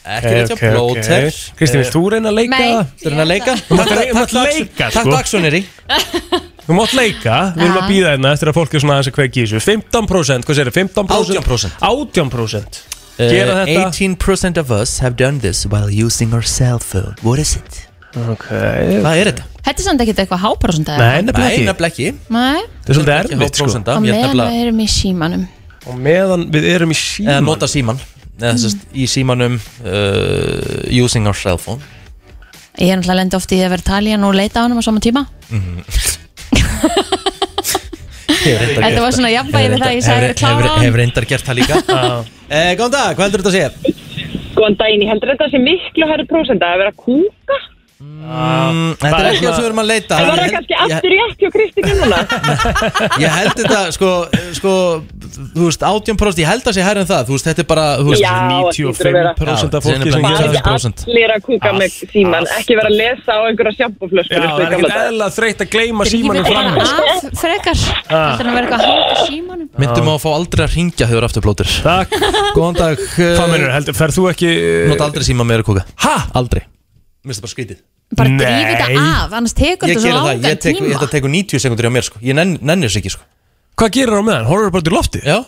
B: Ekki rétt hjá blóter
D: Kristín, vilt þú reyna að leika?
C: Nei,
D: það?
B: Þú reyna að leika?
D: Þú mátt reyna- þú mátt leika, sko.
B: Takk Dagsoneri
D: Þú mátt leika, við erum
C: Já.
D: að býða hérna eftir að fólk er svona aðeins að kveiki í þessu 15%, hvað segir 15%?
B: 18%.
D: 18% Gera
B: Uh,
D: þetta
B: 18% of us have done this while using our cell phone What is it?
D: Okay.
B: Hvað er þetta?
C: Þetta er samt ekkert eitthvað háprósunda
B: Nei, nefnilega ekki
C: Nei
D: Þetta er svolítið erfitt sko
C: Á meðan við erum í símanum
D: Og meðan við erum í síman
B: Eða nota síman Eða sérst í símanum uh, Using our cell phone
C: Ég er náttúrulega lendi oft í því að vera talían og leita á hann á sama tíma
B: Mhm.
C: Þetta var svona jafnvægi við það, ég sagði að klára á hann.
B: Hefur reyndar gert það líka Eh, Góðan dag, hvað heldur þetta að segja?
Q: Góðan daginn, ég heldur þetta sé miklu hærri prósenda að vera kúka.
B: Mm, Þetta er ekki það sem við erum að leita
Q: En var það kannski aftur rétt hjá Kristina núna?
B: Ég held þetta, sko, sko Þú veist, 18% Ég held það sé hærri en það Þú veist, þetta er bara þú veist,
Q: Já, það hlýtur að vera.
B: 95% af fólki sem
Q: Bara
B: gerir
Q: ekki
B: þetta.
Q: allir að kúka með síman, ekki vera að lesa á einhverja sjampoflösku.
D: Já, það er ekkert eðla þreytt að gleyma sko.
C: Ég vil
D: símanum Ah. fram
C: bara af frekar Þetta er að vera eitthvað hátt í símanum
B: Myndum á að fá aldrei að ringja þegar aftur blótur
D: Takk
B: Góðan dag
D: Hvað mennur, heldur, ferð þú ekki eh,
B: Nótt aldrei síma meira kúka
D: Hæ?
B: Aldrei Mér finnst það bara skrítið
C: Bara drífi þetta af, annars tekur
B: Ég
C: þetta svo
B: gera það,
C: langan
B: ég tek, ég,
C: tíma
B: þetta tekur 90 sekundir á mér sko Ég nenn, nennir þess ekki sko
D: Hvað gerir það á meðan? Horfur bara til lofti?
B: Já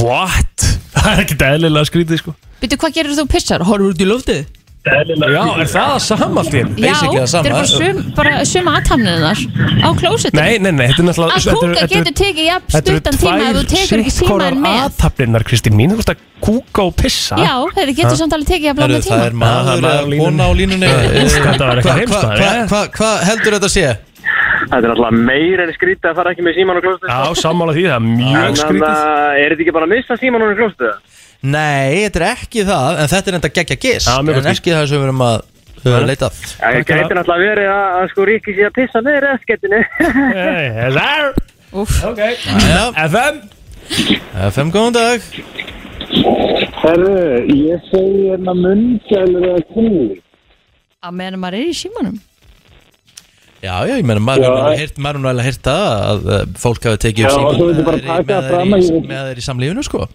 D: What? Það er ekkert eðlilega skrítið sko
C: Býtu, hvað gerir þú pissar? Horfur út í loftið?
D: Já, er það að sama allt í einu?
C: Já, þetta er bara sum, bara sum aðtamninar á klósetinu
D: Nei, nei, nei, þetta er náttúrulega
C: Að kúka getur tekið jafn
D: þetta eru
C: stuttan tíma ef þú
D: tvær
C: tekur ekki síman
D: sitthvorar
C: með
D: athafnirnar, Kristín mín, þú veist að kúka og pissa
C: Já, þetta getur samt alveg tekið jafn langan
B: það
C: tíma
B: er
D: það
B: maður
D: er
B: eða kona á línunni
D: Já,
B: Eh,
D: þetta var eitthvað
B: hva-
D: heimst,
B: hva-
D: maður,
B: hva-
D: eh?
B: hva- Hvað heldur þetta að sé?
I: Þetta er náttúrulega meira en skrítið að fara ekki með síman og klóstu
D: Já, sammála því, það er mjög
I: sko. Þannig
D: skrítið
I: að er þetta ekki bara að missa síman og klóstu?
B: Nei, þetta er ekki það En þetta er enda geggja gist
I: Já, mjög
B: En
I: gott
B: ekki það sem við erum að uh, leita að.
I: Já, ég gæti náttúrulega verið að, að sko Ríkki sé að pissa með resketinu
D: Þar
C: Úf
D: Ok
B: Já.
D: FM
B: FM, góðan dag
R: Herru, ég segi hérna munnkjælur eða kúli
C: Að meðan maður er í símanum
B: Já, já, ég meina, maður
R: Já,
B: hefur alveg
R: ég-
B: heyrt- maður hefur alveg heyrt það að uh, fólk hafi tekið
R: Já,
B: upp
R: og svo vildi bara
B: síman
R: taka
B: með
R: það
B: þeir í-
R: fram að ég-
B: með þeir í samlífinu, sko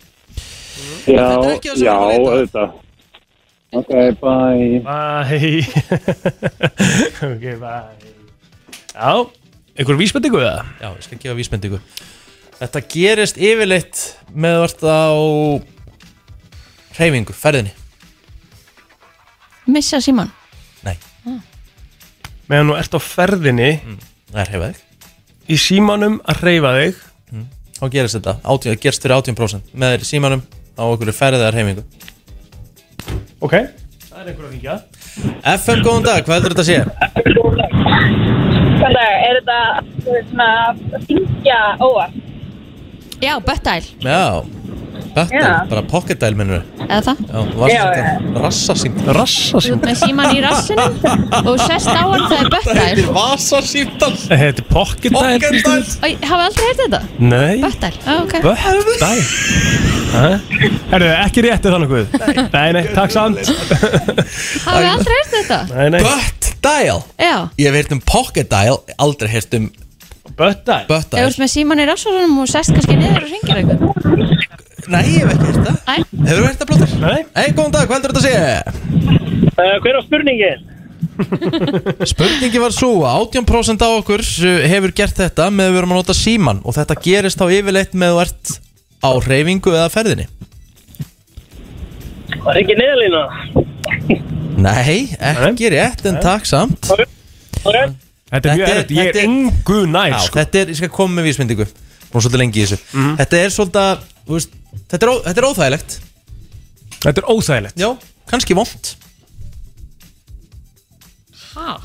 R: Já, já, auðvitað Ok, bye
D: Bye Ok, bye Já, einhver vísbendingu eða?
B: Já, ég skal gefa vísbendingu Þetta gerist yfirleitt með vart á hreyfingu, ferðinni
C: Missa síman
D: Meðan þú ert á ferðinni
B: Það er hreyfa
D: þig Í símanum að hreyfa þig
B: Mm, Þá gerist þetta, átján, gerist fyrir 18% með þeir í símanum á okkur ferðið að hreyfingu
D: Ok Það er einhver að ringja
B: FM, góðan dag, hvað heldur þetta að sé?
Q: Hvað dag, er þetta þú veist, svona syngja óvart?
C: Já, böttæl
B: Já, þetta,
C: Já.
B: bara pocket dial minnur
C: Eða það
B: Já, var
C: Já,
B: þetta rassasýmt
C: Þú ert með síman í rassinum og sest á hann það er böttæl
B: vasasýmtal
D: Eh, Þetta heitir pocket dial Kristín.
C: Æ, hafa aldrei heyrt þetta?
D: Nei
C: Böttæl, á ok
D: Bött Dæ Herru, ekki rétti þannig guð Nei, nei, takk samt
C: Hafa aldrei heyrt þetta?
D: Nei, nei
B: Butt dial
C: Já
B: Ég hef heyrt um pocket dial, aldrei heyrt um
D: Butt dial
C: Ef
B: Butt
C: þú
B: dial
C: ert með síman í rassinum og sest kannski niður og ringir eitthvað
B: Nei, ég hef ekki heyrt það
C: Æ,
B: Hefur þú heyrt það, Plóter?
D: Nei
B: Ei, góðan dag, hvað heldur þetta að
C: Eh,
S: Uh, hver á spurningin?
B: sé? Spurningi var svo að 18% af okkur uh, hefur gert þetta með að við erum að nota síman og þetta gerist þá yfirleitt með að þú ert á hreyfingu eða ferðinni
S: Var ekki neðalína?
B: Nei, ekki rétt en takk samt
D: Þetta er mjög erfitt, ég er engu nær
B: Já,
D: sko. Mhm.
B: Þetta er, ég skal koma með vísmyndingu Búin svolítið lengi í þessu Þetta er svolítið, þú veist, þetta er, ó- þetta er óþægilegt
D: Þetta er óþægilegt
B: Já, kannski vond
C: Ha?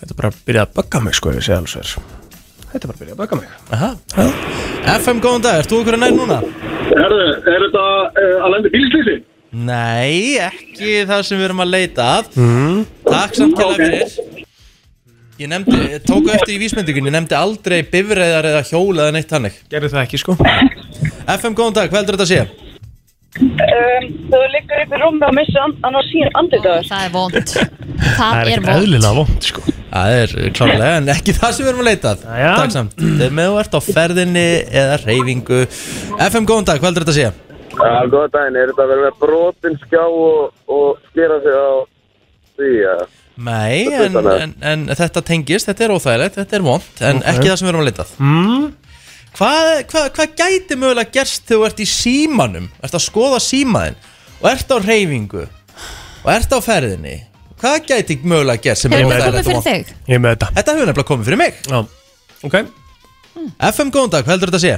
D: Þetta er bara að byrja að bögga mig sko, ef ég segja alls verð Þetta er bara að byrja að bögga mig
B: Aha. FM, góðan dag, ert þú okkur að nær núna?
R: Herðu, er þetta uh, að lenda bílslýsi?
B: Nei, ekki það sem við erum að leita að
D: Mm.
B: Takk samt kjalla fyrir Ég nefndi, ég tók eftir í vísmyndingunni, ég nefndi aldrei bifræðar eða hjól eða neitt hannig
D: Gerðu það ekki sko
B: FM, góðan dag, hvað heldur þetta að sé?
Q: Um, þú liggur upp í rúmi og missir and, annars sín andlitaður.
C: Það er vond Það er
B: ekkert
C: vond
D: eðlilega vond sko
B: Það er eh, klárlega, en ekki það sem við erum að leita að
D: já.
B: Takk samt, þegar með þú ert á ferðinni eða reyfingu FM, góðan dag, hvað heldur þetta að sé?
I: Já, góða daginn, er þetta að vera með brotin skjá og, og skera sig á því að
B: Nei, en, en, en þetta tengist, þetta er óþægilegt, þetta er vond En
D: Ok.
B: ekki það sem við erum að leita að
D: mm.
B: Hvað hva, hva gæti mögulega gerst þegar þú ert í símanum Ert að skoða símaðinn Og ert á reyfingu Og ert á ferðinni Hvað gæti mögulega gerst sem er
C: Hefur þetta
B: óþægilegt
C: komið
B: og
C: fyrir
B: vont?
C: þig?
D: Ég er með þetta
B: Þetta hefur nefnilega komið fyrir mig
D: Já, ok
B: FM góðan dag, hvað heldur þetta að sé?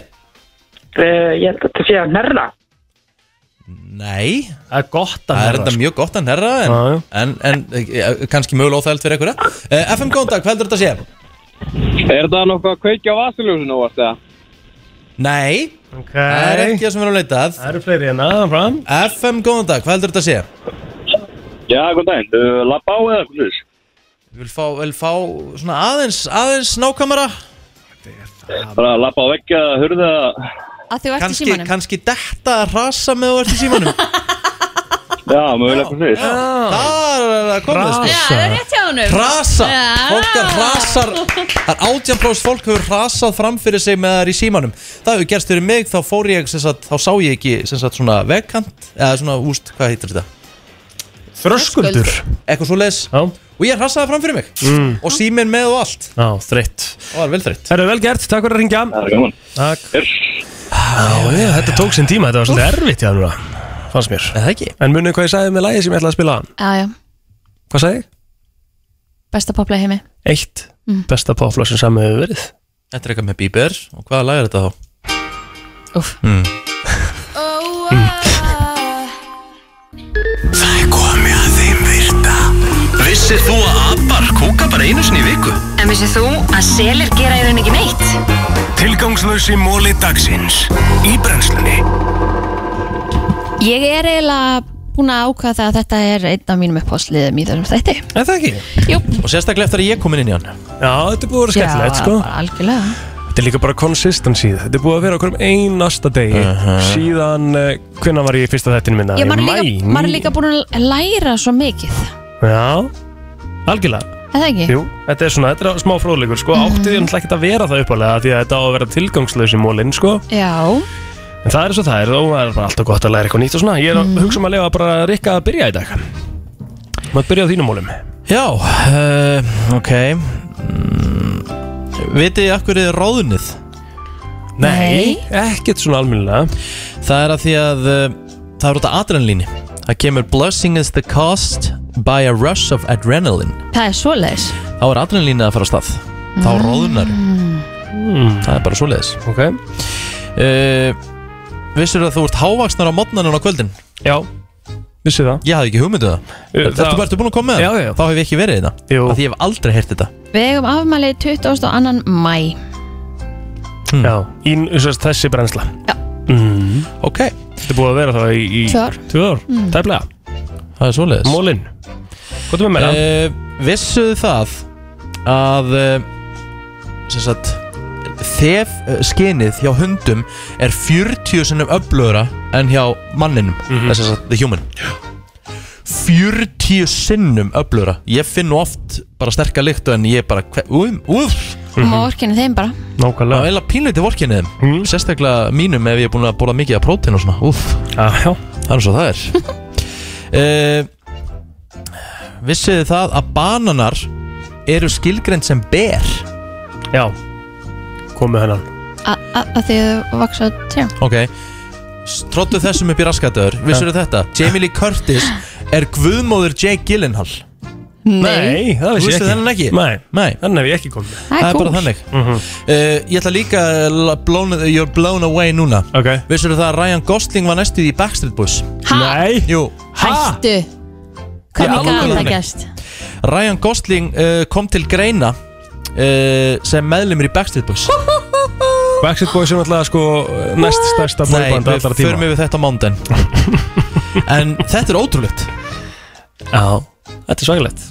S: Uh, ég held að þetta sé að nerra.
B: Nei
D: Það er gott að
B: Það er
D: hnerra, sko.
B: þetta mjög gott að herra En, en, en eh, kannski mögulega óþægilegt fyrir ykkur eh? FM góðan dag, hvað heldur þetta að sé?
R: Er þetta nokkuð að kveikja á vasiljósinu óvart eða?
B: Nei Það er ekki það sem við erum að leita að
D: Það eru fleiri hérna, en aðan fram
B: FM góðan dag, hvað heldur þetta að sé?
R: Já, góðan daginn, uh, lappa á eða hvað þess?
B: Við vil fá, vil fá svona aðeins, aðeins nákvæmara
R: Bara lappa á veggja, hurða
C: Að þú ert í
B: kannski,
C: símanum
B: kannski detta að rasa með þú ert í símanum
R: Já, mögulega hvað þess
B: Þar er það komið sko.
C: Já, það er rétt hjá honum
B: Rasa,
C: Já.
B: fólk er rasar Það er átjánplós, fólk hefur rasað fram fyrir sig með það í símanum Það hefur gerst fyrir mig, þá fór ég sem sagt, þá sá ég ekki sem sagt, svona vegkant eða svona úst, hvað heitir þetta?
D: Þröskuldur.
B: Eitthvað svo leis Og ég rasaði fram fyrir mig mm. Og síminn með og allt
D: Já, þreytt
B: Það er vel þreytt
D: Það eru vel gert, takk fyrir að ringja Það
R: er gaman
D: Takk Já, já, þetta tók sinn tíma, þetta var svolítið erfitt hjá núna Fannst mér
B: Eða ekki
D: En munið hvað ég sagði með lagið sem ég ætlaði að spila
C: Já, já,
D: Hvað sagði ég?
C: besta popla heimi
D: Eitt
C: Mm.
D: Besta popflag sem saman hefur verið
B: Þetta er eitthvað með Bieber Og hvaða lag er þetta þá?
C: Úff
B: mm.
F: Það er komið að þeim virta Vissir þú að abar kúka bara einu sinni í viku?
O: En vissið þú að selir gera í raun ekki neitt?
F: Tilgangslösi móli dagsins Í brennslunni
C: Ég er eiginlega búin að ákvaða það að þetta er einn af mínum upphásliðum í þessum stætti
D: Er það ekki?
C: Jú.
B: Og sérstaklega eftir að ég kom inn í hann
D: Já, þetta er búið að vera skemmtilegt sko
C: bara algjörlega
D: Þetta er líka bara consistency Þetta er búið að vera okkur um einasta degi Síðan, uh, hvenna var ég í fyrsta þættinu minna?
C: Ég maður er
D: Í
C: líka,
D: maí.
C: maður er líka búin að læra svo mikið
D: Já, algjörlega
C: það ekki?
D: Jú, þetta er svona, þetta er smá fróðleikur sko. mm
C: Mhm.
D: -hmm. Áttið er náttúrulega ekki að vera það uppalega Því að þetta á að vera tilgangslösi mólinn sko.
C: Já,
D: En það er svo það er og það er bara alltaf gott að læra eitthvað nýtt og svona Ég er
B: Mm.
D: að hugsa um að lefa bara Rikka að byrja í dag Maður byrja á þínum mólum
B: Já, uh, ok mm, Vitið þið af hverju þið er ráðunnið?
D: Nei, ekkert svona almennilega
B: Það er að því að uh, það er út af adrenalíni Það kemur Blushing is the cost by a rush of adrenaline
C: það er svoleiðis
B: Þá er adrenalínu að fara á stað Þá mm. ráðunar Það er bara svoleiðis
D: Hmm. Ok
B: uh, Vissur að þú ert hávaksnar á modnanum á kvöldin?
D: Já, vissi það
B: Ég hafði ekki hugmyndu það
D: Uh,
B: Ertu
D: það-
B: bara ertu búin að koma með það?
D: Já, já.
B: Þá hef ég ekki verið þetta
D: Jú.
B: Því ég hef aldrei heyrt þetta
C: Við eigum afmæli 22. mæ
D: hmm. Já, í, þess, þessi brennsla
C: Já
D: mm.
B: Ok
D: Þetta er búið að vera það í, í
C: Tvö ár.
D: Tvö ár,
C: Mm.
D: tæplega
B: Það er svoleiðis
D: Mólinn Hvað er með meira?
B: uh, Vissuðu það að uh, sem sagt þef eh, skinið hjá hundum er 40 sinnum öflöðra en hjá manninum
D: Mhm.
B: það er sem sagt the human 40 sinnum öflöðra ég finn nú oft bara sterka lyktu en ég bara hve- úf, úf
C: Má
D: Mhm.
C: mm þeim bara
D: Nákvæmlega Hmm?
B: Það er eiginlega pínleiti vorkinnið mm. Sérstaklega mínum ef ég er búin að bóla mikið af prótein og svona Úf
D: ah, Já
B: Það er svo það er uh, Vissið þið það að bananar eru skilgreint sem ber
D: Já Komið hennan
C: A- a- að því þau vaksa trjá
B: Ok Tróttu þessum upp í raskatöður Vissur þið þetta? Jamie Lee Curtis er guðmóður Jake Gyllenhaal
D: Nei, það vissi ég
B: Þú
D: ekki.
B: vissi þennan ekki?
D: Nei.
B: Nei
D: Þannig hef ég ekki komið Mhm.
B: Það er bara þannig uh, Ég ætla líka að la- blown, You're blown away núna
D: okay.
B: Vissur það að Ryan Gosling var næstuð í Backstreet Boys
C: Ha?
D: Nei
B: Jú
C: Hættu Hvernig
B: Í
C: gæði það
B: alvörunni.
C: gæst?
B: Ryan Gosling uh, kom til greina uh, sem meðlumir í Backstreet Boys
D: Backstreet Boys er náttúrulega sko næst stærsta boyband
B: Nei,
D: allra
B: við förum
D: tíma
B: yfir þetta á mándaginn En þetta er ótrúlegt
D: Já, þetta er svakalegt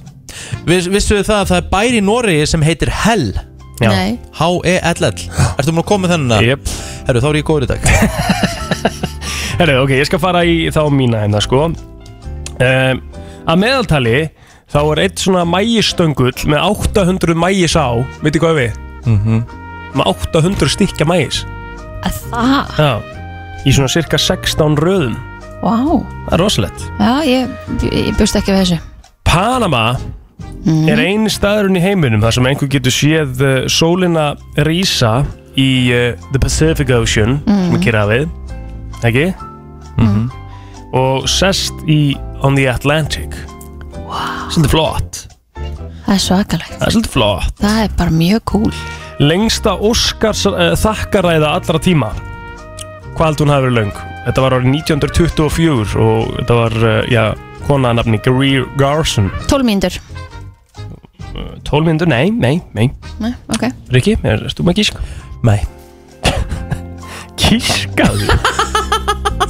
B: Viss, Vissu þið það að það er bær í Noregi sem heitir Hell
D: Já. Nei.
B: H-E-L-L Ertu múin að koma með þennan?
D: Jep
B: Herru, þá er ég góður í dag
D: Herru, ok, ég skal fara í þá mína hérna sko um, Að meðaltali þá er eitt svona mæjistöngull með 800 mæjis á Veitir hvað er við?
B: Mhm.
D: Með 800 stykka mæjis
C: Að það?
D: Já Í svona cirka 16 röðum
C: Vá
D: Það er rosalegt
C: Já, ég, ég bjóst ekki við þessu
D: Panama er eini staðurinn í heiminum þar sem einhver getur séð uh, sólina rísa í uh, The Pacific Ocean
F: Mhm.
D: sem er kyrrafið, ekki?
K: Mm-hmm.
D: Og sest í On the Atlantic wow. Svolítið flott
C: Það er svakalegt
D: Það er svolítið flott
C: Það er bara mjög cool
D: Lengsta Óskars uh, þakkaræða allra tíma Hvað held hún hafi verið löng? Þetta var árið 1924 og þetta var, uh, já, konaða nafni Greer Garson
C: 12 mínútur
D: 12 myndur, nei, nei, nei
C: Nei, ok
D: Rikki, er, erstu með gísk?
B: Nei
D: Gískaðu?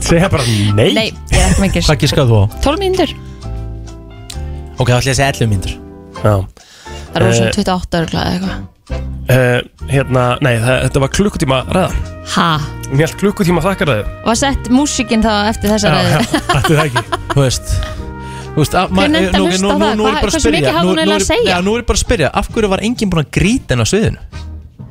D: Segja bara nei
C: Nei, ég er ekki með gísk.
B: Hvað gískaðu þú á?
C: 12 mínútur
B: Ok, þá ætla ég að segja 11 mínútur
D: Já
C: Það
D: Eh.
C: er svona 28 örgla eða eitthvað
D: uh, Hérna, nei, það, þetta var klukkutíma ræða
C: Ha?
D: Hún held klukkutíma þakkaræðu
C: Var sett músikinn þá eftir þessa reyðu?
D: Ætti það ekki
B: Þú veist Þú veist, að,
C: Hver
B: maður-
C: nefndi að
B: nú-
C: hlusta
B: nú-
C: á
B: nú-
C: það?
B: Nú er ég
C: Hvað-
B: bara að
C: hversu mikið
B: spyrja
C: hafði
B: Nú-
C: hún
B: nú
C: eiginlega að
B: er ég-
C: segja?
B: já, Nú er ég bara að spyrja, af hverju var enginn búin að gríta henn á sviðinu?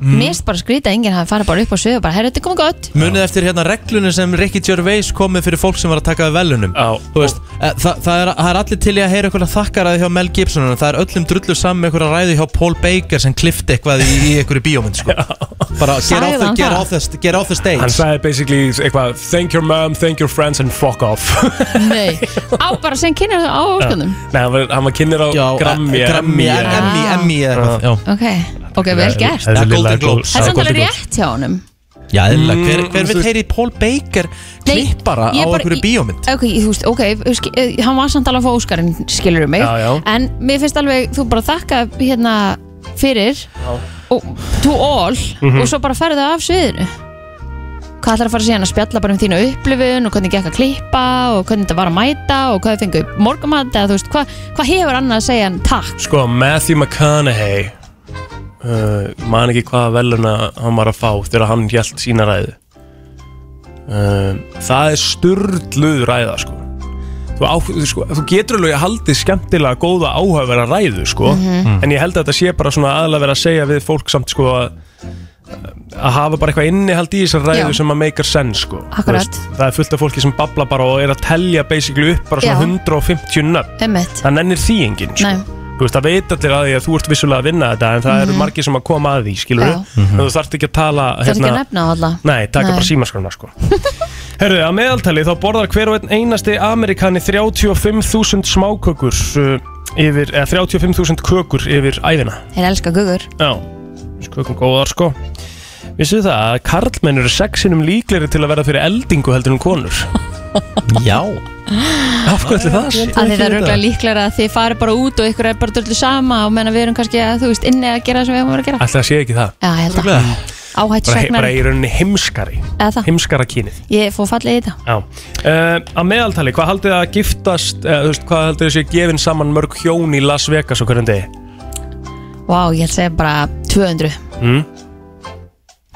D: Mm.
C: Mér erst bara að skrýta að enginn hafi farið bara upp á svið og bara, herru, þetta er komið gott
B: Munið eftir hérna reglunum sem Ricky Gervais komið fyrir fólk sem var að taka við velunum
D: Já,
B: veist, e, þa það, er, það er allir til í að heyra eitthvað þakkaræði hjá Mel Gibson en það er öllum drullu saman með eitthvað ræði hjá Paul Baker sem klifti eitthvað í, í einhverju bíómynd sko. bara get
D: Sagði
B: off, the,
D: hann
B: get,
D: það?
B: off the, get off the stage
D: Hann sagði basically eitthvað Thank your mom, thank your friends and fuck off
C: Nei, á bara sem kynnar það á ósköndum
D: Nei, hann var, hann var kynir á Grammy
B: eh, Grammy, Emmy, Emmy eða eitthvað Já.
C: Ok, ok, vel gert
B: Eða Golden Globes
C: Það er samt alveg rétt hjá honum
B: Já, eðlilega,
D: Mm,
B: hver, hver
D: þú
B: vil
D: veist-
B: heyri Paul Baker
C: Nei,
B: klippara á
C: ég bara-
B: einhverju
C: ég-
B: bíómynd
C: Ok, þú veist, ok, sk- eh, hann var samt alveg að fá Óskarinn, skilur mig
B: Já, já.
C: En mér finnst alveg, þú bara þakka hérna fyrir og, To all
D: Mhm.
C: Og svo bara ferðu af sviðinu Hvað ætlar að fara síðan að spjalla bara um þína upplifun og hvernig gekk að klippa og hvernig þetta var að mæta og hvað þið fengu morgumat eða þú veist, hvað hva hefur annað að segja en takk?
D: Sko, Matthew McConaughey uh, man ekki hvaða veluna hann var að fá þegar hann hjælt sína ræðu uh, Það er sturdluð ræða sko. Þú þú, á, þú, sko, þú getur alveg að haldi skemmtilega góða áhafverða ræðu sko.
T: Mhm.
D: en ég held að þetta sé bara svona aðalega verið að segja við fólk samt sko, að, að hafa bara eitthvað innihald í þessar ræðu
C: Já.
D: sem að make sense sko. Þú
C: Akkurat.
D: það er fullt af fólki sem babla bara og er að telja basically upp bara svona
C: Já.
D: 150 nöfn
C: Einmitt.
D: það nennir því enginn sko.
C: Nei.
D: Þú veist, það veit allir að því að þú ert vissulega að vinna þetta en það eru
C: Mhm.
D: margir sem að koma að því, skilur
C: Já.
D: en þú þarft ekki að tala hérna-
C: Það er ekki að nefna á alla
D: Nei, taka
C: Nei.
D: bara símaskrona sko Herru, að meðaltali þá borðar hver og einn einasti Amerikani 35.000 smákökur uh, yfir, eða 35.000 kökur yfir æfina
C: Þeir elska gugur
D: Já, þessi kökum góðar sko Vissu það að karlmenn eru sexinum líklegri til að verða fyrir eldingu heldur en konur Já Af hverju ætli það? sé?
C: Að þið það er örgulega líklega að þið farið bara út og ykkur er bara dörlu sama og menna við erum kannski að þú veist inni að gera það sem við erum að vera að gera
D: Ætli það sé ekki það
C: Já, ég held að
D: Örugglega.
C: Áhætt
D: Bara, bara
C: svegnar
D: í rauninni heimskari
C: Eða það
D: Heimskara kynið
C: Ég fór fallið í þetta
D: Já, uh, að meðaltali, hvað haldið þið að giftast, uh, veist, hvað haldið þið að sé gefin saman mörg hjón í Las Vegas okkur en degi?
C: Vá, ég held að segja bara 200
D: Mm?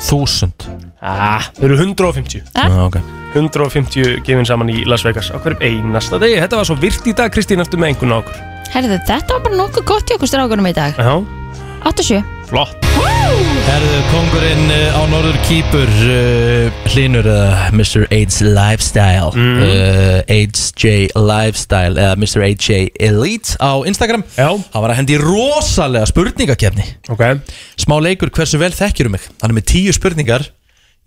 D: Þúsund ah, Þau eru 150
C: Ah.
B: Já, ok.
D: 150 gefin saman í Las Vegas á hverjum einasta degi Þetta var svo virt í dag, Kristín, eftir með einhvern á okkur
C: Herðu, þetta var bara nokkuð gott í okkur strákunum í dag
D: Já,
C: 87
D: flott
B: Herðu, kongurinn uh, á norður kýpur uh, Hlinur uh, Mr. AIDS Lifestyle uh, HJ Lifestyle eða Mr. HJ Elite á Instagram
D: Já
B: Hann var að hendi í rosalega spurningakefni
D: okay.
B: Smá leikur hversu vel þekkir um mig Hann er með tíu spurningar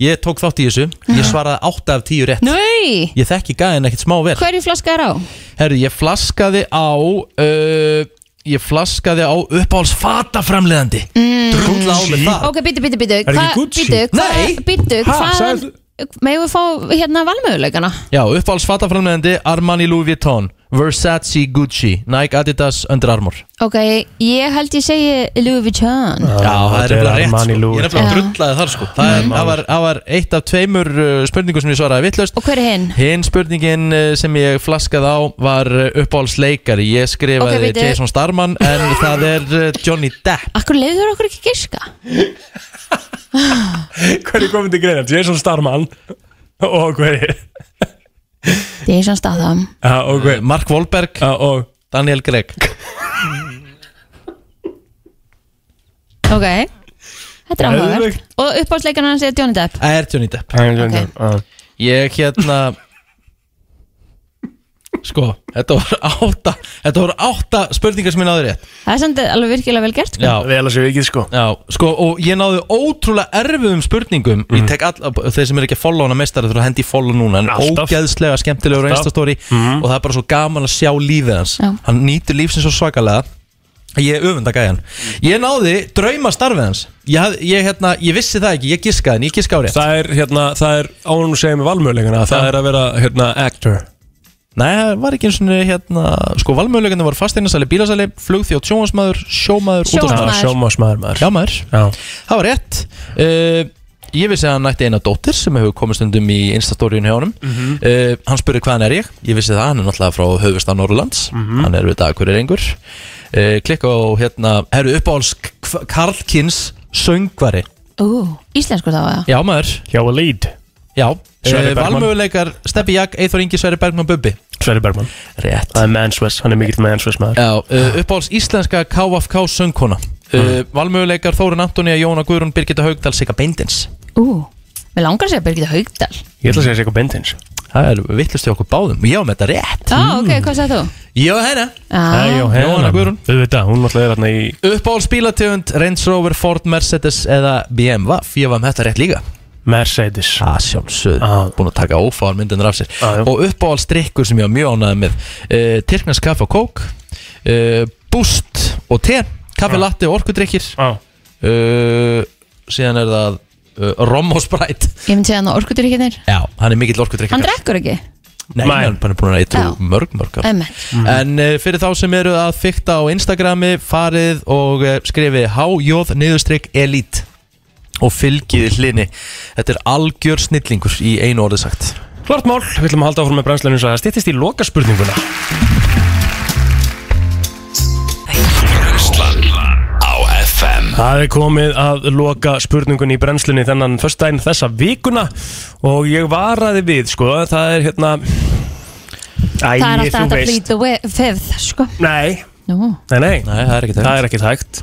B: Ég tók þátt í þessu
C: Ah.
B: Ég svaraði átta af tíu rétt
C: Nei,
B: Ég þekki gæðin ekkert smá vel
C: hverju flaska er á?
B: Herru, ég flaskaði á uh, Ég flaskaði á uppáhalds fataframleðandi mm. Drulla á mig það
C: Ok, býtu, býtu, býtu
B: Er ekki Gucci? Nei.
C: Býtu,
B: Ha,
C: hvað
B: sagði-
C: Megum við fá hérna valmöguleikana?
B: Já, uppáhalds fataframleðandi Armani Louis Vuitton Versace Gucci Nike Adidas Under Armour
C: Ok, ég held ég segi Louis Vuitton
B: Já, það er
D: Ah, þetta er
B: nefnilega rétt
D: Armani
B: sko.
D: Louis Mm.
B: Ég er nefnilega
C: Vuitton.
B: drullaði þar sko Það, er, það, var, það var eitt af tveimur uh, spurningum sem ég svaraði vitlaust
C: Og hver er hinn?
B: Hinn spurningin uh, sem ég flaskaði á var uh, uppáhaldsleikari Ég skrifaði
C: Ok, bíddu.
B: Jason Starman en það er uh, Johnny Depp
C: Akkur leiður okkur ekki giska?
D: Hverju komið til greina? Jason Starman og hverju?
C: Jason Statham
D: Uh, og hverju?
B: Mark Wahlberg
D: uh, og
B: Daniel Gregg
C: Ok, þetta er áhugavert
B: Geðveikt.
C: Og uppáhaldsleikana hans er Johnny Depp
B: Það er Johnny Depp
D: er Johnny Depp,
B: Ég hérna Sko, þetta voru átta Þetta voru átta spurningar sem ég náði rétt
C: Það er samt alveg virkilega vel gert sko.
D: vel að séu vikið sko
B: Já, sko, og ég náði ótrúlega erfiðum spurningum
D: Mhm.
B: Ég tek all, þeir sem er ekki að follow hana mestari Þú hendi í follow núna En
D: Alltaf.
B: ógeðslega skemmtilegur á
D: Alltaf.
B: Instastory
D: Mhm.
B: Og það er bara svo gaman að sjá lífið hans
D: Já.
B: Hann nýtur lífsins svo svakalega að Ég er öfunda gæjan Ég náði drauma starfið hans Ég, hafði- ég, hérna, ég vissi það ekki, ég giskaði en ég giska á rétt
D: Það er, hérna, það er ánum segja með valmöðleikana Það er að vera, hérna, actor
B: Nei, það var ekki eins og hérna Sko, valmöðulegandi voru fasteinasali, bílasali Flugþjóð, sjómasmaður, sjómaður, útvarpsmaður.
D: Sjómasmaður maður
B: Já maður Það var rétt uh, Ég vissi að hann nætti eina dóttir sem hefur komið stundum í instastoríun hjá honum
D: Mhm.
B: uh, Hann spurði hvaðan er ég Ég vissi það, hann er náttúrulega frá höfustan Norrlands
D: Mhm.
B: Hann er við dag hver er einhver uh, Klikka á hérna Herru uppáhalds K- Karl Kins söngvari
C: Ú, íslenskur þá eða?
B: Já maður
D: Hjá að lead
B: Já,
D: Sverrir
B: uh,
D: Bergmann.
B: valmöguleikar Steppi Jakk, Eithor Ingi, Sverri Bergman, Bubbi
D: Sverri Bergman
B: Rétt
D: Það er mansvess, hann er mikill mansvess maður
B: Já, uh, uppáhalds íslenska KFK söngkona
D: Mm.
B: uh, Valmöguleikar Þórun Antonía, Jóna Guðrún, Birgitta Haugdal, Sigga Beindins
C: Ú, við langar að segja Birgitta Haugdal
D: Ég ætla að segja sig eitthvað bendins
B: Það er vittlust í okkur báðum Já, með þetta rétt
C: Já,
D: Mm.
C: ok, hvað sagði þú?
B: Jóhanna
C: Ah.
B: Jóhanna Guðrún
D: Þú veit það, hún náttúrulega er hérna í
B: Uppáhalds bílategund, Range Rover, Ford, Mercedes eða BMW Ég var með þetta rétt líka
D: Mercedes
B: Það sjálfsögð, ah. búin að taka ófáðar myndinur af sér ah, Og uppáhalds drikkur sem ég var mjög ánægð með uh, Tyrknars kaffe og kók uh, Boost og te Kaffe, latte og orkudrykkir
D: ah.
B: uh, Síðan er það uh, Rom og Sprite
C: Ég myndi segja hann á orkutur ekki þeir
B: Já, hann er mikill orkudrykkar
C: Hann drekkur ekki
B: Nei, hann er búin að
C: Já.
B: eitthvað mörg, mörg ár.
C: Einmitt.
D: Mhm.
B: En uh, fyrir þá sem eru að fykta á Instagrami farið og uh, skrifið hj-elite og fylgið hlinni Þetta er algjör snillingur í einu orði sagt
D: Klart mál, við ætlum að halda áfram með brennslunum Það stýttist í lokaspurninguna
A: Brennslan á FM
D: Það er komið að loka spurningun í brennslunni þennan först dæn þessa vikuna og ég varaði við sko, það er hérna Æ,
C: það er alltaf
D: þú
C: hægt að
D: veist.
C: plead the wi- fifth sko.
D: Nei
C: Nú,
D: Nei, nei, nei það, er ekki það er ekki hægt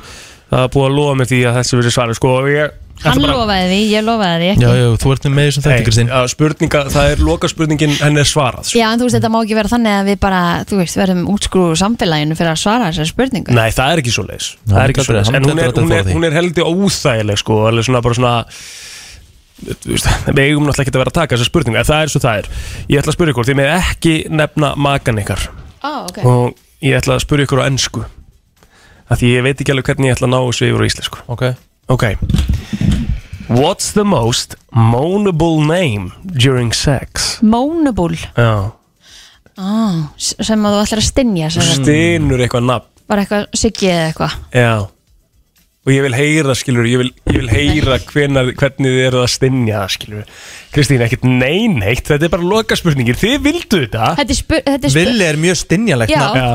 D: Það er búið að lofa mig því að þessi verið svarið sko og ég,
C: hann lofaði því, ég lofaði því ekki
D: Já,
C: já,
D: já, þú ert með þessum þætti, Kristín Spurninga, það er loka spurningin henni er svarað sko.
C: en þú veist, þetta má ekki vera þannig að við bara þú veist, verðum útskrúðu samfélaginu fyrir að svara þessar spurningu
D: Nei, það er ekki svo leis Það er ekki
B: hann
D: svo leis
B: hann
D: En hún
B: dettur
D: er,
B: þetta
D: hún
B: frá
D: er,
B: því.
D: hún er heldig óþægileg sko Alveg svona bara svona þú veist, Við eigum náttúrulega ekki að vera að taka þessar spurninga En það er svo það er Ég ætla að spyrja ykkur, því með ekki nefna makan ykkar
C: Ó, ok.
D: Og ég ætla að spyrja ykkur á ennsku Af því ég veit ekki alveg hvernig ég ætla að ná þessu yfir á íslensku Ok Ok What's the most moanable name during sex?
C: Mónubúl
D: Já
C: ah, s- sem að þú ætlar að stinja sem sagt.
D: Stinur eitthvað nafn
C: var eitthvað siggi eða eitthvað
D: Já Og ég vil heyra, skilur, ég vil, ég vil heyra hvena, hvernig þið eru að stinja það, skilur Kristín, ekkert nein neitt, þetta er bara loka spurningir, þið vildu þetta
C: Þetta er spur- þetta er spur- Villi er
D: Ah. mjög stinjalegt
C: Já. nafn.
D: Já,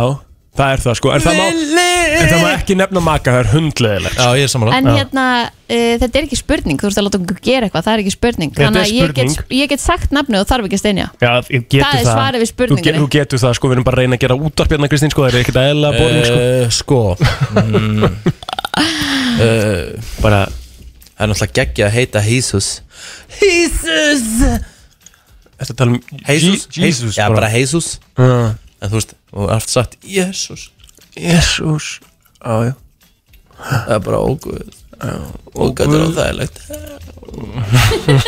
D: það er það sko, en það má, en það má ekki nefna maka, það er hundleðilegt Já, ég er
C: en hérna, uh, þetta er ekki spurning þú veist að láta okkur gera eitthvað, það er ekki spurning
D: Þetta
C: þannig
D: er
C: að ég get,
D: spurning.
C: ég get sagt nafni og þarf ekki að steinja
D: Já, ég getur
C: Það
D: það
C: er svarið við spurningunni.
D: Þú, get, þú getur það, sko, við erum bara að reyna að gera útarp hérna, Kristín, sko, það er ekkert aðeila boring, sko
B: Sko mm,
D: Eh,
B: uh, Bara Það er náttúrulega geggja að heita Jesus Jesus
D: Þetta tala um
B: Jesus,
D: Je- Jesus
B: Já,
D: bara. Ah.
B: bara Jesus
D: Já.
B: En þú veist, og allt sagt Jesus
D: Jésús Já, já
B: Það er bara ógöð Ógöð er óþægilegt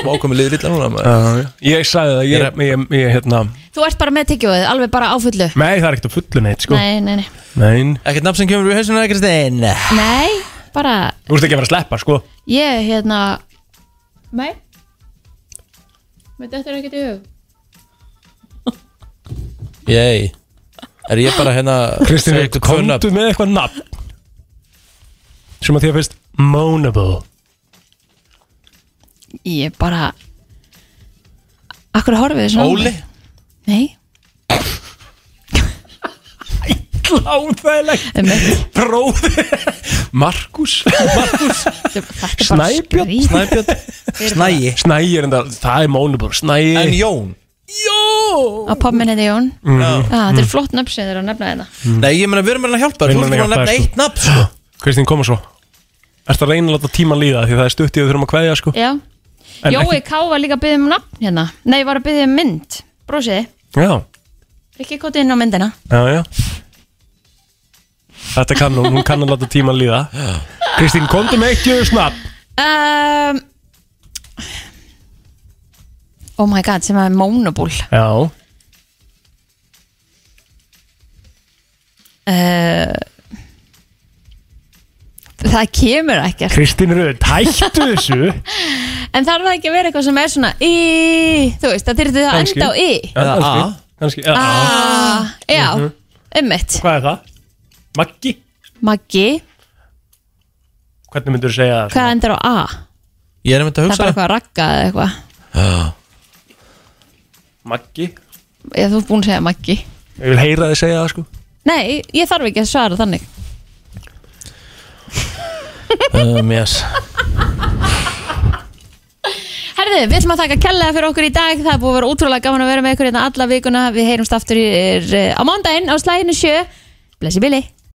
B: Má komið liðið illa núna
D: Já, já. Ég sagði það, ég, ég, ég, hérna
C: þú ert bara með tyggjóið, alveg bara á fullu
D: Nei, það er ekkert að fullu neitt, sko
C: nei, nei, nei,
D: Nein.
B: Ekkert nafn sem kemur úr hausinu, Kristín
C: nei bara,
D: Þú ert ekki að vera að sleppa, sko
C: ég hérna nei með þetta er ekkert í hug
B: Jæj Er ég bara hérna
D: Kristín,
B: segja ykkur tvö
D: komdu
B: nöfn?
D: með eitthvað nafn sem að því að finnst Moanable
C: ég bara akkur horfið þið svona á mig?
D: Óli?
C: nei,
D: Láþægilegt Bróði Markus Markus Snæbjörn Snæbjörn Snægi Snægi er enda Það er Moanable Snægi En Jón
C: Jó! Á pappminn heiti Jón
D: Mm.
C: Já, Ah, Þetta er
D: Mm.
C: flott nöfn sem þeir eru að nefna hérna. þetta
D: Mhm.
B: Nei, ég meina, við erum að reyna að hjálpa þér. Þú erum að nefna eitt nafn sko.
D: Kristín, koma svo Ertu að reyna að láta tíman líða því það er stutt í að við þurfum að kveðja sko
C: Já,
D: En
C: Jói
D: ekki-
C: K var líka að byggja um nafn hérna Nei, var að byggja um mynd Brósiði,
D: Já,
C: ekki kotið inn á myndina
D: já, já Þetta kann hún, hún kann að láta tíman líða Kristín, komdu með eitt jöðu snabbt
C: um, Oh my god, sem er Mónobúl
D: Já
C: uh, Það kemur ekkert
D: Kristín Röð, hættu þessu
C: En þarf það ekki að vera eitthvað sem er svona Í, þú veist, það þyrfti það að enda á Í
D: Eða A Kannski, eða A
C: ah, Já,
D: Mhm.
C: ummitt
D: Hvað er það? Maggi?
C: Maggi,
D: Hvernig myndur þú segja það?
C: hvað endur á A?
B: Ég er að mynda
C: Það er bara eitthvað að ragga eða eitthvað
D: Maggi?
C: Ég, þú ert búin að segja Maggi
D: Ég vil heyra þið segja það sko
C: Nei, ég þarf ekki að svara þannig
B: Um, yes.
C: Herðu, við ætlum að taka kella fyrir okkur í dag Það er búið að vera útrúlega gaman að vera með ykkur hérna alla vikuna Við heyrumst aftur í, er, eh, á mándaginn á slæðinu sjö Blessi Billy